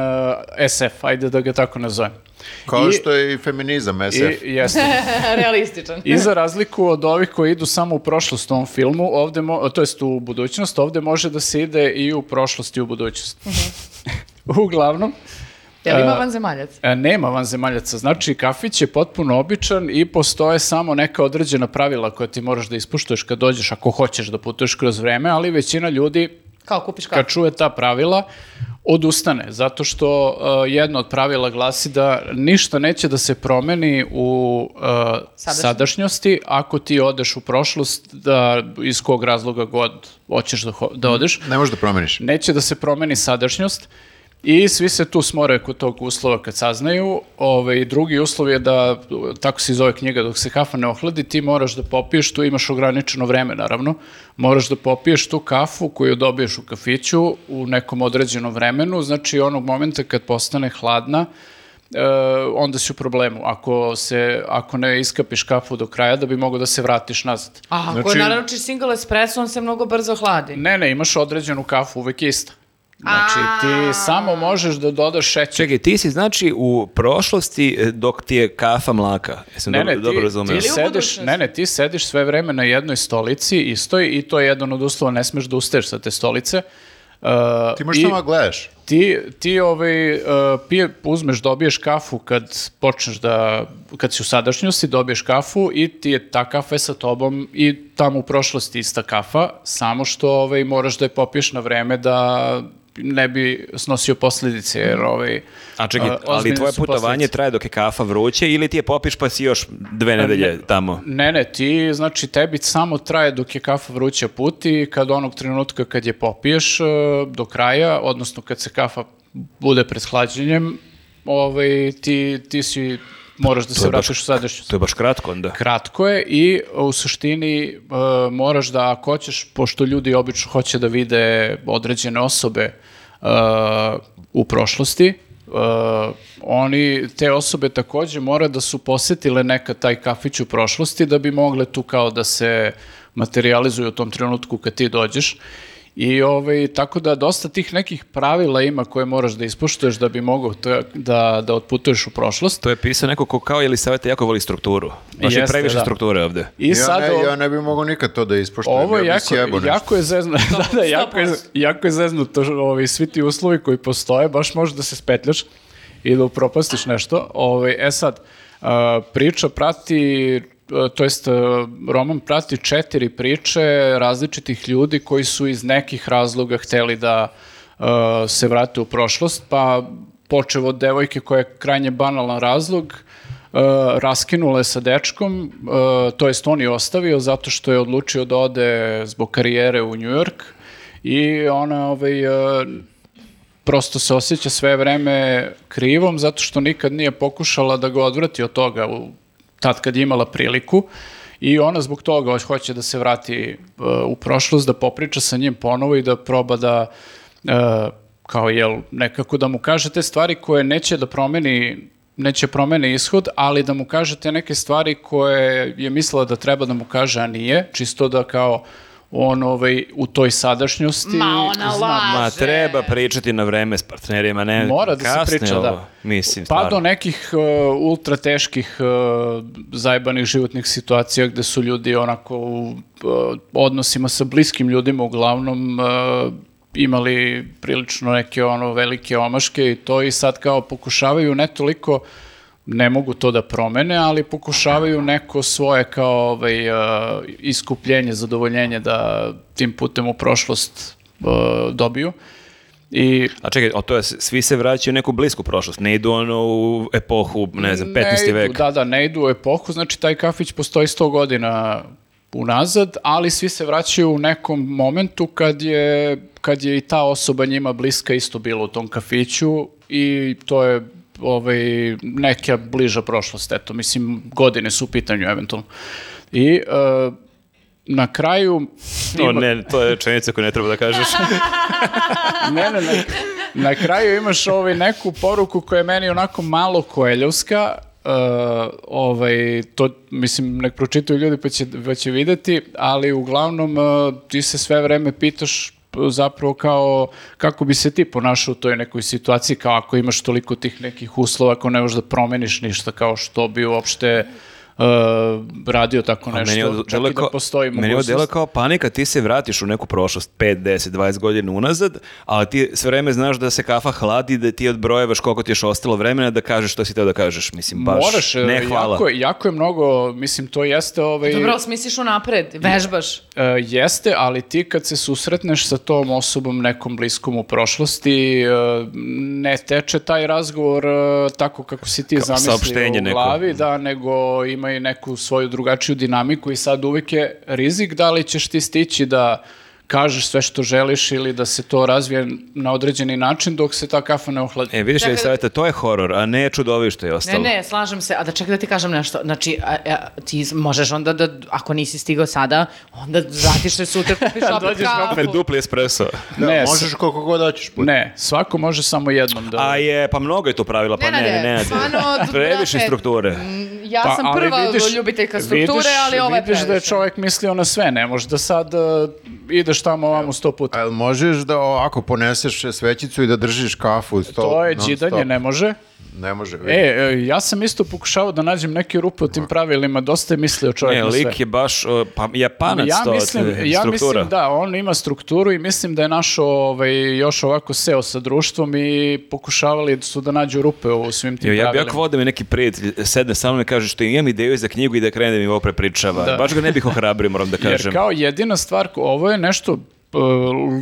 C: e, SF, ajde da ga tako nazovem.
B: Kao
C: I-
B: što je i feminizam, SF.
C: I, jeste.
A: Realističan.
C: I za razliku od ovih koji idu samo u prošlost u ovom filmu, ovde mo, to jest u budućnost, ovde može da se ide i u prošlost i u budućnost. (laughs) Uglavnom,
A: Jel ima vanzemaljac?
C: e, nema vanzemaljaca. Znači, kafić je potpuno običan i postoje samo neka određena pravila koja ti moraš da ispuštuješ kad dođeš, ako hoćeš da putuješ kroz vreme, ali većina ljudi
A: Kao kupiš kao?
C: kad čuje ta pravila, odustane, zato što uh, jedno od pravila glasi da ništa neće da se promeni u uh,
A: Sadašnjosti.
C: sadašnjosti ako ti odeš u prošlost, da iz kog razloga god hoćeš da, ho- da odeš,
B: Ne možeš da promeniš.
C: neće da se promeni sadašnjost i svi se tu smore kod tog uslova kad saznaju. Ove, i drugi uslov je da, tako se zove knjiga, dok se kafa ne ohladi, ti moraš da popiješ tu, imaš ograničeno vreme naravno, moraš da popiješ tu kafu koju dobiješ u kafiću u nekom određenom vremenu, znači onog momenta kad postane hladna, e, onda si u problemu. Ako, se, ako ne iskapiš kafu do kraja, da bi mogao da se vratiš nazad.
A: A ako
B: Znači-
A: naručiš single espresso, on se mnogo brzo hladi.
C: Ne, ne, imaš određenu kafu, uvek je ista. Znači, ti samo možeš da dodaš šećer.
D: Čekaj, ti si znači u prošlosti eh, dok ti je kafa mlaka. Jesam
C: Ne,
D: dobro,
C: ne, ti,
D: dobro
C: ti
D: razumeo.
A: u
C: sediš,
A: budućnosti?
C: ne, ne, ti sediš sve vreme na jednoj stolici i stoji i to je jedan od uslova, ne smeš da ustaješ sa te stolice. Uh,
B: Ti možeš
C: i
B: samo da gledaš.
C: ti, ti ovaj, uh, pije, uzmeš, dobiješ kafu kad počneš da, kad si u sadašnjosti, dobiješ kafu i ti je ta kafa je sa tobom i tamo u prošlosti ista kafa, samo što ovaj, moraš da je popiješ na vreme da ne bi snosio posljedice, jer ovaj,
D: A čekaj,
C: uh,
D: ali
C: ozbiljne
D: tvoje
C: su
D: putovanje
C: posljedice.
D: traje dok je kafa vruće ili ti je popiš pa si još dve nedelje tamo?
C: Ne, ne, ti, znači, tebi samo traje dok je kafa vruća put i kad onog trenutka kad je popiješ e, do kraja, odnosno kad se kafa bude pred hlađenjem, ovaj, ti, ti si, moraš da se
D: je baš-
C: vratiš u sadašnjost.
D: To je baš kratko onda.
C: Kratko je i u suštini e, moraš da ako hoćeš, pošto ljudi obično hoće da vide određene osobe e, u prošlosti, e, oni, te osobe takođe mora da su posetile nekad taj kafić u prošlosti da bi mogle tu kao da se materializuju u tom trenutku kad ti dođeš. I ovaj, tako da dosta tih nekih pravila ima koje moraš da ispoštuješ da bi mogao to- da, da otputuješ u prošlost.
D: To je pisao neko ko kao ili savjeta jako voli strukturu. Baš je
C: Jeste,
D: previše
C: da.
D: strukture ovde.
C: I
B: Ja,
C: sad
B: ne,
C: ov-
B: ja ne bih mogao nikad to da ispoštujem.
C: Ovo je
B: ja bih
C: jako,
B: sjebao nešto.
C: jako je zezno, (laughs) da, da, jako, je, jako je zezno to, što, ovi, svi ti uslovi koji postoje, baš možeš da se spetljaš i da upropastiš nešto. Ovi, e sad, a, priča prati, a, to jest a, roman prati četiri priče različitih ljudi koji su iz nekih razloga hteli da a, se vrate u prošlost, pa počeo od devojke koja je krajnje banalan razlog, e, raskinula je sa dečkom, e, to jest on je ostavio zato što je odlučio da ode zbog karijere u New York i ona ovaj, e, prosto se osjeća sve vreme krivom zato što nikad nije pokušala da ga odvrati od toga u, tad kad je imala priliku i ona zbog toga hoć- hoće da se vrati e, u prošlost, da popriča sa njim ponovo i da proba da e, kao jel nekako da mu kaže te stvari koje neće da promeni neće promeni ishod, ali da mu kaže te neke stvari koje je mislila da treba da mu kaže, a nije, čisto da kao on ovaj, u toj sadašnjosti
A: Ma, ona
C: zna da
A: laže.
D: Ma treba pričati na vreme s partnerima, ne
C: Mora da se
D: kasne
C: priča,
D: ovo.
C: da.
D: Mislim,
C: Pa do
D: stvarno.
C: nekih uh, ultra teških uh, zajbanih životnih situacija gde su ljudi onako u uh, odnosima sa bliskim ljudima uglavnom uh, imali prilično neke ono velike omaške i to i sad kao pokušavaju ne toliko ne mogu to da promene, ali pokušavaju neko svoje kao ovaj, uh, iskupljenje, zadovoljenje da tim putem u prošlost uh, dobiju. I
D: A čekaj, o to je, svi se vraćaju u neku blisku prošlost, ne idu ono u epohu, ne znam, 15.
C: ne idu,
D: vek.
C: Da, da, ne idu u epohu, znači taj kafić postoji 100 godina unazad, ali svi se vraćaju u nekom momentu kad je, kad je i ta osoba njima bliska isto bila u tom kafiću i to je ovaj, neka bliža prošlost, eto, mislim, godine su u pitanju eventualno. I e, na kraju...
D: To,
C: ima-
D: ne, to je rečenica koju ne treba da
C: (laughs)
D: kažeš.
C: ne, ne, ne. Na kraju imaš ovaj neku poruku koja je meni onako malo koeljovska. Uh, ovaj, to, mislim, nek pročitaju ljudi pa će, pa će videti, ali uglavnom uh, ti se sve vreme pitaš p- zapravo kao kako bi se ti ponašao u toj nekoj situaciji, kao ako imaš toliko tih nekih uslova, ako ne možeš da promeniš ništa, kao što bi uopšte uh, radio tako nešto.
D: meni ovo
C: čak i
D: delo
C: da postoji
D: meni ovo delo
C: mogućnost.
D: kao panika, ti se vratiš u neku prošlost 5, 10, 20 godina unazad, ali ti sve vreme znaš da se kafa hladi, da ti odbrojevaš koliko ti je još ostalo vremena da kažeš što si teo da kažeš. Mislim, baš,
C: Moraš, e,
D: ne hvala.
C: Jako, je- jako je mnogo, mislim, to jeste... Ovaj,
A: Pa Dobro, osmisliš unapred, vežbaš.
C: E, jeste, ali ti kad se susretneš sa tom osobom nekom bliskom u prošlosti, e, ne teče taj razgovor e, tako kako si ti
D: saopštenje
C: zamislio u
D: neko.
C: glavi, da, nego ima i neku svoju drugačiju dinamiku i sad uvijek je rizik da li ćeš ti stići da kažeš sve što želiš ili da se to razvije na određeni način dok se ta kafa ne ohladi.
D: E, vidiš,
A: Čekaj,
D: je savjeta, to je horor, a ne čudovište je
A: Ne,
D: ostalo.
A: ne, slažem se. A da čekaj da ti kažem nešto. Znači, a, a, ti z- možeš onda da, ako nisi stigao sada, onda vratiš se
C: (laughs)
A: sutra, kupiš opet
C: Da Dođeš
A: kafu.
D: Opet dupli espresso.
B: Da,
C: ne,
B: možeš
C: s-
B: koliko god hoćeš. puta.
C: ne, svako može samo jednom da...
D: A je, pa mnogo je to pravila, pa ne,
A: Nenade,
D: ne, ne.
A: stvarno, brate.
D: Previše strukture.
A: Mm, Ja
C: Pa,
A: sam
C: ali
A: prva
C: vidiš-
A: ljubiteljka strukture,
C: vidiš-
A: ali ovo je
C: Vidiš da je
A: previše.
C: čovjek mislio na sve, ne možeš da sad uh, ideš tamo ovamo sto puta.
B: A jel možeš da ovako poneseš svećicu i da držiš kafu? Sto,
C: To je
B: non
C: đidanje,
B: stop?
C: ne može.
B: Ne može. vidi.
C: E, e, ja sam isto pokušao da nađem neke rupe u tim pravilima, dosta je mislio čovjek
D: Ne,
C: na sve.
D: E, lik je baš o, pa, japanac
C: Ja
D: to,
C: mislim,
D: te-
C: ja
D: struktura.
C: mislim da, on ima strukturu i mislim da je našao ovaj, još ovako seo sa društvom i pokušavali su da nađu rupe u svim tim
D: Jo, ja bi
C: pravilima.
D: jako vodio da me neki prijatelj sedne sa mnom i kaže što imam ideju za knjigu i da krenem i ovo prepričava. Baš ga ne bih ohrabrio, moram da kažem.
C: Da. Jer kao jedina stvar, ko- ovo je nešto e,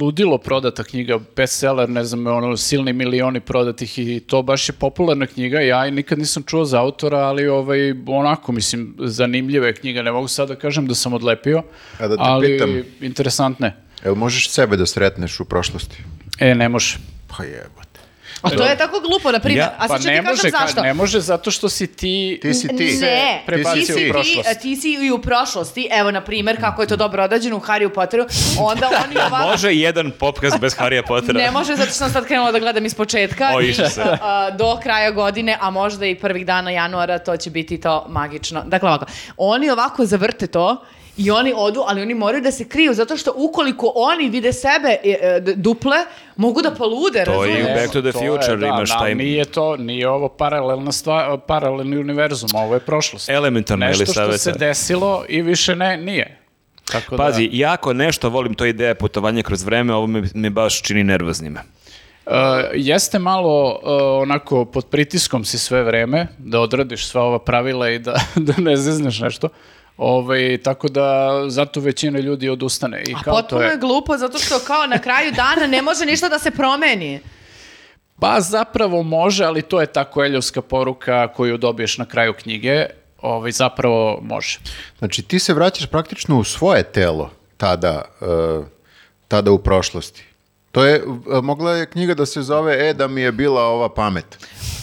C: ludilo prodata knjiga, bestseller, ne znam, ono, silni milioni prodatih i to baš je popularna knjiga, ja i nikad nisam čuo za autora, ali ovaj, onako, mislim, zanimljiva je knjiga, ne mogu sad da kažem da sam odlepio,
B: A da te
C: ali
B: pitam.
C: interesantne.
B: Jel možeš sebe da sretneš u prošlosti?
C: E, ne može.
B: Pa jebote.
A: A to je tako glupo, na primjer.
D: Ja-
A: a
C: Pa
A: sad ću
C: ne
A: ti
C: može,
A: kažem
C: ka-
A: zašto.
C: ne može zato što si ti...
B: Ti si ti.
A: Ne,
C: prebacio
A: ti si,
C: u
A: ti,
C: prošlost.
A: a ti si i u prošlosti. Evo, na primjer, kako je to dobro odrađeno u Harry Potteru, onda oni ovako...
D: Može jedan popkast bez Harija Pottera.
A: Ne može, zato što sam sad krenula da gledam iz početka
D: O,
A: i
D: išlo se.
A: a, do kraja godine, a možda i prvih dana januara, to će biti to magično. Dakle, ovako, oni ovako zavrte to i oni odu, ali oni moraju da se kriju, zato što ukoliko oni vide sebe e, e, d- duple, mogu da polude,
D: To je
A: razumiješ?
D: u Back to the
C: E, je,
D: Future imaš
C: na-
D: taj-
C: Nije to, nije ovo paralelna stvar, paralelni univerzum, ovo je prošlost.
D: Elementarno
C: Nešto
D: ili
C: što
D: saveta.
C: se desilo i više ne, nije. Tako da,
D: Pazi, jako nešto volim to ideja putovanja kroz vreme, ovo me, me baš čini nervoznim.
C: da, e, jeste malo e, onako pod pritiskom si sve vreme da odradiš sva ova pravila i da, (laughs) da ne zezneš nešto. Ovaj, tako da zato većina ljudi odustane. I
A: A
C: kao to
A: potpuno je glupo, zato što kao na kraju dana ne može ništa da se promeni.
C: Pa zapravo može, ali to je ta koeljovska poruka koju dobiješ na kraju knjige. Ovaj, zapravo može.
B: Znači ti se vraćaš praktično u svoje telo tada, e, tada u prošlosti. To je, e, mogla je knjiga da se zove E da mi je bila ova pamet.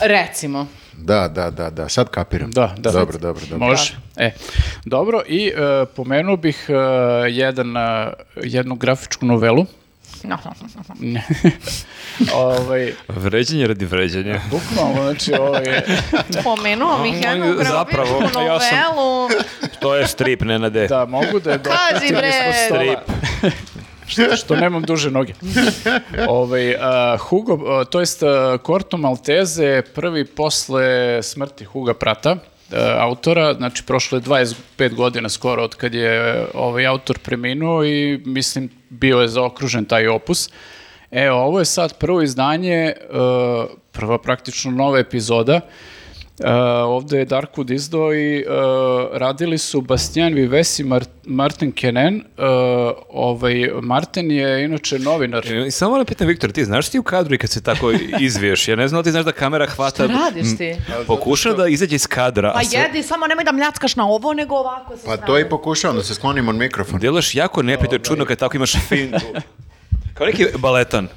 A: Recimo.
B: Da, da, da, da, sad kapiram.
C: Da, da.
B: Dobro, dobro, dobro.
C: Može.
A: Da.
C: E, dobro, i e, pomenuo bih e, jedan, e, jednu grafičku
A: (laughs)
C: novelu.
A: No.
C: ovaj,
D: Vređanje radi vređanja.
C: bukvalno, znači, ovaj,
A: Pomenuo mi jednu
D: Zapravo,
A: grafičku
D: ja sam-
A: novelu.
D: to je strip, Nenade.
C: da mogu da je
A: Kaži,
C: dohvatim
A: bre.
C: ispod stola. (laughs) što, što nemam duže
A: (laughs)
C: noge. (laughs) Ovaj, e, Hugo, e, to jest e, Corto Maltese, je prvi posle smrti Huga Prata, e, autora, znači prošlo je 25 godina skoro od kad je e, ovaj autor preminuo i mislim bio je zaokružen taj opus. E, ovo je sad prvo izdanje, e, prva praktično nova epizoda Uh, ovde je Darkud izdao i uh, radili su Bastian Vives i Mar- Martin Kenen. Uh, ovaj, Martin je inače novinar.
D: E, Samo moram pitam, Viktor, ti znaš ti u kadru i kad se tako izviješ? Ja ne znam, da li ti znaš da kamera hvata...
A: Šta radiš ti?
D: Pokuša da izađe iz kadra,
A: Pa
D: a sve...
A: jedi, samo nemoj da mljackaš na ovo, nego ovako sa
B: Pa
A: strane.
B: to i pokušavam da se sklonim od mikrofona.
D: Delaš jako neprijatno
C: Ovaj.
D: i čudno kad
C: (laughs)
D: tako imaš fintu. Kao neki baletan.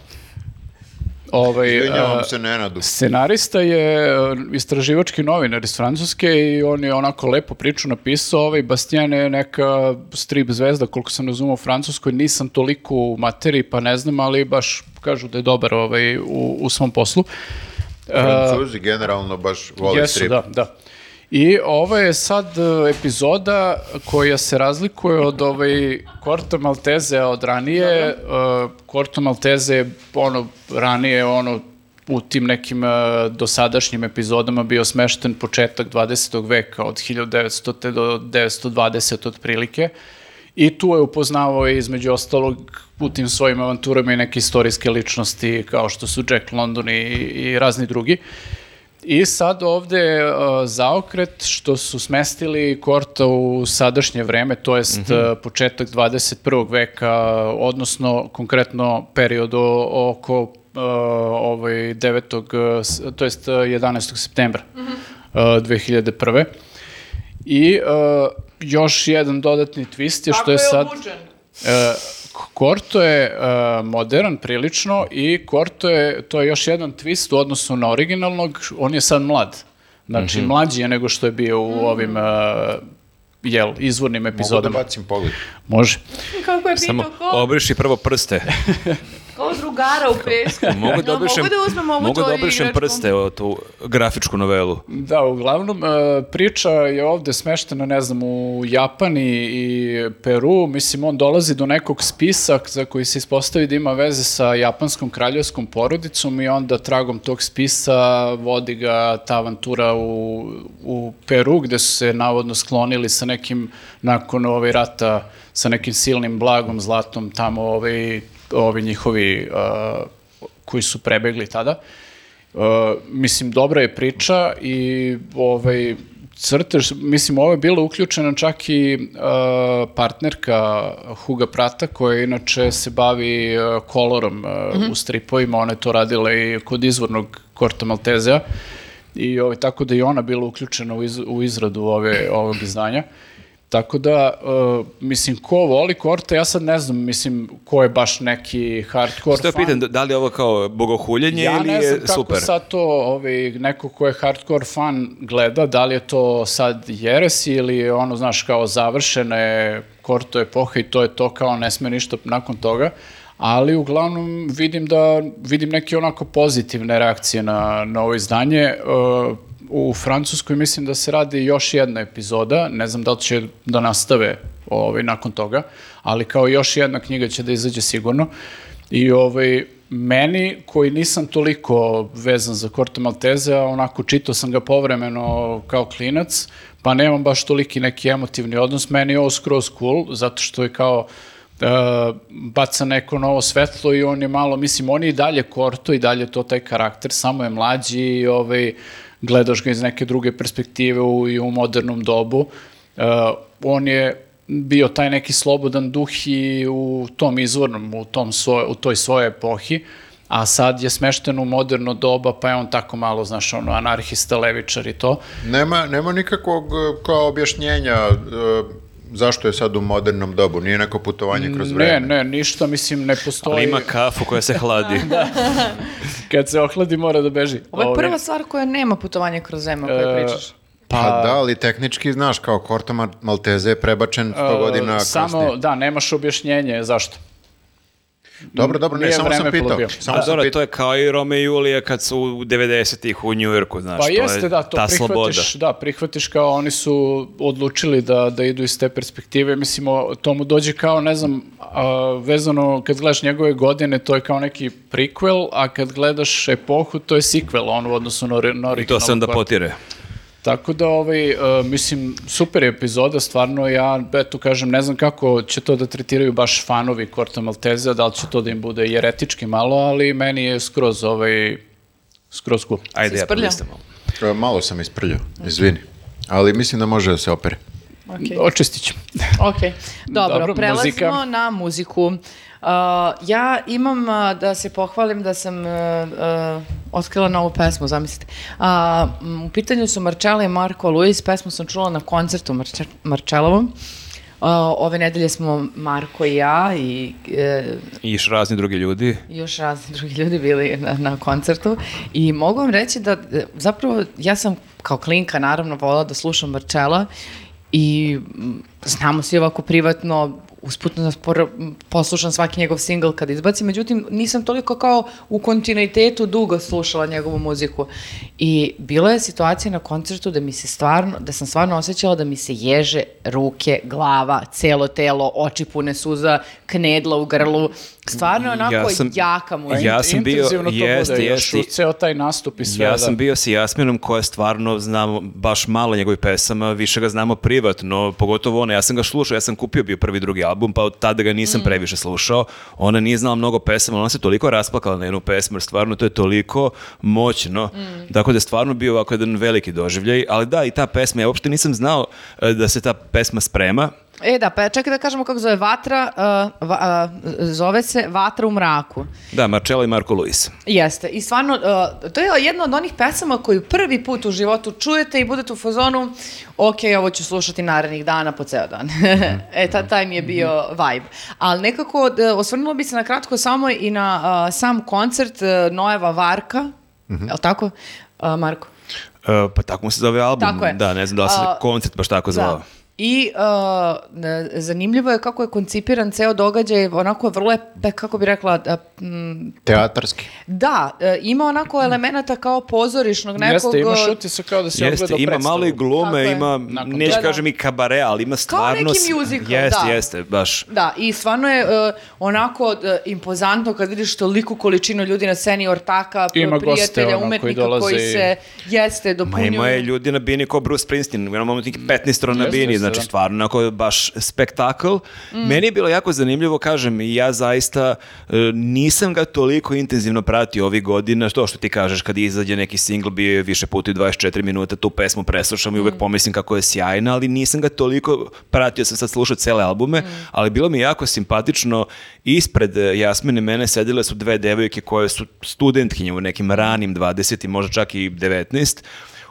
C: Ovaj,
B: Izvinjavam
C: uh,
B: se Nenadu.
C: Scenarista je uh, istraživački novinar iz Francuske i on je onako lepo priču napisao. Ovaj Bastian je neka strip zvezda, koliko sam razumao u Francuskoj. Nisam toliko u materiji, pa ne znam, ali baš kažu da je dobar ovaj, u, u svom poslu.
B: Francuzi generalno baš vole
C: e, Jesu,
B: strip.
C: da, da. I ovo je sad e, epizoda koja se razlikuje od ovaj Korto Malteze od ranije. E, Korto Malteze je ono ranije ono u tim nekim e, dosadašnjim epizodama bio smešten početak 20. veka od 1900. do 920. otprilike. I tu je upoznavao i, između ostalog u tim svojim avanturama i neke istorijske ličnosti kao što su Jack London i, i razni drugi. I sad ovde je uh, zaokret što su smestili Korta u sadašnje vreme, to jest uh, početak 21. veka, odnosno konkretno period o, oko uh, ovaj 9. s- to jest uh, 11. septembra uh, 2001. I uh, još jedan dodatni twist je što je sad... E, K- Korto je e, modern prilično i Korto je, to je još jedan twist u odnosu na originalnog, on je sad mlad. Znači, mlađi je nego što je bio u ovim e, jel, izvornim
B: Mhm. Mogu da
C: epizodama.
B: bacim pogled.
C: Može.
A: Kako je pitao
D: Samo
A: ko?
D: obriši prvo
A: (laughs)
D: prste.
A: Kao drugara u pesku.
D: (laughs) Mogu da
A: Ja
D: obrišem,
A: mogu da uzmem ovu
D: mogu da
A: tvoju
D: obrišem
A: igračku?
D: prste o tu grafičku novelu.
C: Da, uglavnom, e, priča je ovde smeštena, ne znam, u Japan i, i Peru. Mislim, on dolazi do nekog spisa za koji se ispostavi da ima veze sa japanskom kraljevskom porodicom i onda tragom tog spisa vodi ga ta avantura u, u Peru, gde su se navodno sklonili sa nekim, nakon ove rata, sa nekim silnim blagom, zlatom, tamo ovi, ovi njihovi e, koji su prebegli tada. Uh, mislim, dobra je priča i ovaj, crtež, mislim, ovo je bila uključena čak i uh, partnerka Huga Prata, koja inače se bavi uh, kolorom uh, u stripovima, ona je to radila i kod izvornog Korta Maltezea, i ovaj, tako da i ona bila uključena u, iz, u izradu ove, ovog izdanja. Tako da, uh, mislim, ko voli Korta, ja sad ne znam, mislim, ko je baš neki hardcore
D: Što
C: fan.
D: pitam, da- da li je ovo kao bogohuljenje
C: Ja
D: ili
C: ne
D: je
C: znam kako
D: super?
C: sad to ovaj, neko ko je hardcore fan gleda, da li je to sad jeres ili je ono, znaš, kao završene korto epohe i to je to kao ne sme ništa nakon toga, ali uglavnom vidim da vidim neke onako pozitivne reakcije na, na ovo izdanje. E, u Francuskoj mislim da se radi još jedna epizoda, ne znam da li će da nastave ovaj, nakon toga, ali kao još jedna knjiga će da izađe sigurno. I ovaj, meni, koji nisam toliko vezan za Korte Malteze, a onako čitao sam ga povremeno kao klinac, pa nemam baš toliki neki emotivni odnos. Meni je ovo skroz cool, zato što je kao e, baca neko novo svetlo i on je malo, mislim, on je i dalje Korto, i dalje to taj karakter, samo je mlađi i ovaj, gledaš ga iz neke druge perspektive u, i u modernom dobu. E, on je bio taj neki slobodan duh i u tom izvornom, u, tom svoj, u toj svojoj epohi, a sad je smešten u moderno doba, pa je on tako malo, znaš, ono, anarhista, levičar i to.
B: Nema, nema nikakvog e, kao objašnjenja e, zašto je sad u modernom dobu. Nije neko putovanje kroz vreme.
C: Ne, ne, ništa, mislim, ne postoji.
D: Ali ima kafu koja se
C: (laughs)
D: hladi.
C: Da, Kad se ohladi, mora da beži.
A: Ovo je
C: Ovaj,
A: prva stvar koja nema putovanje kroz zemlju, o kojoj
C: e,
A: pričaš.
B: Pa, da, ali tehnički, znaš, kao Korto Mar- Malteze je prebačen 100 godina
C: Uh, Samo,
B: kasnije.
C: da, nemaš objašnjenje zašto.
B: Dobro, dobro, ne,
C: nije
B: samo sam
C: vreme
B: pitao.
C: polubio.
B: Samo
D: A
B: sam
D: dobro,
B: pitao.
D: to je kao i Rome i Julija kad su u 90-ih u Njujorku, znaš,
C: Pa
D: to
C: jeste,
D: je
C: da, to
D: ta
C: prihvatiš,
D: sloboda.
C: da, prihvatiš kao oni su odlučili da, da idu iz te perspektive, mislim, o- to mu dođe kao, ne znam, a, vezano, kad gledaš njegove godine, to je kao neki prequel, a kad gledaš epohu, to je sequel, on u odnosu na, ori- na
D: I to
C: originalnu
D: se onda
C: kvar-
D: potire.
C: Tako da, ovaj, e, mislim, super je epizoda, stvarno ja, eto, kažem, ne znam kako će to da tretiraju baš fanovi Korta Malteza, da li će to da im bude jeretički malo, ali meni je skroz, ovaj, skroz cool.
D: Ajde,
A: Si
D: ja
A: sprljao?
D: prolistam malo.
B: E, Malo sam isprljao, izvini. Ali mislim da može da se opere.
A: Okej.
C: Očistit ćemo.
A: (laughs) Ok, dobro,
C: Dobro,
A: prelazimo
C: muzika.
A: na muziku. Uh, ja imam uh, da se pohvalim da sam uh, uh, otkrila novu pesmu, zamislite. Uh, m, u pitanju su Marčela i Marko Luis, pesmu sam čula na koncertu Marče, Marčelovom. Uh, ove nedelje smo Marko i ja i e,
D: I još razni drugi ljudi.
A: još razni drugi ljudi bili na, na koncertu i mogu vam reći da e, zapravo ja sam kao klinka naravno volala da slušam Marčela i mm, znamo svi ovako privatno usputno da por- m, poslušam svaki njegov singl kad izbaci, međutim nisam toliko kao u kontinuitetu dugo slušala njegovu muziku i bila je situacija na koncertu da mi se stvarno, da sam stvarno osjećala da mi se ježe ruke, glava, celo telo, oči pune suza, knedla u grlu, stvarno je onako
D: Ja sam-
A: jaka mu je.
D: Ja sam bio-
C: Pa Intenzivno to
D: jeste,
C: bude još,
D: jeste.
C: uz ceo taj nastup i sve.
D: ja
C: da.
D: sam bio sa Jasminom koja stvarno znamo baš malo njegovih pesama, više ga znamo privatno, pogotovo ona, ja sam ga slušao, ja sam kupio bio prvi i drugi album, pa od tada ga nisam
A: Mm.
D: previše slušao. Ona nije znala mnogo pesama, ona se toliko rasplakala na jednu pesmu, jer stvarno to je toliko moćno.
A: Mm.
D: Tako da je stvarno bio ovako jedan veliki doživljaj, ali da, i ta pesma, ja uopšte nisam znao e, da se ta pesma sprema,
A: E da, pa čekaj da kažemo kako zove Vatra, uh, va- uh, zove se Vatra u mraku.
D: Da, Marcello i Marko Luis.
A: Jeste, i stvarno, uh, to je jedna od onih pesama koju prvi put u životu čujete i budete u fazonu, ok, ovo ću slušati narednih dana po ceo dan. (laughs) e, ta, taj mi je bio vibe. Ali nekako, d- osvrnula bi se na kratko samo i na uh, sam koncert uh, Noeva Varka,
D: Mhm.
A: je li tako, uh, Marko?
D: E, pa tako mu se zove album.
A: Tako je.
D: Da, ne znam da li se
A: A,
D: koncert baš tako zvao.
A: Da. I uh, ne- zanimljivo je kako je koncipiran ceo događaj, onako vrlo je, pe- kako bi rekla, da, mm,
B: Teatarski.
A: da, e, ima onako elemenata kao pozorišnog nekog...
C: Jeste, imaš
A: e,
C: utisak kao da si
D: Jeste,
C: ogledao
D: ima
C: predstavu.
D: malo i
A: Tako
D: glume,
A: je.
D: ima,
C: Nakon
D: neću
A: toga.
D: kažem i kabare, ali ima stvarno...
A: neki
D: s-
A: musical,
D: jeste,
A: da.
D: Jeste, baš.
A: Da, i stvarno je e, onako e, impozantno kad vidiš toliku količinu ljudi na sceni, ortaka,
C: Ima
A: prijatelja,
C: goste, ono, koji
A: umetnika koji,
C: dolaze i-
A: se jeste
D: Ma
A: dopunjuju.
D: ima je ljudi na bini kao Bruce Springsteen, u jednom momentu neki 15 na
C: Jeste,
D: bini,
C: jeste,
D: znači
C: da.
D: stvarno onako baš spektakl. Meni je bilo jako zanimljivo, kažem, i ja zaista e, nisam ga toliko intenzivno pratio ovih godina, to što ti kažeš, kad izađe neki singl, bio je više puta i 24 minuta, tu pesmu preslušam i uvek pomislim kako je sjajna, ali nisam ga toliko pratio, sam sad slušao cele albume, ali bilo mi je jako simpatično, ispred e, Jasmine mene sedile su dve devojke koje su studentkinje u nekim ranim 20 možda čak i 19,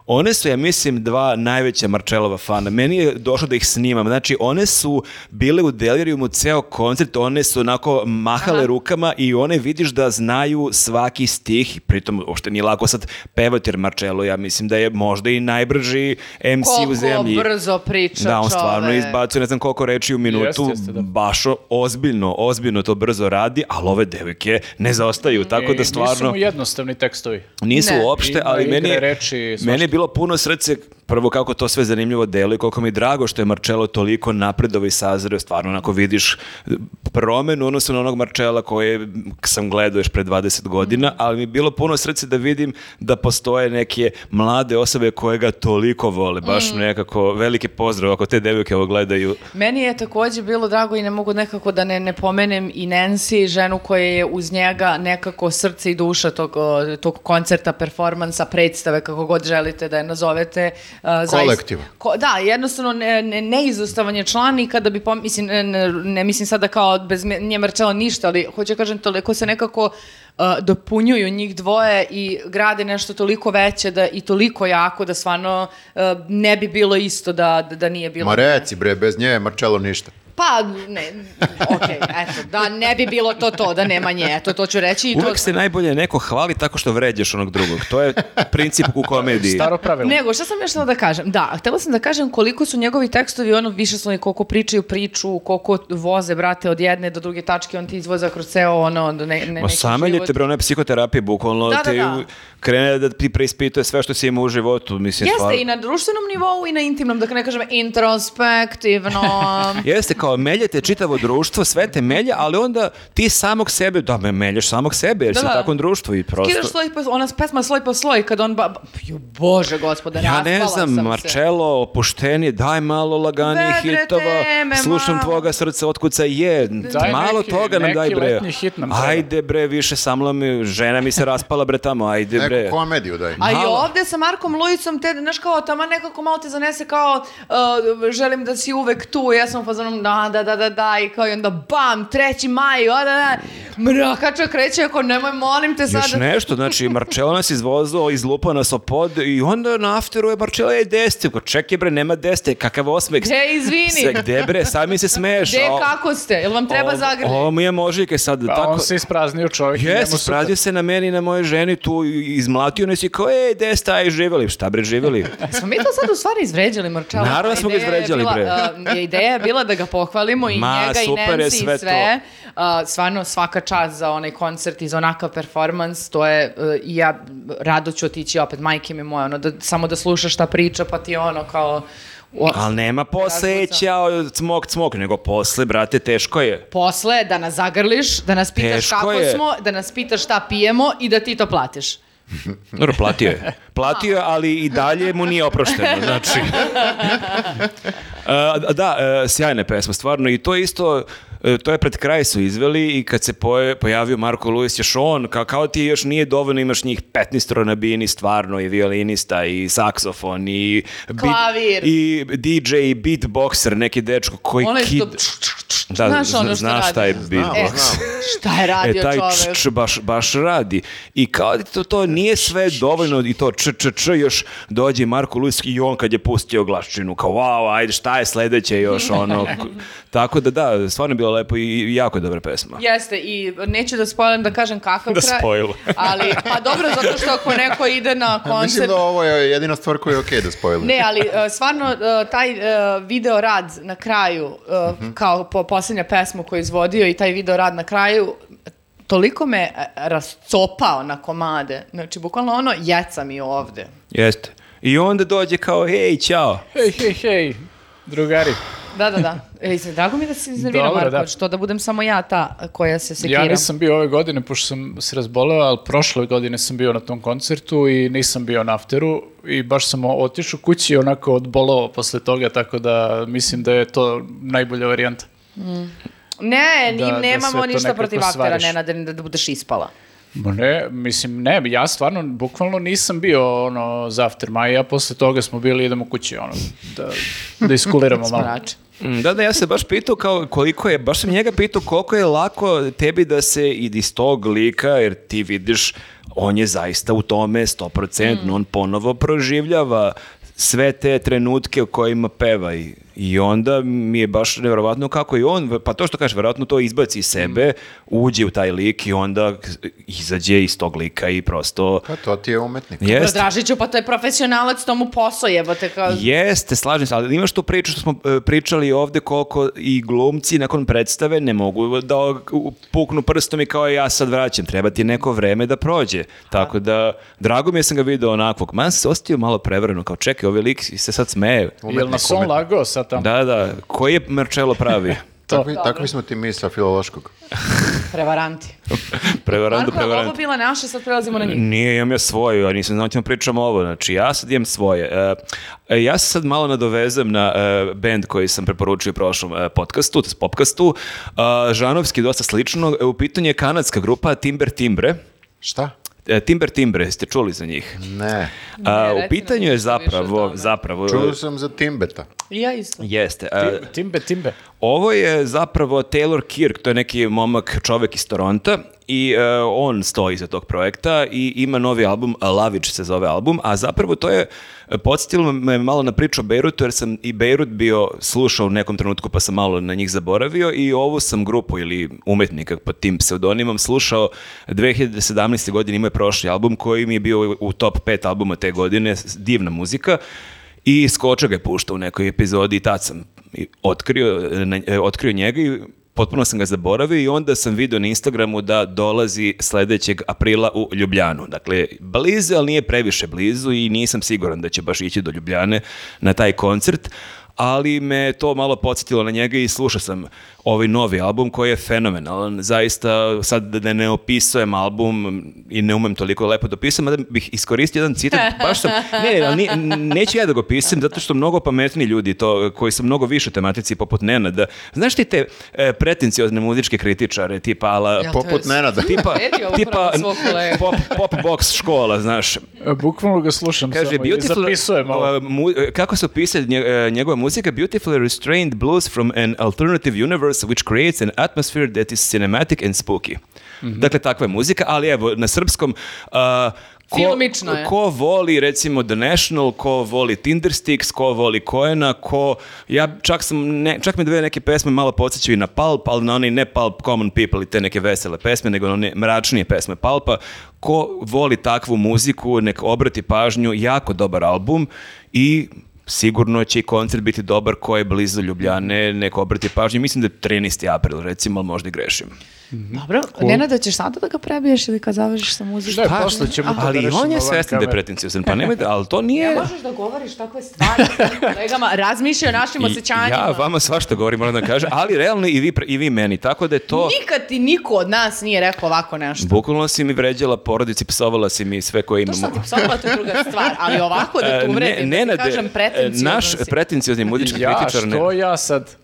D: one su, ja mislim, dva najveća Marčelova fana. Meni je došlo da ih snimam. Znači, one su bile u delirijumu ceo koncert, one su onako mahale rukama i one vidiš da znaju svaki stih, pritom uopšte nije lako sad pevati jer Marcello, ja mislim da je možda i najbrži MC u zemlji.
A: Koliko brzo priča
D: Da, on stvarno
A: čovek.
D: izbacuje ne znam koliko reči u minutu,
C: Jeste, jeste, da.
D: baš o- ozbiljno, ozbiljno to brzo radi, ali ove devojke ne zaostaju, tako
C: I
D: da
C: E, Nisu
D: stvarno...
C: mu jednostavni tekstovi.
D: Nisu
A: Ne.
D: uopšte,
C: Ima
D: ali
C: igre
D: meni je,
C: reči i svašta.
D: meni je bilo puno srce prvo kako to sve zanimljivo deluje, koliko mi je drago što je Marcello toliko napredovao i sazreo, stvarno onako vidiš promenu u odnosu na onog Marcella koje sam gledao još pre 20 godina,
A: Mm.
D: ali mi je bilo puno srce da vidim da postoje neke mlade osobe koje ga toliko vole, baš
A: Mm.
D: nekako veliki pozdrav ako te devojke ovo gledaju.
A: Meni je takođe bilo drago i ne mogu nekako da ne, ne pomenem i Nancy, ženu koja je uz njega nekako srce i duša tog, o, tog koncerta, performansa, predstave, kako god želite da je nazovete. a, zaista-
B: Kolektiva.
A: Ko- da, jednostavno ne, ne, neizostavan je član i kada bi, pom- mislim, ne, ne, ne mislim sada kao bez me- nje Marcelo ništa, ali hoću da kažem, toliko se nekako a, dopunjuju njih dvoje i grade nešto toliko veće da, i toliko jako da stvarno a, ne bi bilo isto da, da, da nije bilo.
B: Ma reci bre, bez nje Marcello ništa.
A: Pa, ne, okej, eto, da ne bi bilo to to, da nema nje, eto, to ću reći i to...
D: Uvek se najbolje neko hvali tako što vređaš onog drugog. To je princip u komediji.
C: Staro pravilo.
A: Nego, šta sam još htjela da kažem? Da, htjela sam da kažem koliko su njegovi tekstovi, ono, više su koliko pričaju priču, koliko voze, brate, od jedne do druge tačke, on ti izvoza kroz ceo, ono, do ne, ne,
D: Ma
A: neki
D: sama
A: život.
D: ljete, bre, ona je psihoterapija, bukvalno
A: Da, da,
D: te
A: da.
D: u- krene da ti preispituje sve što si imao u životu, mislim,
A: Jeste
D: stvarno. (laughs)
A: i na društvenom nivou i na intimnom, da ne kažem introspektivno.
D: Jeste, kao meljete čitavo društvo, sve te melje, ali onda ti samog sebe, da me melješ samog sebe, jer
A: Da,
D: si u
A: da.
D: takvom društvu i prosto...
A: Skidaš sloj po, ona pesma sloj po sloj, kad on ba... ba- Jo, bože, gospode,
D: Ja
A: raspala
D: ne znam,
A: sam se.
D: Marcello, opušteni, daj malo laganijih
A: Vedre
D: hitova,
A: teme,
D: slušam
A: malo.
D: tvoga srca, otkuca je,
C: Daj
D: malo
C: neki-
D: toga nam
C: neki
D: daj bre.
C: letnji hit nam treba.
D: Ajde bre, više samla mi, žena mi se raspala bre tamo, ajde bre.
B: Neku komediju daj.
A: A i
D: Malo.
A: ovde sa Markom Lujicom, te, znaš kao, tamo nekako malo te zanese kao, uh, želim da si uvek tu, ja sam u fazonu, da, da, da, da, da, i kao i onda bam, treći maj, o, da, da, mrakača kreće, ako nemoj, molim te sad.
D: Još nešto, znači Marcello nas izvozao, izlupao nas o pod i onda na afteru je Marcello je deste. Ko, Čekaj bre, nema deste, kakav osmeh.
A: Gde, E, izvini,
D: Se, gde bre, sami se smeješ.
A: gde,
D: a-
A: kako ste, jel vam treba
D: ovo-
A: zagrlje?
D: Ovo mi je možike sad.
C: Pa
D: tako,
C: on se ispraznio čovjek. i njemu
D: Jes,
C: super.
D: ispradio se na meni i na moje ženi tu i izmlatio nas i kao, ej, gde ste, aj, živjeli, šta bre,
A: (laughs)
D: živjeli?
A: Smo mi to sad u stvari izvređali, Marčala.
D: Naravno da smo ga izvređali,
A: ideja je bila da ga pohvalimo i
D: Ma,
A: njega i
D: super je
A: Nancy
D: sve
A: i sve. Uh, stvarno svaka čast za onaj koncert i za onakav performans. To je, uh, i ja rado ću otići opet, majke mi moje, ono, da, samo da slušaš šta priča, pa ti ono kao... o-
D: Ali nema poseća, cmok, cmok, nego posle, brate, teško je.
A: Posle da nas zagrliš, da nas pitaš
D: Teško
A: kako
D: je.
A: smo, da nas pitaš šta pijemo i da ti to platiš.
D: Dobro, platio je. (laughs) Platio je, ali i dalje mu nije oprošteno, (laughs) znači. E, da, e, sjajna pesma, stvarno, i to je isto, e, to je pred kraj su izveli i kad se poje- pojavio Marko Luis, još on, kao, kao ti još nije dovoljno, imaš njih 15 na bini, stvarno, i violinista, i saksofon, i... bit-
A: Klavir.
D: I DJ, i beatboxer, neki dečko koji
A: Ono je
D: kid...
A: što...
D: Da,
A: znaš
D: zna-
A: ono što
D: znaš šta
A: radi.
D: je
B: Znamo,
D: beatbox.
B: znamo.
A: E, Šta je radio
D: E, taj
A: čovek?
D: č, baš, baš radi. I kao da to, to nije sve dovoljno i to č, č, č, još dođe Marko Luis i on kad je pustio glasčinu, kao wow, ajde šta je sledeće još
A: (laughs)
D: ono. K- Tako da da, stvarno je bilo lepo i jako je dobra pesma.
A: Jeste, i neću da spoilim da kažem kakav
D: Da
A: kraj.
D: spoilujem.
A: (laughs) ali, pa dobro, zato što ako neko ide na
B: Mislim
A: koncert...
B: da ovo je jedina stvar koju je okej da spojili.
A: Ne, ali e, stvarno e, taj e, video rad na kraju, e, kao po posljednja pesmu koju je izvodio i taj video rad na kraju, toliko me e, rascopao na komade. Znači, bukvalno ono, jeca mi ovde.
D: Jeste. I onda dođe kao, hej, čao.
C: Hej, hej, hej, drugari.
A: Da, da, da. E, izvini, drago mi je da si iznervirao,
C: Dobro,
A: Marko,
C: da.
A: što da budem samo ja ta koja se sekiram.
C: Ja nisam bio ove godine, pošto sam se razboleo, ali prošle godine sam bio na tom koncertu i nisam bio na afteru i baš sam otišao kući i onako odbolovao posle toga, tako da mislim da je to najbolja varijanta.
A: Ne, ni-
C: Da, da sve
A: nemamo
C: to
A: ništa
C: nekako
A: protiv aftera,
C: svariš.
A: Nenade, da, da budeš ispala.
C: Ma ne, mislim, ne, ja stvarno, bukvalno nisam bio ono, za after maja, posle toga smo bili, idemo kući, ono, da,
A: (laughs)
C: da iskuliramo malo.
A: Smarači.
D: Mm, Da, da, ja se baš pitao kao koliko je, baš sam njega pitao koliko je lako tebi da se i iz tog lika, jer ti vidiš, on je zaista u tome 100%, on ponovo proživljava sve te trenutke u kojima peva i, i onda mi je baš nevjerovatno kako i on, pa to što kažeš, verovatno to izbaci iz sebe, uđe u taj lik i onda izađe iz tog lika i prosto...
B: Pa to ti je umetnik.
A: Dobro,
D: Jeste,
A: Dražiću, pa to je profesionalac, to mu posao jebote. Kao...
D: Jeste, slažem se, ali imaš tu priču što smo e, pričali ovde koliko i glumci nakon predstave ne mogu da o- u- puknu prstom i kao ja sad vraćam, treba ti neko vreme da prođe. Tako da, drago mi je da sam ga video onakvog. Man se ostio malo prevrano, kao čekaj, ovaj lik se sad smeje.
C: Jel nas on lagao sad tamo?
D: Da, da, koji je Marcello pravi?
B: Takvi, takvi smo ti mi sa filološkog.
A: Prevaranti. Mm.
D: Prevarant do
A: Marko, je li ovo
D: prevaranta.
A: bila naša, sad prelazimo na njih.
D: Nije, imam ja svoju, ja nisam znao ti vam pričam ovo, znači ja sad imam svoje. E, ja se sad malo nadovezam na e, band koji sam preporučio u prošlom e, podcastu, to jest popcastu. E, žanovski dosta slično, E, u pitanju je kanadska grupa Timber Timbre.
B: Šta?
D: E, Timber Timbre, ste čuli za njih?
B: Ne.
D: A,
A: reci
D: u
A: nam
D: pitanju je
A: nešto više o
D: zapravo,
A: tome.
D: zapravo...
B: Čuo sam za Timbeta.
A: I ja isto.
D: Jeste. e,
C: Ti- Timbe, timbe.
D: Ovo je zapravo Taylor Kirk, to je neki momak čovek iz Toronta i e, on stoji iza tog projekta i ima novi album, Lavić se zove album, a zapravo to je, e, podsjetilo me malo na priču o Beirutu, jer sam i Beirut bio slušao u nekom trenutku pa sam malo na njih zaboravio i ovu sam grupu ili umetnika pod tim pseudonimom slušao 2017. godine imao je prošli album koji mi je bio u top 5 albuma te godine, s- divna muzika i Skoča ga je puštao u nekoj epizodi i tad sam i otkrio, e, na- e, otkrio njega i potpuno sam ga zaboravio i onda sam video na Instagramu da dolazi sledećeg aprila u Ljubljanu. Dakle, blizu, ali nije previše blizu i nisam siguran da će baš ići do Ljubljane na taj koncert, ali me to malo podsjetilo na njega i slušao sam ovaj novi album koji je fenomenalan. Zaista, sad da ne opisujem album i ne umem toliko lepo da opisujem, mada bih iskoristio jedan
A: (laughs)
D: citat, baš sam, ne, ne, ali nije- neću ja da ga opisujem, zato što mnogo pametni ljudi to, koji su mnogo više u tematici, poput Nenada. Znaš ti te e, pretenciozne muzičke kritičare, tipa Ala
A: Jel to je
B: Poput Nenada.
D: tipa,
A: Eti ovo
D: tipa
A: pravo svog kolegu.
D: pop, pop box škola, znaš.
C: E, Bukvalno ga slušam
D: Da. Kaže,
C: samo i
D: beautiful,
C: zapisujem ovo.
D: uh, mu- uh, kako se opisuje nje- uh, njegova muzika? Beautifully restrained blues from an alternative universe which creates an atmosphere that is cinematic and spooky.
C: Mhm.
D: Dakle, takva je muzika, ali evo, na srpskom... uh, Ko,
A: Filmično je.
D: ko voli recimo The National, ko voli Tindersticks, ko voli Koena, ko... Ja čak sam, ne, čak mi dve neke pesme malo podsjećaju i na Pulp, ali na one ne Pulp Common People i te neke vesele pesme, nego na one mračnije pesme Pulpa. Ko voli takvu muziku, nek obrati pažnju, jako dobar album i sigurno će i koncert biti dobar ko je blizu Ljubljane, nek obrati pažnju. Mislim da je 13. april recimo, ali možda i grešim. Mhm.
A: Dobro, Nenada, ćeš sada da ga prebiješ ili kad završiš sa muzikom?
C: Šta je, posle ćemo to da
D: ali
C: rešimo
D: on je
C: van
D: svestan da je
C: kamere.
D: pretenciozan, pa nemojte, ali to nije...
A: Ne možeš da govoriš takve
D: (laughs)
A: stvari s tim kolegama, razmišljaj o našim
D: I-
A: osjećanjima.
D: Ja vama svašta govorim, moram da kažem, ali realno i vi, pre- i vi meni, tako da je to...
A: Nikad ti niko od nas nije rekao ovako nešto.
D: Bukvalno si mi vređala porodici, psovala si mi sve koje
A: To što
D: imamo.
A: sam ti psovala, to je druga stvar, ali ovako da te
D: E,
A: uvredim, da ti
D: Nenade,
A: kažem
D: e,
A: pretenciozno
D: Naš
A: si.
D: pretencijozni muzički
C: Ja, da.
D: kritičar ne...
C: što ja sad?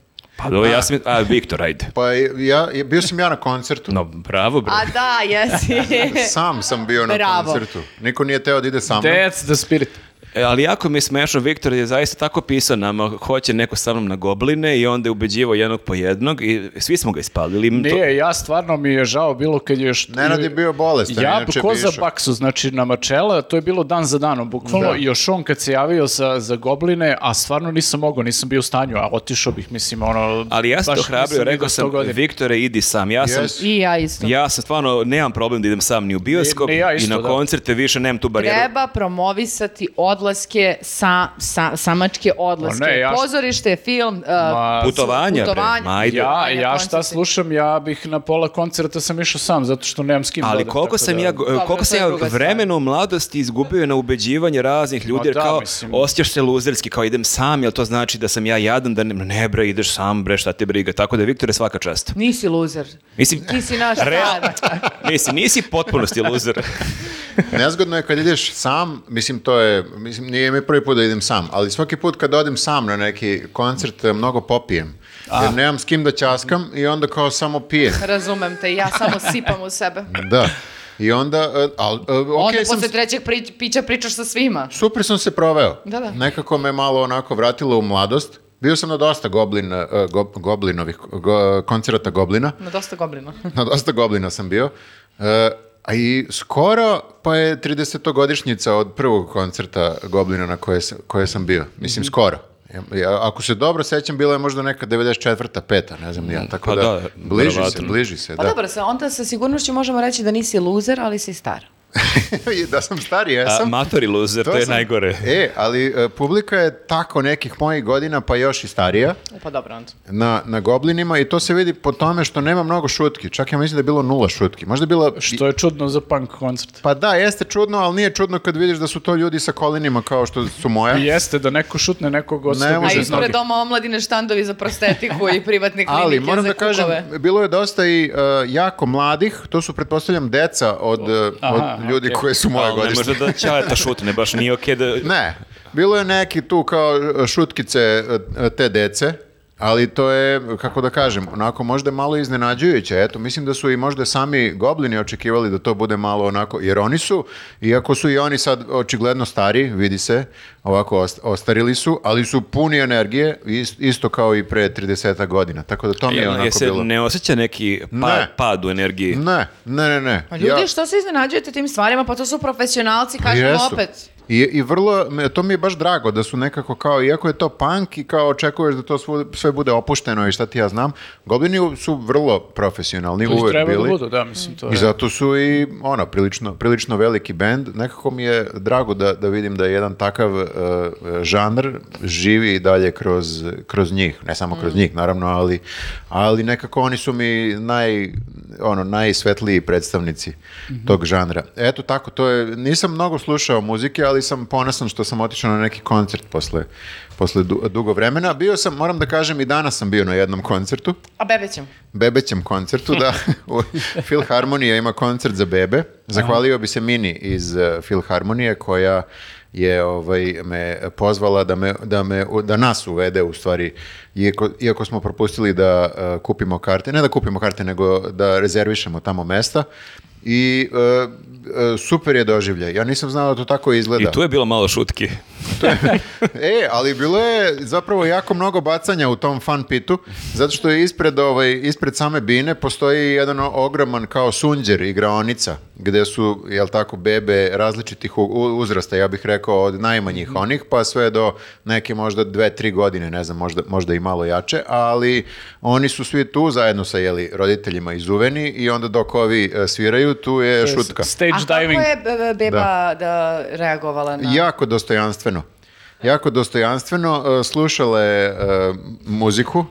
D: Pa dobro, ja sam... A, Viktor, ajde.
B: Pa ja, ja- bio sam ja na koncertu.
D: No, bravo, bro.
A: A da,
D: (laughs)
A: jesi.
B: (laughs) Sam sam bio na
A: Bravo.
B: koncertu. Niko nije teo da ide sa mnom.
C: That's the spirit.
D: E, ali jako mi je smešno, Viktor je zaista tako pisao nama, hoće neko sa mnom na gobline i onda je ubeđivao jednog po jednog i svi smo ga ispalili. To-
C: Nije, ja stvarno mi je žao bilo kad je još...
B: Nenad je bio bolestan,
C: Ja,
B: inače
C: ko
B: bi
C: za
B: išao.
C: baksu, znači na mačela, to je bilo dan za danom, bukvalno.
B: Da.
C: I još on kad se javio za, za gobline, a stvarno nisam mogao, nisam bio u stanju, a otišao bih, mislim, ono...
D: Ali ja sam
C: baš
D: to hrabrio,
C: nisam ni
D: rekao
C: do sto
D: sam,
C: godina.
D: Viktore, idi sam. Ja sam,
B: Yes.
A: I ja isto.
D: Ja sam stvarno, nemam problem da idem sam ni u bioskop
C: Ni- ni ja
D: i
C: isto,
D: na
C: da.
D: koncerte, više nemam tu barijeru.
A: Treba promovisati odlaske sa, sa, samačke odlaske.
C: Ma ne, ja šta-
A: Pozorište, film, uh,
C: Ma,
D: Putovanja, bre,
A: putovanja.
D: ma ajde.
C: Ja,
A: Ajde,
C: ja
A: koncerte.
C: šta slušam, ja bih na pola koncerta sam išao sam, zato što nemam s kim da
D: Ali
C: odem,
D: koliko
C: tako
D: sam
C: da-
D: ja, go- koliko
A: to
D: sam
A: je
D: ja
A: druga stvar.
D: vremena u mladosti izgubio na ubeđivanje raznih ljudi,
C: Ma
D: jer
C: da,
D: kao
C: mislim.
D: osjećaš se luzerski, kao idem sam, jel to znači da sam ja jadan, da ne, ne bre, ideš sam, bre, šta te briga, tako da Viktore svaka čast.
A: Nisi loser.
D: Mislim,
A: Ti si naš
D: Real-
A: star.
D: (laughs) mislim, nisi potpunosti luzer.
B: Nezgodno je kad ideš sam, mislim to je, mislim nije mi prvi put da idem sam, ali svaki put kad odem sam na neki koncert eh, mnogo popijem. Jer nemam s kim da ćaskam i onda kao samo pijem.
A: Razumem te, ja samo sipam u sebe.
B: Da. I onda, eh, al, eh,
A: Onda
B: okej sam
A: posle trećeg pri- pića pričaš sa svima.
B: Super sam se proveo.
A: Da, da.
B: Nekako me malo onako vratilo u mladost. Bio sam na dosta goblin, eh, go- goblinovih, go- koncerata goblina.
A: Na dosta goblina.
D: Da.
B: Na dosta goblina sam bio. E, a i skoro pa je 30-godišnjica od prvog koncerta goblina na koje, sam- koje sam bio.
D: Mhm.
B: Mislim, skoro. Ja- ja- ako se dobro sećam, bila je možda neka 94. peta, ne znam ni ja. Tako
D: Pa
B: da,
D: da,
B: bliži se,
D: verovatno.
B: bliži se.
A: Pa
B: da.
A: dobro, sa, onda sa sigurnošću možemo reći da nisi loser, ali si star.
B: (laughs) I da sam stari,
D: A,
B: jesam.
D: matori luzer, to, je
B: sam-
D: najgore.
B: E, ali e, publika je tako nekih mojih godina, pa još i starija,
A: E, Pa dobro, onda.
B: na, na goblinima i to se vidi po tome što nema mnogo šutki. Čak ja mislim da je bilo nula šutki. Možda je bila...
C: Što je čudno za punk koncert.
B: Pa da, jeste čudno, ali nije čudno kad vidiš da su to ljudi sa kolinima kao što su moja.
C: I jeste da neko šutne nekog
B: Pa Ne
C: osoba
A: A
B: može
C: iz noge.
A: ispred doma omladine štandovi za prostetiku i privatne klinike
B: Ali moram
A: za
B: da kažem,
A: kukove.
B: bilo je dosta i uh, jako mladih, to su pretpostavljam deca od, uh,
C: Aha,
B: od ljudi
C: okej.
B: koje su moje
D: Ali ne
B: godište.
D: možda da ćaleta šutne, baš nije okej da...
B: Ne, bilo je neki tu kao uh, šutkice uh, te dece, ali to je, kako da kažem, onako možda malo iznenađujuće. Eto, mislim da su i možda sami goblini očekivali da to bude malo onako, jer oni su, iako su i oni sad očigledno stari, vidi se, ovako ost- ostarili su, ali su puni energije, is- isto kao i pre 30 godina. Tako da to mi je
D: Jel, jel
B: onako
D: se
B: bilo...
D: ne osjeća neki pa-
B: Ne.
D: pad u energiji?
B: Ne, ne, ne, ne.
A: Pa ljudi,
B: Ja-
A: što se iznenađujete tim stvarima? Pa to su profesionalci, kažem
B: Jesu.
A: opet.
B: I, I vrlo, me- to mi je baš drago da su nekako kao, iako je to punk i kao očekuješ da to svu- sve bude opušteno i šta ti ja znam, Goblini su vrlo profesionalni,
C: Koji
B: uvek
C: treba da
B: bili.
C: budu, da, mislim, to je.
B: I zato su i ono, prilično, prilično veliki bend. Nekako mi je drago da, da vidim da jedan takav uh, žanr živi i dalje kroz, kroz njih. Ne samo
C: Mm.
B: kroz njih, naravno, ali, ali nekako oni su mi naj, ono,
C: Mhm.
B: najsvetliji predstavnici tog žanra. Eto tako, to je, nisam mnogo slušao muzike, ali ali sam ponosan što sam otišao na neki koncert posle, posle du- dugo vremena. Bio sam, moram da kažem, i danas sam bio na jednom koncertu,
A: A bebećem.
B: bebećem koncertu, da. U- Filharmonija ima koncert za bebe. Zahvalio bi se Mini iz eh, Filharmonije koja je ovaj me pozvala da me da me da nas uvede u stvari iako, iako smo propustili da eh, kupimo karte, ne da kupimo karte nego da rezervišemo tamo mesta i eh, eh, super je doživljaj. Ja nisam znao da to tako izgleda.
D: I tu je bilo malo šutki.
B: (laughs) E, ali bilo je zapravo jako mnogo bacanja u tom fan pitu, zato što je ispred, ovaj, ispred same bine postoji jedan o- ogroman kao sunđer igraonica, gde su, jel tako, bebe različitih u- u- uzrasta, ja bih rekao od najmanjih onih, pa sve do neke možda dve, tri godine, ne znam, možda, možda i malo jače, ali oni su svi tu zajedno sa jeli, roditeljima izuveni i onda dok ovi e, sviraju, tu je šutka.
C: Stage
A: A kako
C: diving.
A: je be- be- beba da. reagovala
D: Da.
A: na...
B: Jako dostojanstveno. Jako dostojanstveno e, slušala je e, muziku.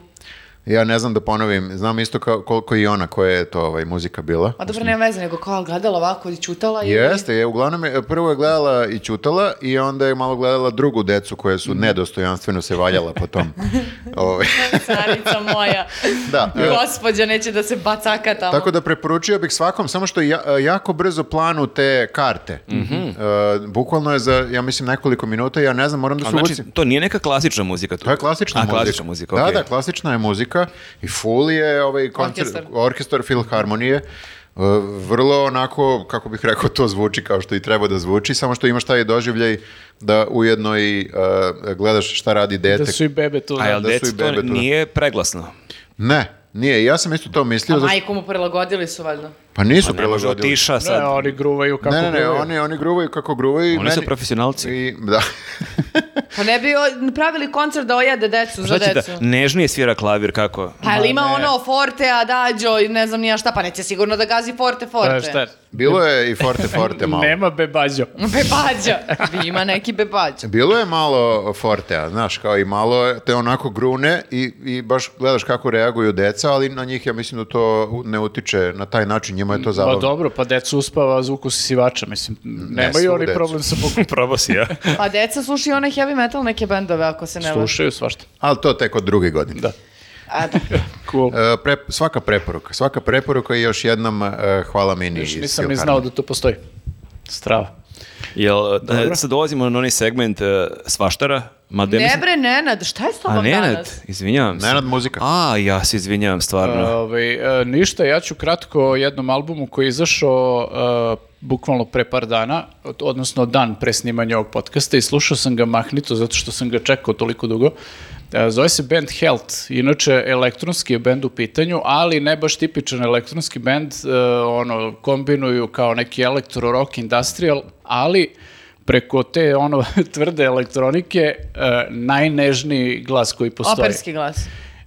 B: Ja ne znam da ponovim, znam isto kao, koliko i ona koja je to ovaj, muzika bila.
A: Ma dobro, nema veze, nego kao gledala ovako i čutala i...
B: Jeste, je, uglavnom je, prvo je gledala i čutala i onda je malo gledala drugu decu koja su
D: Mhm.
B: nedostojanstveno se valjala po
D: (laughs)
B: tom. ovaj,
A: Carica moja.
B: (laughs) da. E,
A: Gospodja neće da se bacaka tamo.
B: Tako da preporučio bih svakom, samo što ja, e, jako brzo planu te karte.
D: Mhm.
B: E, bukvalno je za, ja mislim, nekoliko minuta, ja ne znam, moram da se
D: A znači,
B: uvucim.
D: to nije neka klasična muzika tu.
B: To je klasična
D: A,
B: muzika.
D: klasična muzika, okej.
B: Da, da, klasična je muzika i full je ovaj koncert,
A: Orkestar.
B: orkestar filharmonije. e, Vrlo onako, kako bih rekao, to zvuči kao što i treba da zvuči, samo što imaš taj doživljaj da ujedno i e, gledaš šta radi dete.
C: Da su i bebe tu.
D: A jel
B: da su i
D: deci
B: bebe
D: to
B: tu, da.
D: nije preglasno?
B: Ne, nije, ja sam isto to
A: A
B: mislio. zato-
A: majku mu prilagodili su valjda.
B: Pa nisu
D: Ne može
B: prilagodili.
D: otiša
C: Ne,
D: sad.
C: oni gruvaju kako
B: Ne, ne, ne,
C: gruvaju.
B: oni, oni gruvaju kako gruvaju. i
D: Oni su
B: meni-
D: profesionalci.
B: I, da. (laughs)
A: Pa ne bi o- pravili koncert da ojade decu za
D: Šta će da,
A: decu.
D: nežnije svira klavir, kako?
A: Pa jel ima
C: Ma ne.
A: ono forte, adagio i ne znam nija šta, pa neće sigurno da gazi forte, forte.
C: Da, šta?
B: Bilo je i forte,
C: (laughs)
B: forte malo.
C: Nema bebađo.
A: Bebađa. Ima neki bebađa.
B: Bilo je malo fortea, znaš, kao i malo te onako grune i, i baš gledaš kako reaguju deca, ali na njih ja mislim da to u- ne utiče na taj način, njima je to
C: Pa
B: zabavno.
C: dobro, pa decu uspava zvuk usisivača, mislim.
B: svu
C: Nemaju oni
B: decu.
C: problem sa bukom.
D: Probao si ja.
A: Pa deca slušaju one heavy metal neke bendove, ako se ne vaš.
C: Slušaju svašta.
B: Ali to tek od druge godine.
C: Da.
A: A, da.
C: Cool.
B: E, pre- svaka preporuka, svaka preporuka i još jednom e, hvala mini.
C: Još
B: iz
C: nisam ni
B: Filharmonije.
C: znao da to postoji. Strava.
D: Jel, e, sad dolazimo na onaj segment e, svaštara, ma da
A: Ne
D: mislim-
A: bre, Nenad, šta je s
D: A
A: tobom
D: Nenad,
A: danas?
D: izvinjavam se.
B: Nenad muzika.
D: A, ja se izvinjavam, stvarno.
C: Ovaj, e, ništa, ja ću kratko o jednom albumu koji je izašao e, bukvalno pre par dana, od- odnosno dan pre snimanja ovog podcasta i slušao sam ga mahnito zato što sam ga čekao toliko dugo. E, Zove se band Health, inače elektronski je band u pitanju, ali ne baš tipičan elektronski band, e, ono, kombinuju kao neki elektro rock industrial, ali preko te ono (laughs) tvrde elektronike e, najnežniji glas koji postoji.
A: Operski glas.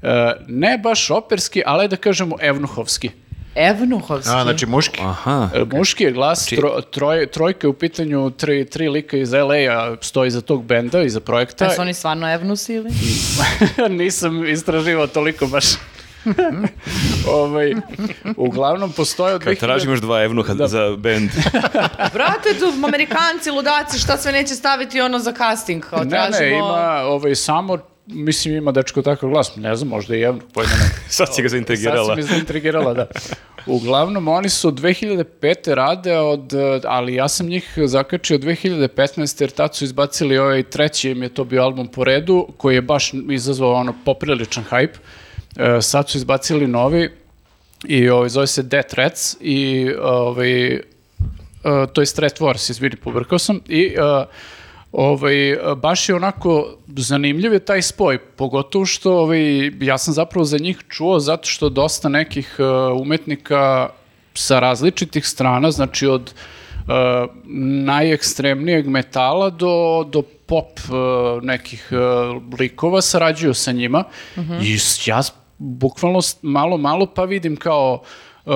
C: E, ne baš operski, ali da kažemo evnuhovski.
A: Evnuhovski.
B: A, znači muški.
D: Aha.
C: E, Muški je glas, tro, troj- trojka je u pitanju, tri, tri lika iz LA-a stoji iza tog benda, iza projekta.
A: Pa su oni stvarno evnusi ili?
C: (laughs) Nisam istraživao toliko baš. (laughs) ovaj, uglavnom postoje od
D: Kad
C: 2000
D: tražim još dva evnuha za bend.
A: Brate, tu Amerikanci, ludaci, šta sve neće staviti ono za casting? Kao,
C: Ne,
A: tražimo...
C: ne, ima ovaj, samo, mislim ima dečko takav glas, ne znam, možda i evnuh, pojma nema.
D: Sad si ga zaintegrirala.
C: Sad si me zaintrigirala, da. Uglavnom, oni su 2005. rade od, eh, ali ja sam njih zakačio 2015. jer tad su izbacili ovaj treći, im je to bio album po redu, koji je baš izazvao ono popriličan hype. Eh, sad su izbacili novi i ovaj, zove se Death Threats i ovaj, Uh, to je Strat Wars, izvini, pobrkao sam, i uh, ovaj, uh, baš je onako zanimljiv je taj spoj, pogotovo što ovaj, ja sam zapravo za njih čuo zato što dosta nekih uh, umetnika sa različitih strana, znači od uh, najekstremnijeg metala do, do pop uh, nekih uh, likova sarađuju sa njima i s- ja s- bukvalno s- malo malo pa vidim kao uh,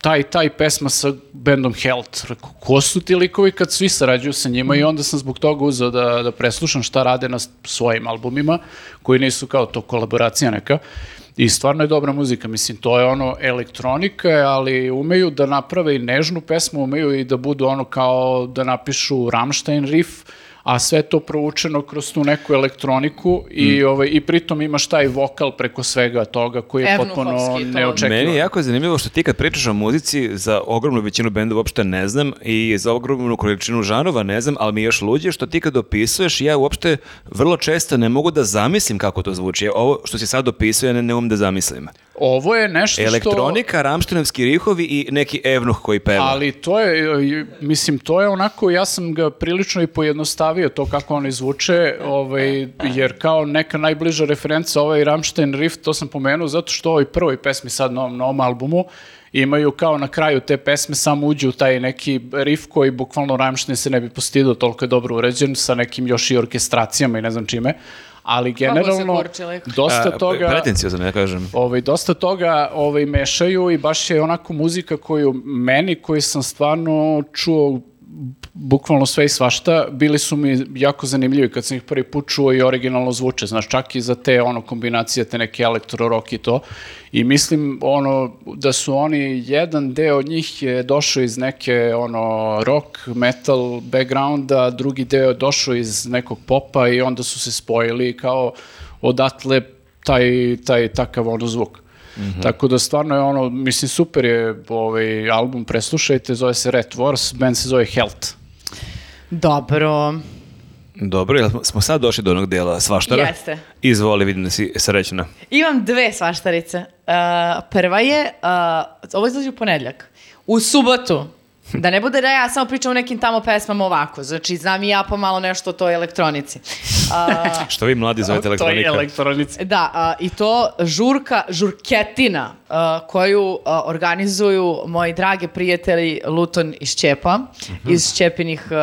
C: taj, taj pesma sa bendom Health. Rekao, ko su ti likovi kad svi sarađuju sa njima i onda sam zbog toga uzeo da, da preslušam šta rade na s- svojim albumima, koji nisu kao to kolaboracija neka. I stvarno je dobra muzika, mislim, to je ono elektronika, je, ali umeju da naprave i nežnu pesmu, umeju i da budu ono kao da napišu Rammstein riff, a sve to provučeno kroz tu neku elektroniku i,
D: Mm.
C: ovaj, i pritom imaš taj vokal preko svega toga koji je
A: Evnuhovski
C: potpuno
A: ton.
C: neočekivan.
D: Meni je jako zanimljivo što ti kad pričaš o muzici, za ogromnu većinu benda uopšte ne znam i za ogromnu količinu žanova ne znam, ali mi je još luđe što ti kad opisuješ, ja uopšte vrlo često ne mogu da zamislim kako to zvuči. E, Ovo što si sad opisuje, ja ne, ne umem da zamislim.
C: Ovo je nešto što...
D: Elektronika, Ramštinovski rihovi i neki evnuh koji peva.
C: Ali to je, mislim, to je onako, ja sam ga prilično i pojednostavio to kako oni zvuče, ovaj, jer kao neka najbliža referenca ovaj Rammstein riff, to sam pomenuo zato što u ovoj prvoj pesmi sad na ovom novom albumu imaju kao na kraju te pesme samo uđu u taj neki riff koji bukvalno Rammstein se ne bi postidao, toliko je dobro uređen sa nekim još i orkestracijama i ne znam čime, ali
A: se
C: generalno
A: kurčili.
C: dosta
D: A,
C: toga...
D: Pretenciozno, ja kažem.
C: Ovaj, dosta toga ovaj, mešaju i baš je onako muzika koju meni, koji sam stvarno čuo bukvalno sve i svašta, bili su mi jako zanimljivi kad sam ih prvi put čuo i originalno zvuče, znaš, čak i za te ono kombinacije, te neke elektro rock i to. I mislim ono da su oni, jedan deo njih je došao iz neke ono rock, metal backgrounda, drugi deo je došao iz nekog popa i onda su se spojili i kao odatle taj, taj takav ono zvuk.
D: Mhm.
C: Tako da stvarno je ono, mislim super je ovaj album, preslušajte, zove se Red Wars, band se zove Health.
A: Dobro.
D: Dobro, jel smo sad došli do onog dela svaštara?
A: Jeste.
D: Izvoli, vidim da si srećna.
A: Imam dve svaštarice. Uh, prva je, uh, ovo izlazi u ponedljak, u subotu, da ne bude da ja samo pričam o nekim tamo pesmama ovako, znači znam i ja pomalo nešto o toj elektronici. Uh,
D: Što vi mladi zovete
C: Da. To je
D: elektronika?
C: elektronica.
A: Da, a, i to žurka, žurketina a, koju a, organizuju moji drage prijatelji Luton iz Ćepa,
D: Mhm.
A: iz Ćepinih... a,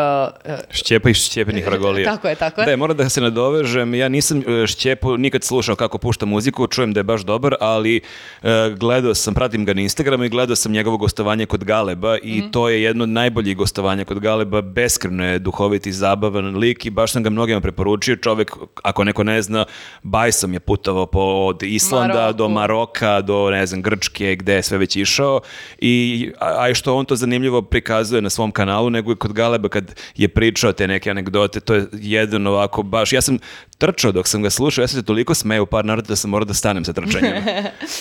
A: a,
D: Šćepa i šćepenih ragolija.
A: Tako je, tako je.
D: Da, moram da se nadovežem. Ja nisam e, Šćepu nikad slušao kako pušta muziku, čujem da je baš dobar, ali e, gledao sam, pratim ga na Instagramu i gledao sam njegovo gostovanje kod Galeba i
A: Mhm.
D: to je jedno od najboljih gostovanja kod Galeba. Beskreno je duhoviti, zabavan lik i baš sam ga mnogima preporučio. Čovek, ako neko ne zna, bajsom je putovao po, od Islanda
A: Maroku.
D: do Maroka, do ne znam, Grčke, gde je sve već išao. I, a, a i što on to zanimljivo prikazuje na svom kanalu, nego i kod Galeba kad je pričao te neke anegdote, to je jedan ovako baš, ja sam trčao dok sam ga slušao, ja sam se toliko smeo u par navrata da sam morao da stanem
A: (laughs)
D: sa trčanjem.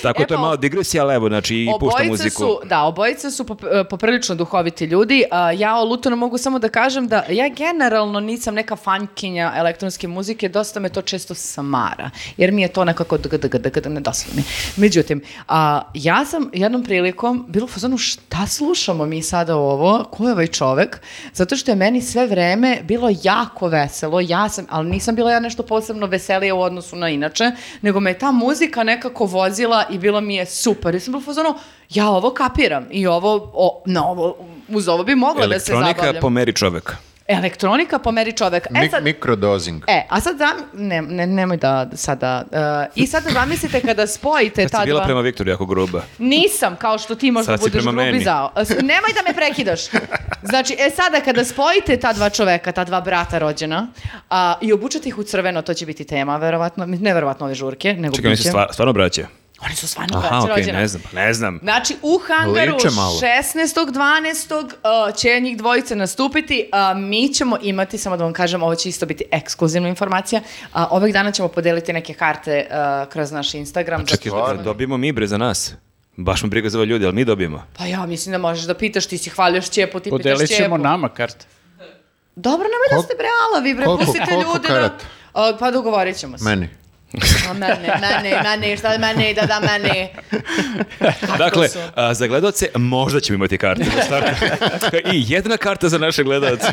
D: Tako
A: E
D: to je
A: pa,
D: malo digresija, ali evo, znači i pušta muziku.
A: Su, da, obojica su pop- e, poprilično duhoviti ljudi. A, ja o Lutonu mogu samo da kažem da ja generalno nisam neka fankinja elektronske muzike, dosta me to često samara, jer mi je to nekako dgdgdgd nedoslovni. Međutim, a, ja sam jednom prilikom bilo u fazonu šta slušamo mi sada ovo, ko je ovaj čovek, zato što je meni sve vreme bilo jako veselo, ja sam, ali nisam bila ja nešto posebno veselija u odnosu na inače, nego me je ta muzika nekako vozila i bilo mi je super. Ja sam bila u fazonu, ja ovo kapiram i ovo, o, na ovo, uz ovo bi mogla da se
D: Elektronika
A: zabavljam.
D: pomeri čoveka.
A: Elektronika pomeri čovek. E
B: Mik-
A: sad,
B: Mikrodozing.
A: E, a sad zam... Ne, ne, nemoj da sada... e, I sad zamislite kada spojite
D: Sad si
A: E, ta
D: bila
A: dva...
D: prema Viktoru jako gruba.
A: Nisam, kao što ti možda
D: Sad si
A: budeš
D: prema
A: grubi
D: meni.
A: zao. S- Nemoj da me prekidaš. Znači, e sada kada spojite ta dva čoveka, ta dva brata rođena, a, i obučete ih u crveno, to će biti tema, verovatno, mi- ne verovatno ove žurke, nego
D: Čekaj, oni
A: biće-
D: se stvar, stvarno braće.
A: Oni su stvarno
D: Aha,
A: braća
D: okej,
A: rođena.
D: ne znam, pa ne znam.
A: Znači, u hangaru
B: Liče malo.
A: 16.12. uh, će njih dvojice nastupiti. Uh, mi ćemo imati, samo da vam kažem, ovo će isto biti ekskluzivna informacija. Uh, ovih dana ćemo podeliti neke karte uh, kroz naš Instagram.
D: Čekaj,
A: Zato-
D: da dobijemo mi bre za nas. Baš mu briga za ove ljude, ali mi dobijemo.
A: Pa ja mislim da možeš da pitaš, ti si hvalio Šćepu, ti
C: Podelit
A: pitaš Šćepu.
C: ćemo nama karte.
A: Dobro, nemoj da
B: Kol-
A: ste bre alavi, bre,
B: koliko-
A: pustite
B: koliko
A: ljude da...
B: karata?
A: Uh, pa dogovorit ćemo se.
B: Meni.
A: A, mene, mene, mene, šta mene, da da mene.
D: Dakle,
A: su?
D: a, za gledalce možda ćemo imati karte. za
A: (laughs)
D: start. I jedna karta za naše gledalce.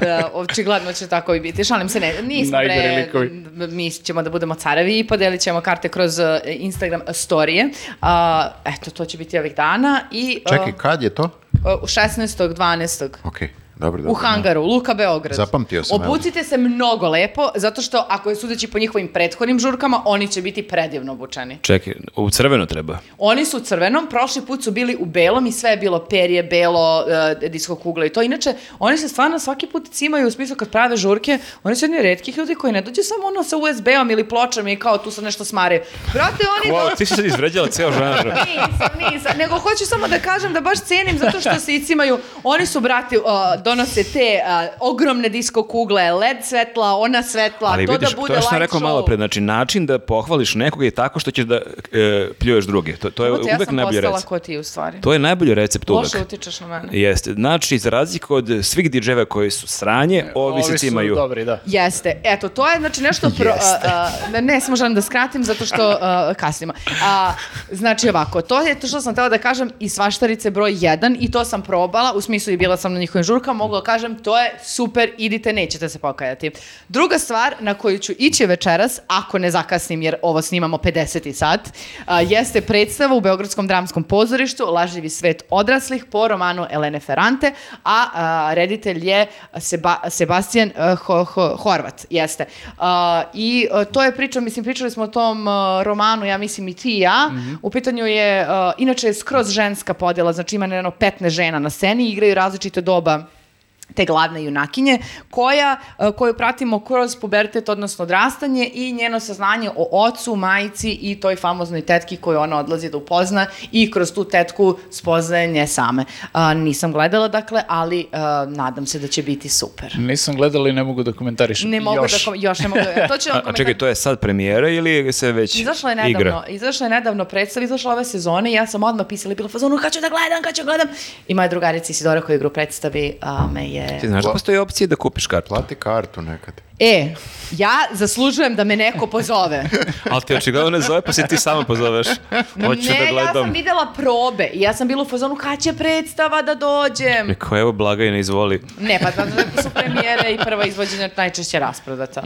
A: Da, očigledno će tako i biti. Šalim se, ne, nismo
C: Najgori
A: bre,
C: likovi.
A: m- mi ćemo da budemo carevi i podelit ćemo karte kroz e, Instagram storije. A, eto, to će biti ovih dana i... e,
B: Čekaj, kad je to?
A: e, u 16. 12.
B: Okej. Dobro, dobro. da.
A: U hangaru, Luka Beograd.
B: Zapamtio sam, evo.
A: Obucite se mnogo lepo, zato što ako je sudeći po njihovim prethodnim žurkama, oni će biti predivno obučeni.
D: Čekaj, u crveno treba.
A: Oni su u crvenom, prošli put su bili u belom i sve je bilo perje, belo, e, disko kugla i to. Inače, oni se stvarno svaki put cimaju u smislu kad prave žurke, oni su jedni redkih ljudi koji ne dođu samo ono sa USB-om ili pločama i kao tu sad nešto smare. Brate, oni...
D: Wow, ti si sad izvređala ceo žanr.
A: Nisam, nisam. Nego hoću samo da kažem da baš cenim zato što se icimaju. Oni su, brati, uh, donose te uh, ogromne disko kugle, LED svetla, ona svetla,
D: Ali
A: to
D: vidiš,
A: da bude
D: to je što sam
A: light
D: rekao
A: show.
D: malo pre, znači način da pohvališ nekoga je tako što ćeš da e, pljuješ druge. To, to je
A: Evo te,
D: uvek najbolji
A: Ja sam postala
D: recept.
A: ko ti u stvari.
D: To je najbolji recept uvek.
A: Loše utičeš na mene.
D: Jeste, znači za razliku od svih DJ-eva koji su sranje,
A: E,
D: ovi, se
C: Ovi su
D: cimaju.
C: dobri, da.
A: Jeste, eto, to je znači nešto... Pro,
D: Jeste.
A: a, a, ne, samo želim da skratim zato što a, kasnimo. A, znači ovako, to je to što sam htela da kažem i svaštarice broj 1 i to sam probala, u smislu i bila sam na njihovim žurkama, mogu da kažem, to je super, idite, nećete se pokajati. Druga stvar na koju ću ići večeras, ako ne zakasnim jer ovo snimamo 50. sat, a, jeste predstava u Beogradskom dramskom pozorištu Lažljivi svet odraslih po romanu Elene Ferrante, a, a, reditelj je Seba- Sebastian e, Ho- Ho- Horvat, jeste. A, I e, to je priča, mislim, pričali smo o tom e, romanu, ja mislim i ti i ja, u pitanju je, e, inače je skroz ženska podjela, znači ima jedno 15 žena na sceni, igraju različite doba te glavne junakinje, koja, e, koju pratimo kroz pubertet, odnosno odrastanje i njeno saznanje o ocu, majici i toj famoznoj tetki koju ona odlazi da upozna i kroz tu tetku spoznaje nje same. A, nisam gledala, dakle, ali e, nadam se da će biti super.
C: Nisam gledala i ne mogu da komentarišem.
A: Ne mogu
C: Još.
A: da kom- još ne mogu
D: (laughs)
A: da- to će
D: A,
A: vam
D: a
A: komentar-
D: čekaj, to je sad premijera ili se već
A: Izašla je nedavno,
D: igra?
A: izašla je nedavno predstava, izašla ove sezone i ja sam odmah pisala i bila u fazonu kad ću da gledam, kad ću da gledam. I moja drugarica Isidora koja igru predstavi a, me je...
D: Ti znaš da postoji opcija da kupiš kartu,
B: Plati kartu nekad.
A: E, ja zaslužujem da me neko pozove.
D: ali ti očigledno ne zove pa se ti sama pozoveš. (laughs) Hoću
A: ne,
D: da
A: ja sam
D: gledam.
A: videla probe i ja sam bila u fazonu kad će predstava da dođem.
D: Rekao, evo blaga i ne izvoli.
A: Ne, pa zato da su premijere i prva izvođenja najčešće
D: Mm.
A: rasprodata.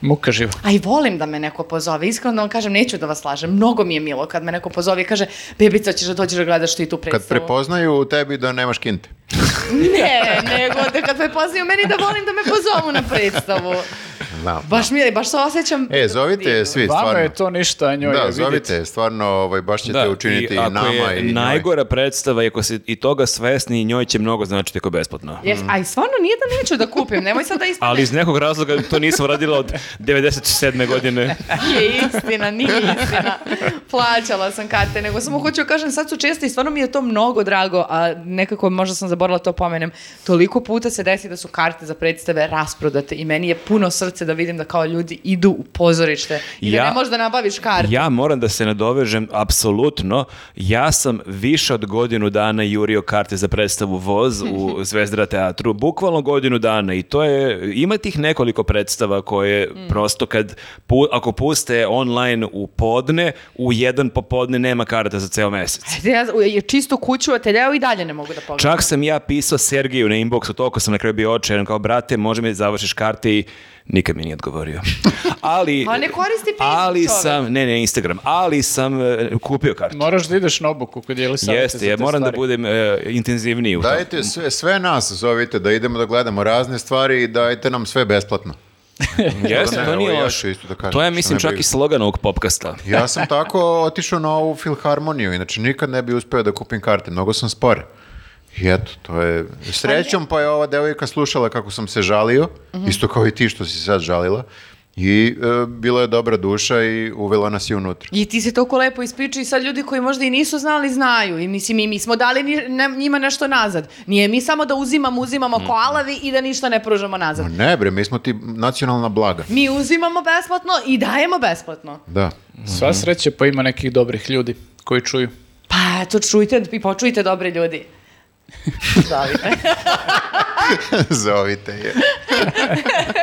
C: Muka živa.
A: A i volim da me neko pozove. Iskreno da vam kažem, neću da vas slažem. Mnogo mi je milo kad me neko pozove i kaže, bebica ćeš da dođeš da gledaš ti tu
B: Kad
A: predstavu.
B: prepoznaju u tebi da nemaš kinte.
A: (laughs) Ne, nego da kad me poznaju meni da volim da me pozovu na predstavu.
B: Znam.
A: Baš mi je, baš se osjećam.
B: E, zovite je svi,
C: Vama
B: stvarno.
C: je to ništa, a njoj je
B: da,
C: vidjeti.
B: zovite je, stvarno, ovaj, baš ćete učiniti i,
D: Da, ako
B: nama
D: je
B: i njoj.
D: najgora predstava i ako se i toga svesni, njoj će mnogo značiti ako je besplatno.
A: Jes, a i stvarno nije da neću da kupim, nemoj sad da ispane.
D: Ali iz nekog razloga to nisam radila od 97. godine.
A: (laughs) Nije istina, nije istina. Plaćala sam karte, nego samo hoću da kažem, sad su česte i stvarno mi je to mnogo drago, a nekako možda sam zaboravila to pomenem. Toliko puta se desi da su karte za predstave rasprodate i meni je puno srce da vidim da kao ljudi idu u pozorište i da
D: Ja-
A: ne možeš da nabaviš karte.
D: Ja moram da se nadovežem, apsolutno. Ja sam više od godinu dana jurio karte za predstavu Voz u
A: (laughs)
D: Zvezdra teatru. Bukvalno godinu dana i to je, ima tih nekoliko predstava koje
A: Mm.
D: prosto kad, pu- ako puste online u podne, u jedan popodne nema karta za ceo mesec.
A: Ja ja čisto kuću ateljeo i dalje ne mogu da pogledam.
D: Čak sam ja pisao Sergiju na inboxu, toliko sam na kraju bio očajan, kao, brate, može mi da završiš karte i nikad mi nije
A: (laughs)
D: odgovorio. Ali,
A: Pa ne koristi Facebook
D: ali
A: čovek.
D: sam, ne, ne, Instagram, ali sam e, kupio kartu.
C: Moraš da ideš na obuku kod jeli savjeta
D: Jeste,
C: za
D: ja
C: te
D: moram da
C: stvari.
D: budem e, intenzivniji u tom.
B: Dajte sve, sve nas zovite da idemo da gledamo razne stvari i dajte nam sve besplatno.
D: Jeste,
B: Ne,
D: to
B: ovo
D: nije
B: ja
D: loše.
B: ću isto da kažem,
D: to je,
B: što
D: mislim,
B: ne
D: čak
B: briga.
D: i slogan ovog popkasta.
B: Ja sam tako otišao na ovu filharmoniju, inače nikad ne bi uspeo da kupim karte, mnogo sam spor. I eto, to je... Srećom pa je ova devojka slušala kako sam se žalio,
D: Mhm.
B: isto kao i ti što si sad žalila, i e, bila je dobra duša i uvela nas je unutra.
A: I ti se toliko lepo ispriča i sad ljudi koji možda i nisu znali znaju i mislim i mi smo dali ni- ne- njima nešto nazad. Nije mi samo da uzimamo, uzimamo
D: Mm.
A: ko alavi i da ništa ne pružamo nazad.
B: Ma Ne bre, mi smo ti nacionalna blaga.
A: Mi uzimamo besplatno i dajemo besplatno.
B: Da.
C: Sva
D: Mhm.
C: sreće pa ima nekih dobrih ljudi koji čuju.
A: Pa eto, čujte i počujte dobre
C: (laughs)
A: ljudi. Zavite.
B: (laughs) Zovite je.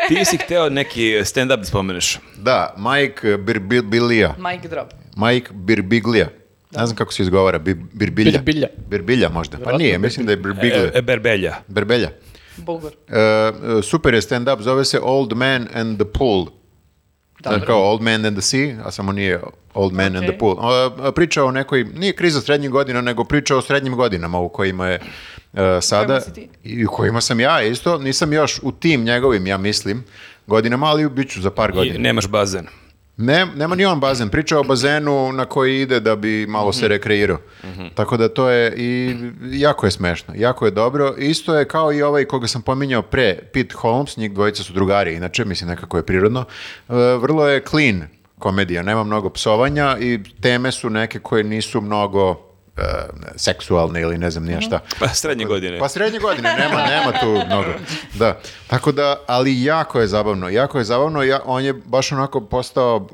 D: Ti si hteo neki stand-up da spomeneš.
B: Da, Mike Birbilija.
A: Mic drop.
B: Mike Birbiglija. Ne znam kako se izgovara, Bir, birbilja.
C: Birbilja.
B: Birbilja možda. Pa nije, mislim da je Birbiglija.
D: E, berbelja.
B: Berbelja.
A: Bogor.
B: E, super je stand-up, zove se Old Man and the Pool. Znači kao Old Man and the Sea, a samo nije Old Man and the e,
A: Ok.
B: Pool. E, priča o nekoj, nije kriza srednjih godina, nego priča o srednjim godinama u kojima je e, sada
A: si ti?
B: i u kojima sam ja isto, nisam još u tim njegovim, ja mislim, godinama, ali bit ću za par
D: I
B: godina.
D: nemaš bazen.
B: Ne, nema ni on bazen. Priča o bazenu na koji ide da bi malo se rekreirao. Tako da to je i jako je smešno, jako je dobro. Isto je kao i ovaj koga sam pominjao pre, Pete Holmes, njih dvojica su drugari, inače mislim nekako je prirodno. E, Vrlo je clean komedija, nema mnogo psovanja i teme su neke koje nisu mnogo e, seksualne ili ne znam nije šta.
D: Pa srednje godine.
B: Pa srednje godine, nema, nema tu mnogo. Da. Tako da, ali jako je zabavno. Jako je zabavno, ja, on je baš onako postao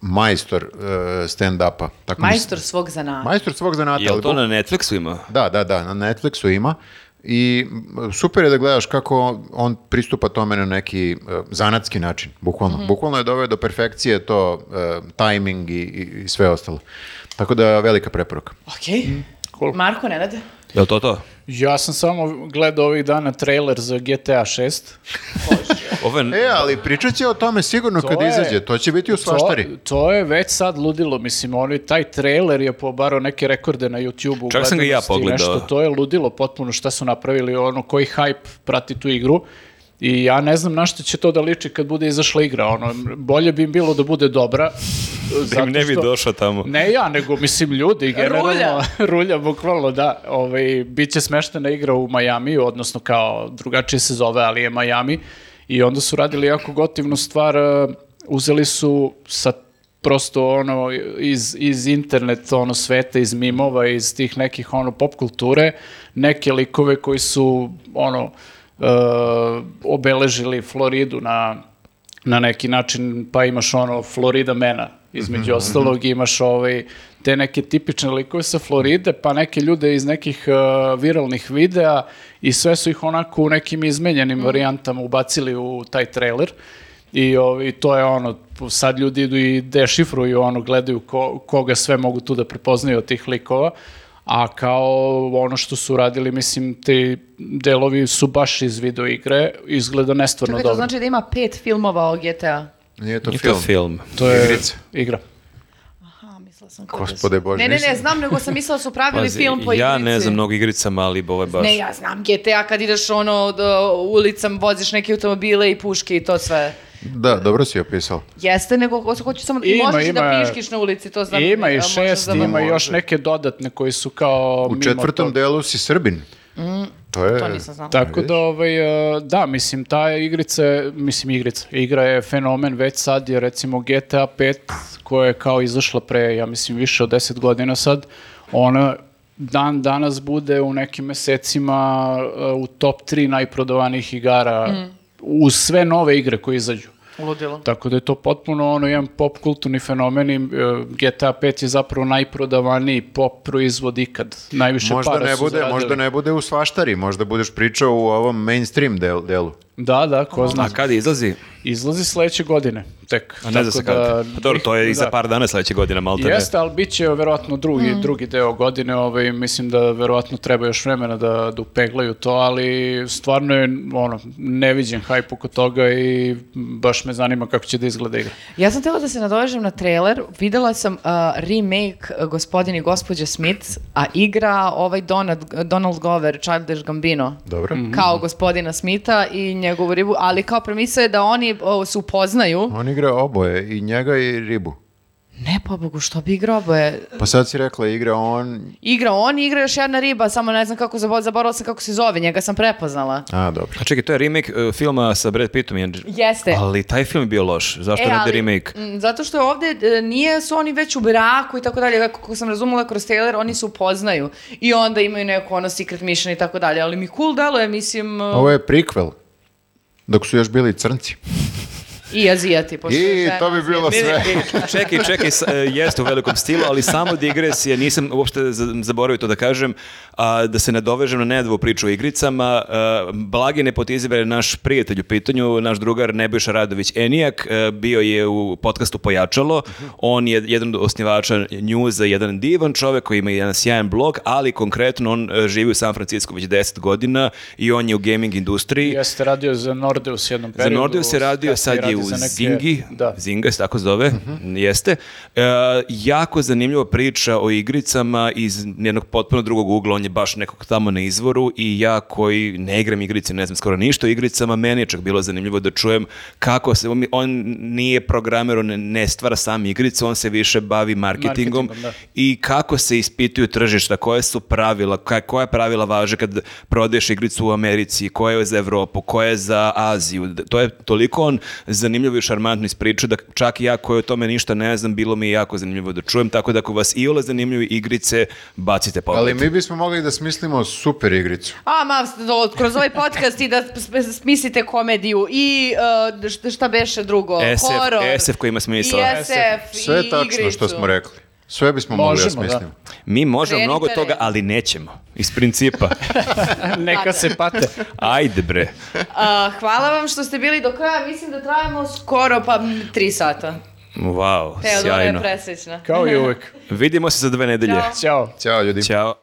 B: majstor e, stand-upa. Tako mi se-
A: Majstor svog zanata.
B: Majstor svog zanata.
D: Jel
B: ali
D: to
B: bu-
D: na Netflixu ima?
B: Da, da, da, na Netflixu ima. I m, super je da gledaš kako on pristupa tome na neki e, zanatski način, bukvalno. Bukvalno je doveo do perfekcije to, e, timing i, i- i sve ostalo. Tako da, velika preporuka.
A: Okej.
C: Cool.
A: Marko, Nenad?
D: Jel to to?
C: Ja sam samo gledao ovih dana trailer za GTA 6.
D: Ovo je-
B: E, ali pričat će o tome sigurno kad
C: je-
B: izađe. To će biti u svaštari.
C: To, to je već sad ludilo, mislim, oni, taj trailer je pobarao neke rekorde na YouTube-u.
D: Čak sam ga i ja
C: gledanosti i
D: pogledao.
C: Nešto, to je ludilo potpuno šta su napravili, ono, koji hype prati tu igru. I ja ne znam na što će to da liči kad bude izašla igra, ono, bolje bi im bilo da bude dobra.
D: da im ne bi
C: zato što-
D: došao tamo.
C: Ne ja, nego mislim ljudi generalno. (laughs)
A: Rulja.
C: Rulja, bukvalno, da. Ovaj, Biće smeštena igra u Majamiju, odnosno kao drugačije se zove, ali je Majami. I onda su radili jako gotivnu stvar, e, uzeli su sa prosto ono iz, iz internet ono sveta, iz mimova, iz tih nekih ono pop kulture, neke likove koji su ono e, obeležili Floridu na na neki način, pa imaš ono Florida mena, između ostalog imaš ovaj, te neke tipične likove sa Floride, pa neke ljude iz nekih uh, viralnih videa i sve su ih onako u nekim
A: Mhm.
C: izmenjenim varijantama ubacili u taj trailer i ovaj, to je ono, sad ljudi idu i dešifruju ono, gledaju ko- koga sve mogu tu da prepoznaju od tih likova, a kao ono što su radili, mislim, ti delovi su baš iz video igre, izgleda nestvarno
A: Čekaj,
C: dobro.
A: to znači da ima pet filmova o GTA.
B: Nije to
D: Nije
B: film.
D: to film.
C: To je
B: Igrica.
C: igra.
A: Aha, mislila sam da
B: Gospode Bože,
A: Ne, ne, ne,
B: nisam-
A: znam, nego sam mislila da su pravili
D: Pazi,
A: film po igrici.
D: ja ne znam mnogo igricama, ali ovo je baš...
A: Ne, ja znam GTA kad ideš ono od, uh, ulicam, voziš neke automobile i puške i to sve.
B: Da, dobro si opisao.
A: Jeste, nego ho- hoću samo...
C: Ima,
A: možeš i da
C: ima.
A: piškiš na ulici, to znam. da-
C: Ima
A: A,
C: i
A: možda
C: šest,
A: za-
C: ima
B: Može.
C: još neke dodatne koji su kao...
B: U
C: mimo
B: četvrtom
C: toga.
B: delu si Srbin. To je...
A: To nisam znala.
C: Tako da, ovaj, e, da, mislim, ta igrica, je- mislim igrica, igra je fenomen već sad, je recimo GTA 5 koja je kao izašla pre, ja mislim, više od 10 godina sad, ona dan danas bude u nekim mesecima e, u top 3 najprodovanih igara
A: Mhm.
C: u sve nove igre koje izađu.
A: Ludilo.
C: Tako da je to potpuno ono jedan pop kulturni fenomen i e, GTA 5 je zapravo najprodavaniji pop proizvod ikad. Najviše
B: Možda
C: para
B: ne,
C: su
B: bude,
C: zaradili.
B: možda ne bude u svaštari, možda budeš pričao u ovom mainstream del, delu.
C: Da, da, ko zna.
D: A kada izlazi?
C: Izlazi sledeće godine, tek.
D: A ne zna
C: Tako
D: se kada.
C: da-
D: Pa dobro, to je i za
C: Da.
D: par dana sledeće godine, malo te ne.
C: Jeste, ali bit će verovatno drugi, drugi deo godine, ovaj, mislim da verovatno treba još vremena da, da upeglaju to, ali stvarno je ono, neviđen hajp oko toga i baš me zanima kako će da izgleda igra.
A: Ja sam htjela da se nadovežem na trailer. Videla sam uh, remake uh, Gospodin i gospođa Smith, a igra ovaj Donald, Donald Glover, Childish Gambino.
B: Dobro.
A: kao gospodina Smitha i njegovu ribu, ali kao premisa je da oni o, se upoznaju.
B: On igra oboje, i njega i ribu.
A: Ne, pa Bogu, što bi igrao, boje?
B: Pa sad si rekla, igra on...
A: Igra on, igra još jedna riba, samo ne znam kako, zabo- zaboravila sam kako se zove, njega sam prepoznala.
B: A, dobro.
D: A čekaj, to je remake e, filma sa Brad Pittom i Ange-
A: Jeste. E,
D: Ali taj film je bio loš. Zašto ne rade remake?
A: m, zato što je ovde e, nije su oni već u braku i tako dalje, kako sam razumela kroz trailer, oni se upoznaju i onda imaju neko ono secret mission i tako dalje, ali mi cool deluje, mislim, e,
B: Ovo je prikvel. Dok su još bili crnci.
A: i azijati. pošto je
B: I
A: žena
B: to bi bilo
D: Ne,
B: sve.
D: ne, e, čekaj, čekaj, s- e, jeste u velikom stilu, ali samo digresije, nisam uopšte za- zaboravio to da kažem, a, da se nadovežem na Nedovu priču o igricama. E, blagi nepotizam je naš prijatelj u pitanju, naš drugar Nebojša Radović Enijak, e, bio je u podcastu Pojačalo, on je jedan od osnivača Newza, jedan divan čovek koji ima jedan sjajan blog, ali konkretno on e, živi u San Francisku već 10 godina i on je u gaming industriji.
C: Jeste radio za Nordeus jednom
D: Za
C: periodu.
D: Nordeus je radio, sad je u u
C: za neke-
D: Zingi,
C: Da. Mhm.
D: Zinga se tako zove, jeste. E, jako zanimljiva priča o igricama iz jednog potpuno drugog ugla, on je baš nekog tamo na izvoru i ja koji ne igram igrice, ne znam skoro ništa o igricama, meni je čak bilo zanimljivo da čujem kako se, on, on nije programer, on ne, ne stvara sam igrice, on se više bavi marketingom,
C: Marketingom, da.
D: i kako se ispituju tržišta, koje su pravila, ka- koja pravila važe kad prodaješ igricu u Americi, koja je za Evropu, koja je za Aziju. D- To je toliko on zanimljivo i šarmantno ispričao da čak i ja koji o tome ništa ne znam, bilo mi je jako zanimljivo da čujem, tako da ako vas i ole zanimljuju igrice, bacite pogled.
B: Ali mi bismo mogli da smislimo super igricu.
A: A, ma, s- do- kroz ovaj podcast i da sp- smislite komediju i e, šta- šta beše drugo,
D: SF
A: horor.
D: SF koji ima
A: I
D: smisla.
A: SF, i
B: Sve je tačno što
A: igricu.
B: smo rekli. Sve bismo mogli da
C: Možemo, da.
B: smislimo.
D: Mi možemo
A: Krenite
D: mnogo toga,
A: redom.
D: ali nećemo. Iz principa.
C: (laughs) Neka se pate.
D: Ajde bre.
A: A, hvala vam što ste bili do kraja, mislim da trajamo skoro pa m, tri sata.
D: Wow,
A: Teodora je
D: sjajno.
A: presrećna.
C: Kao i uvek.
D: Vidimo se za dve nedelje.
A: Ćao.
C: Ćao.
B: Ćao ljudi.
D: Ćao.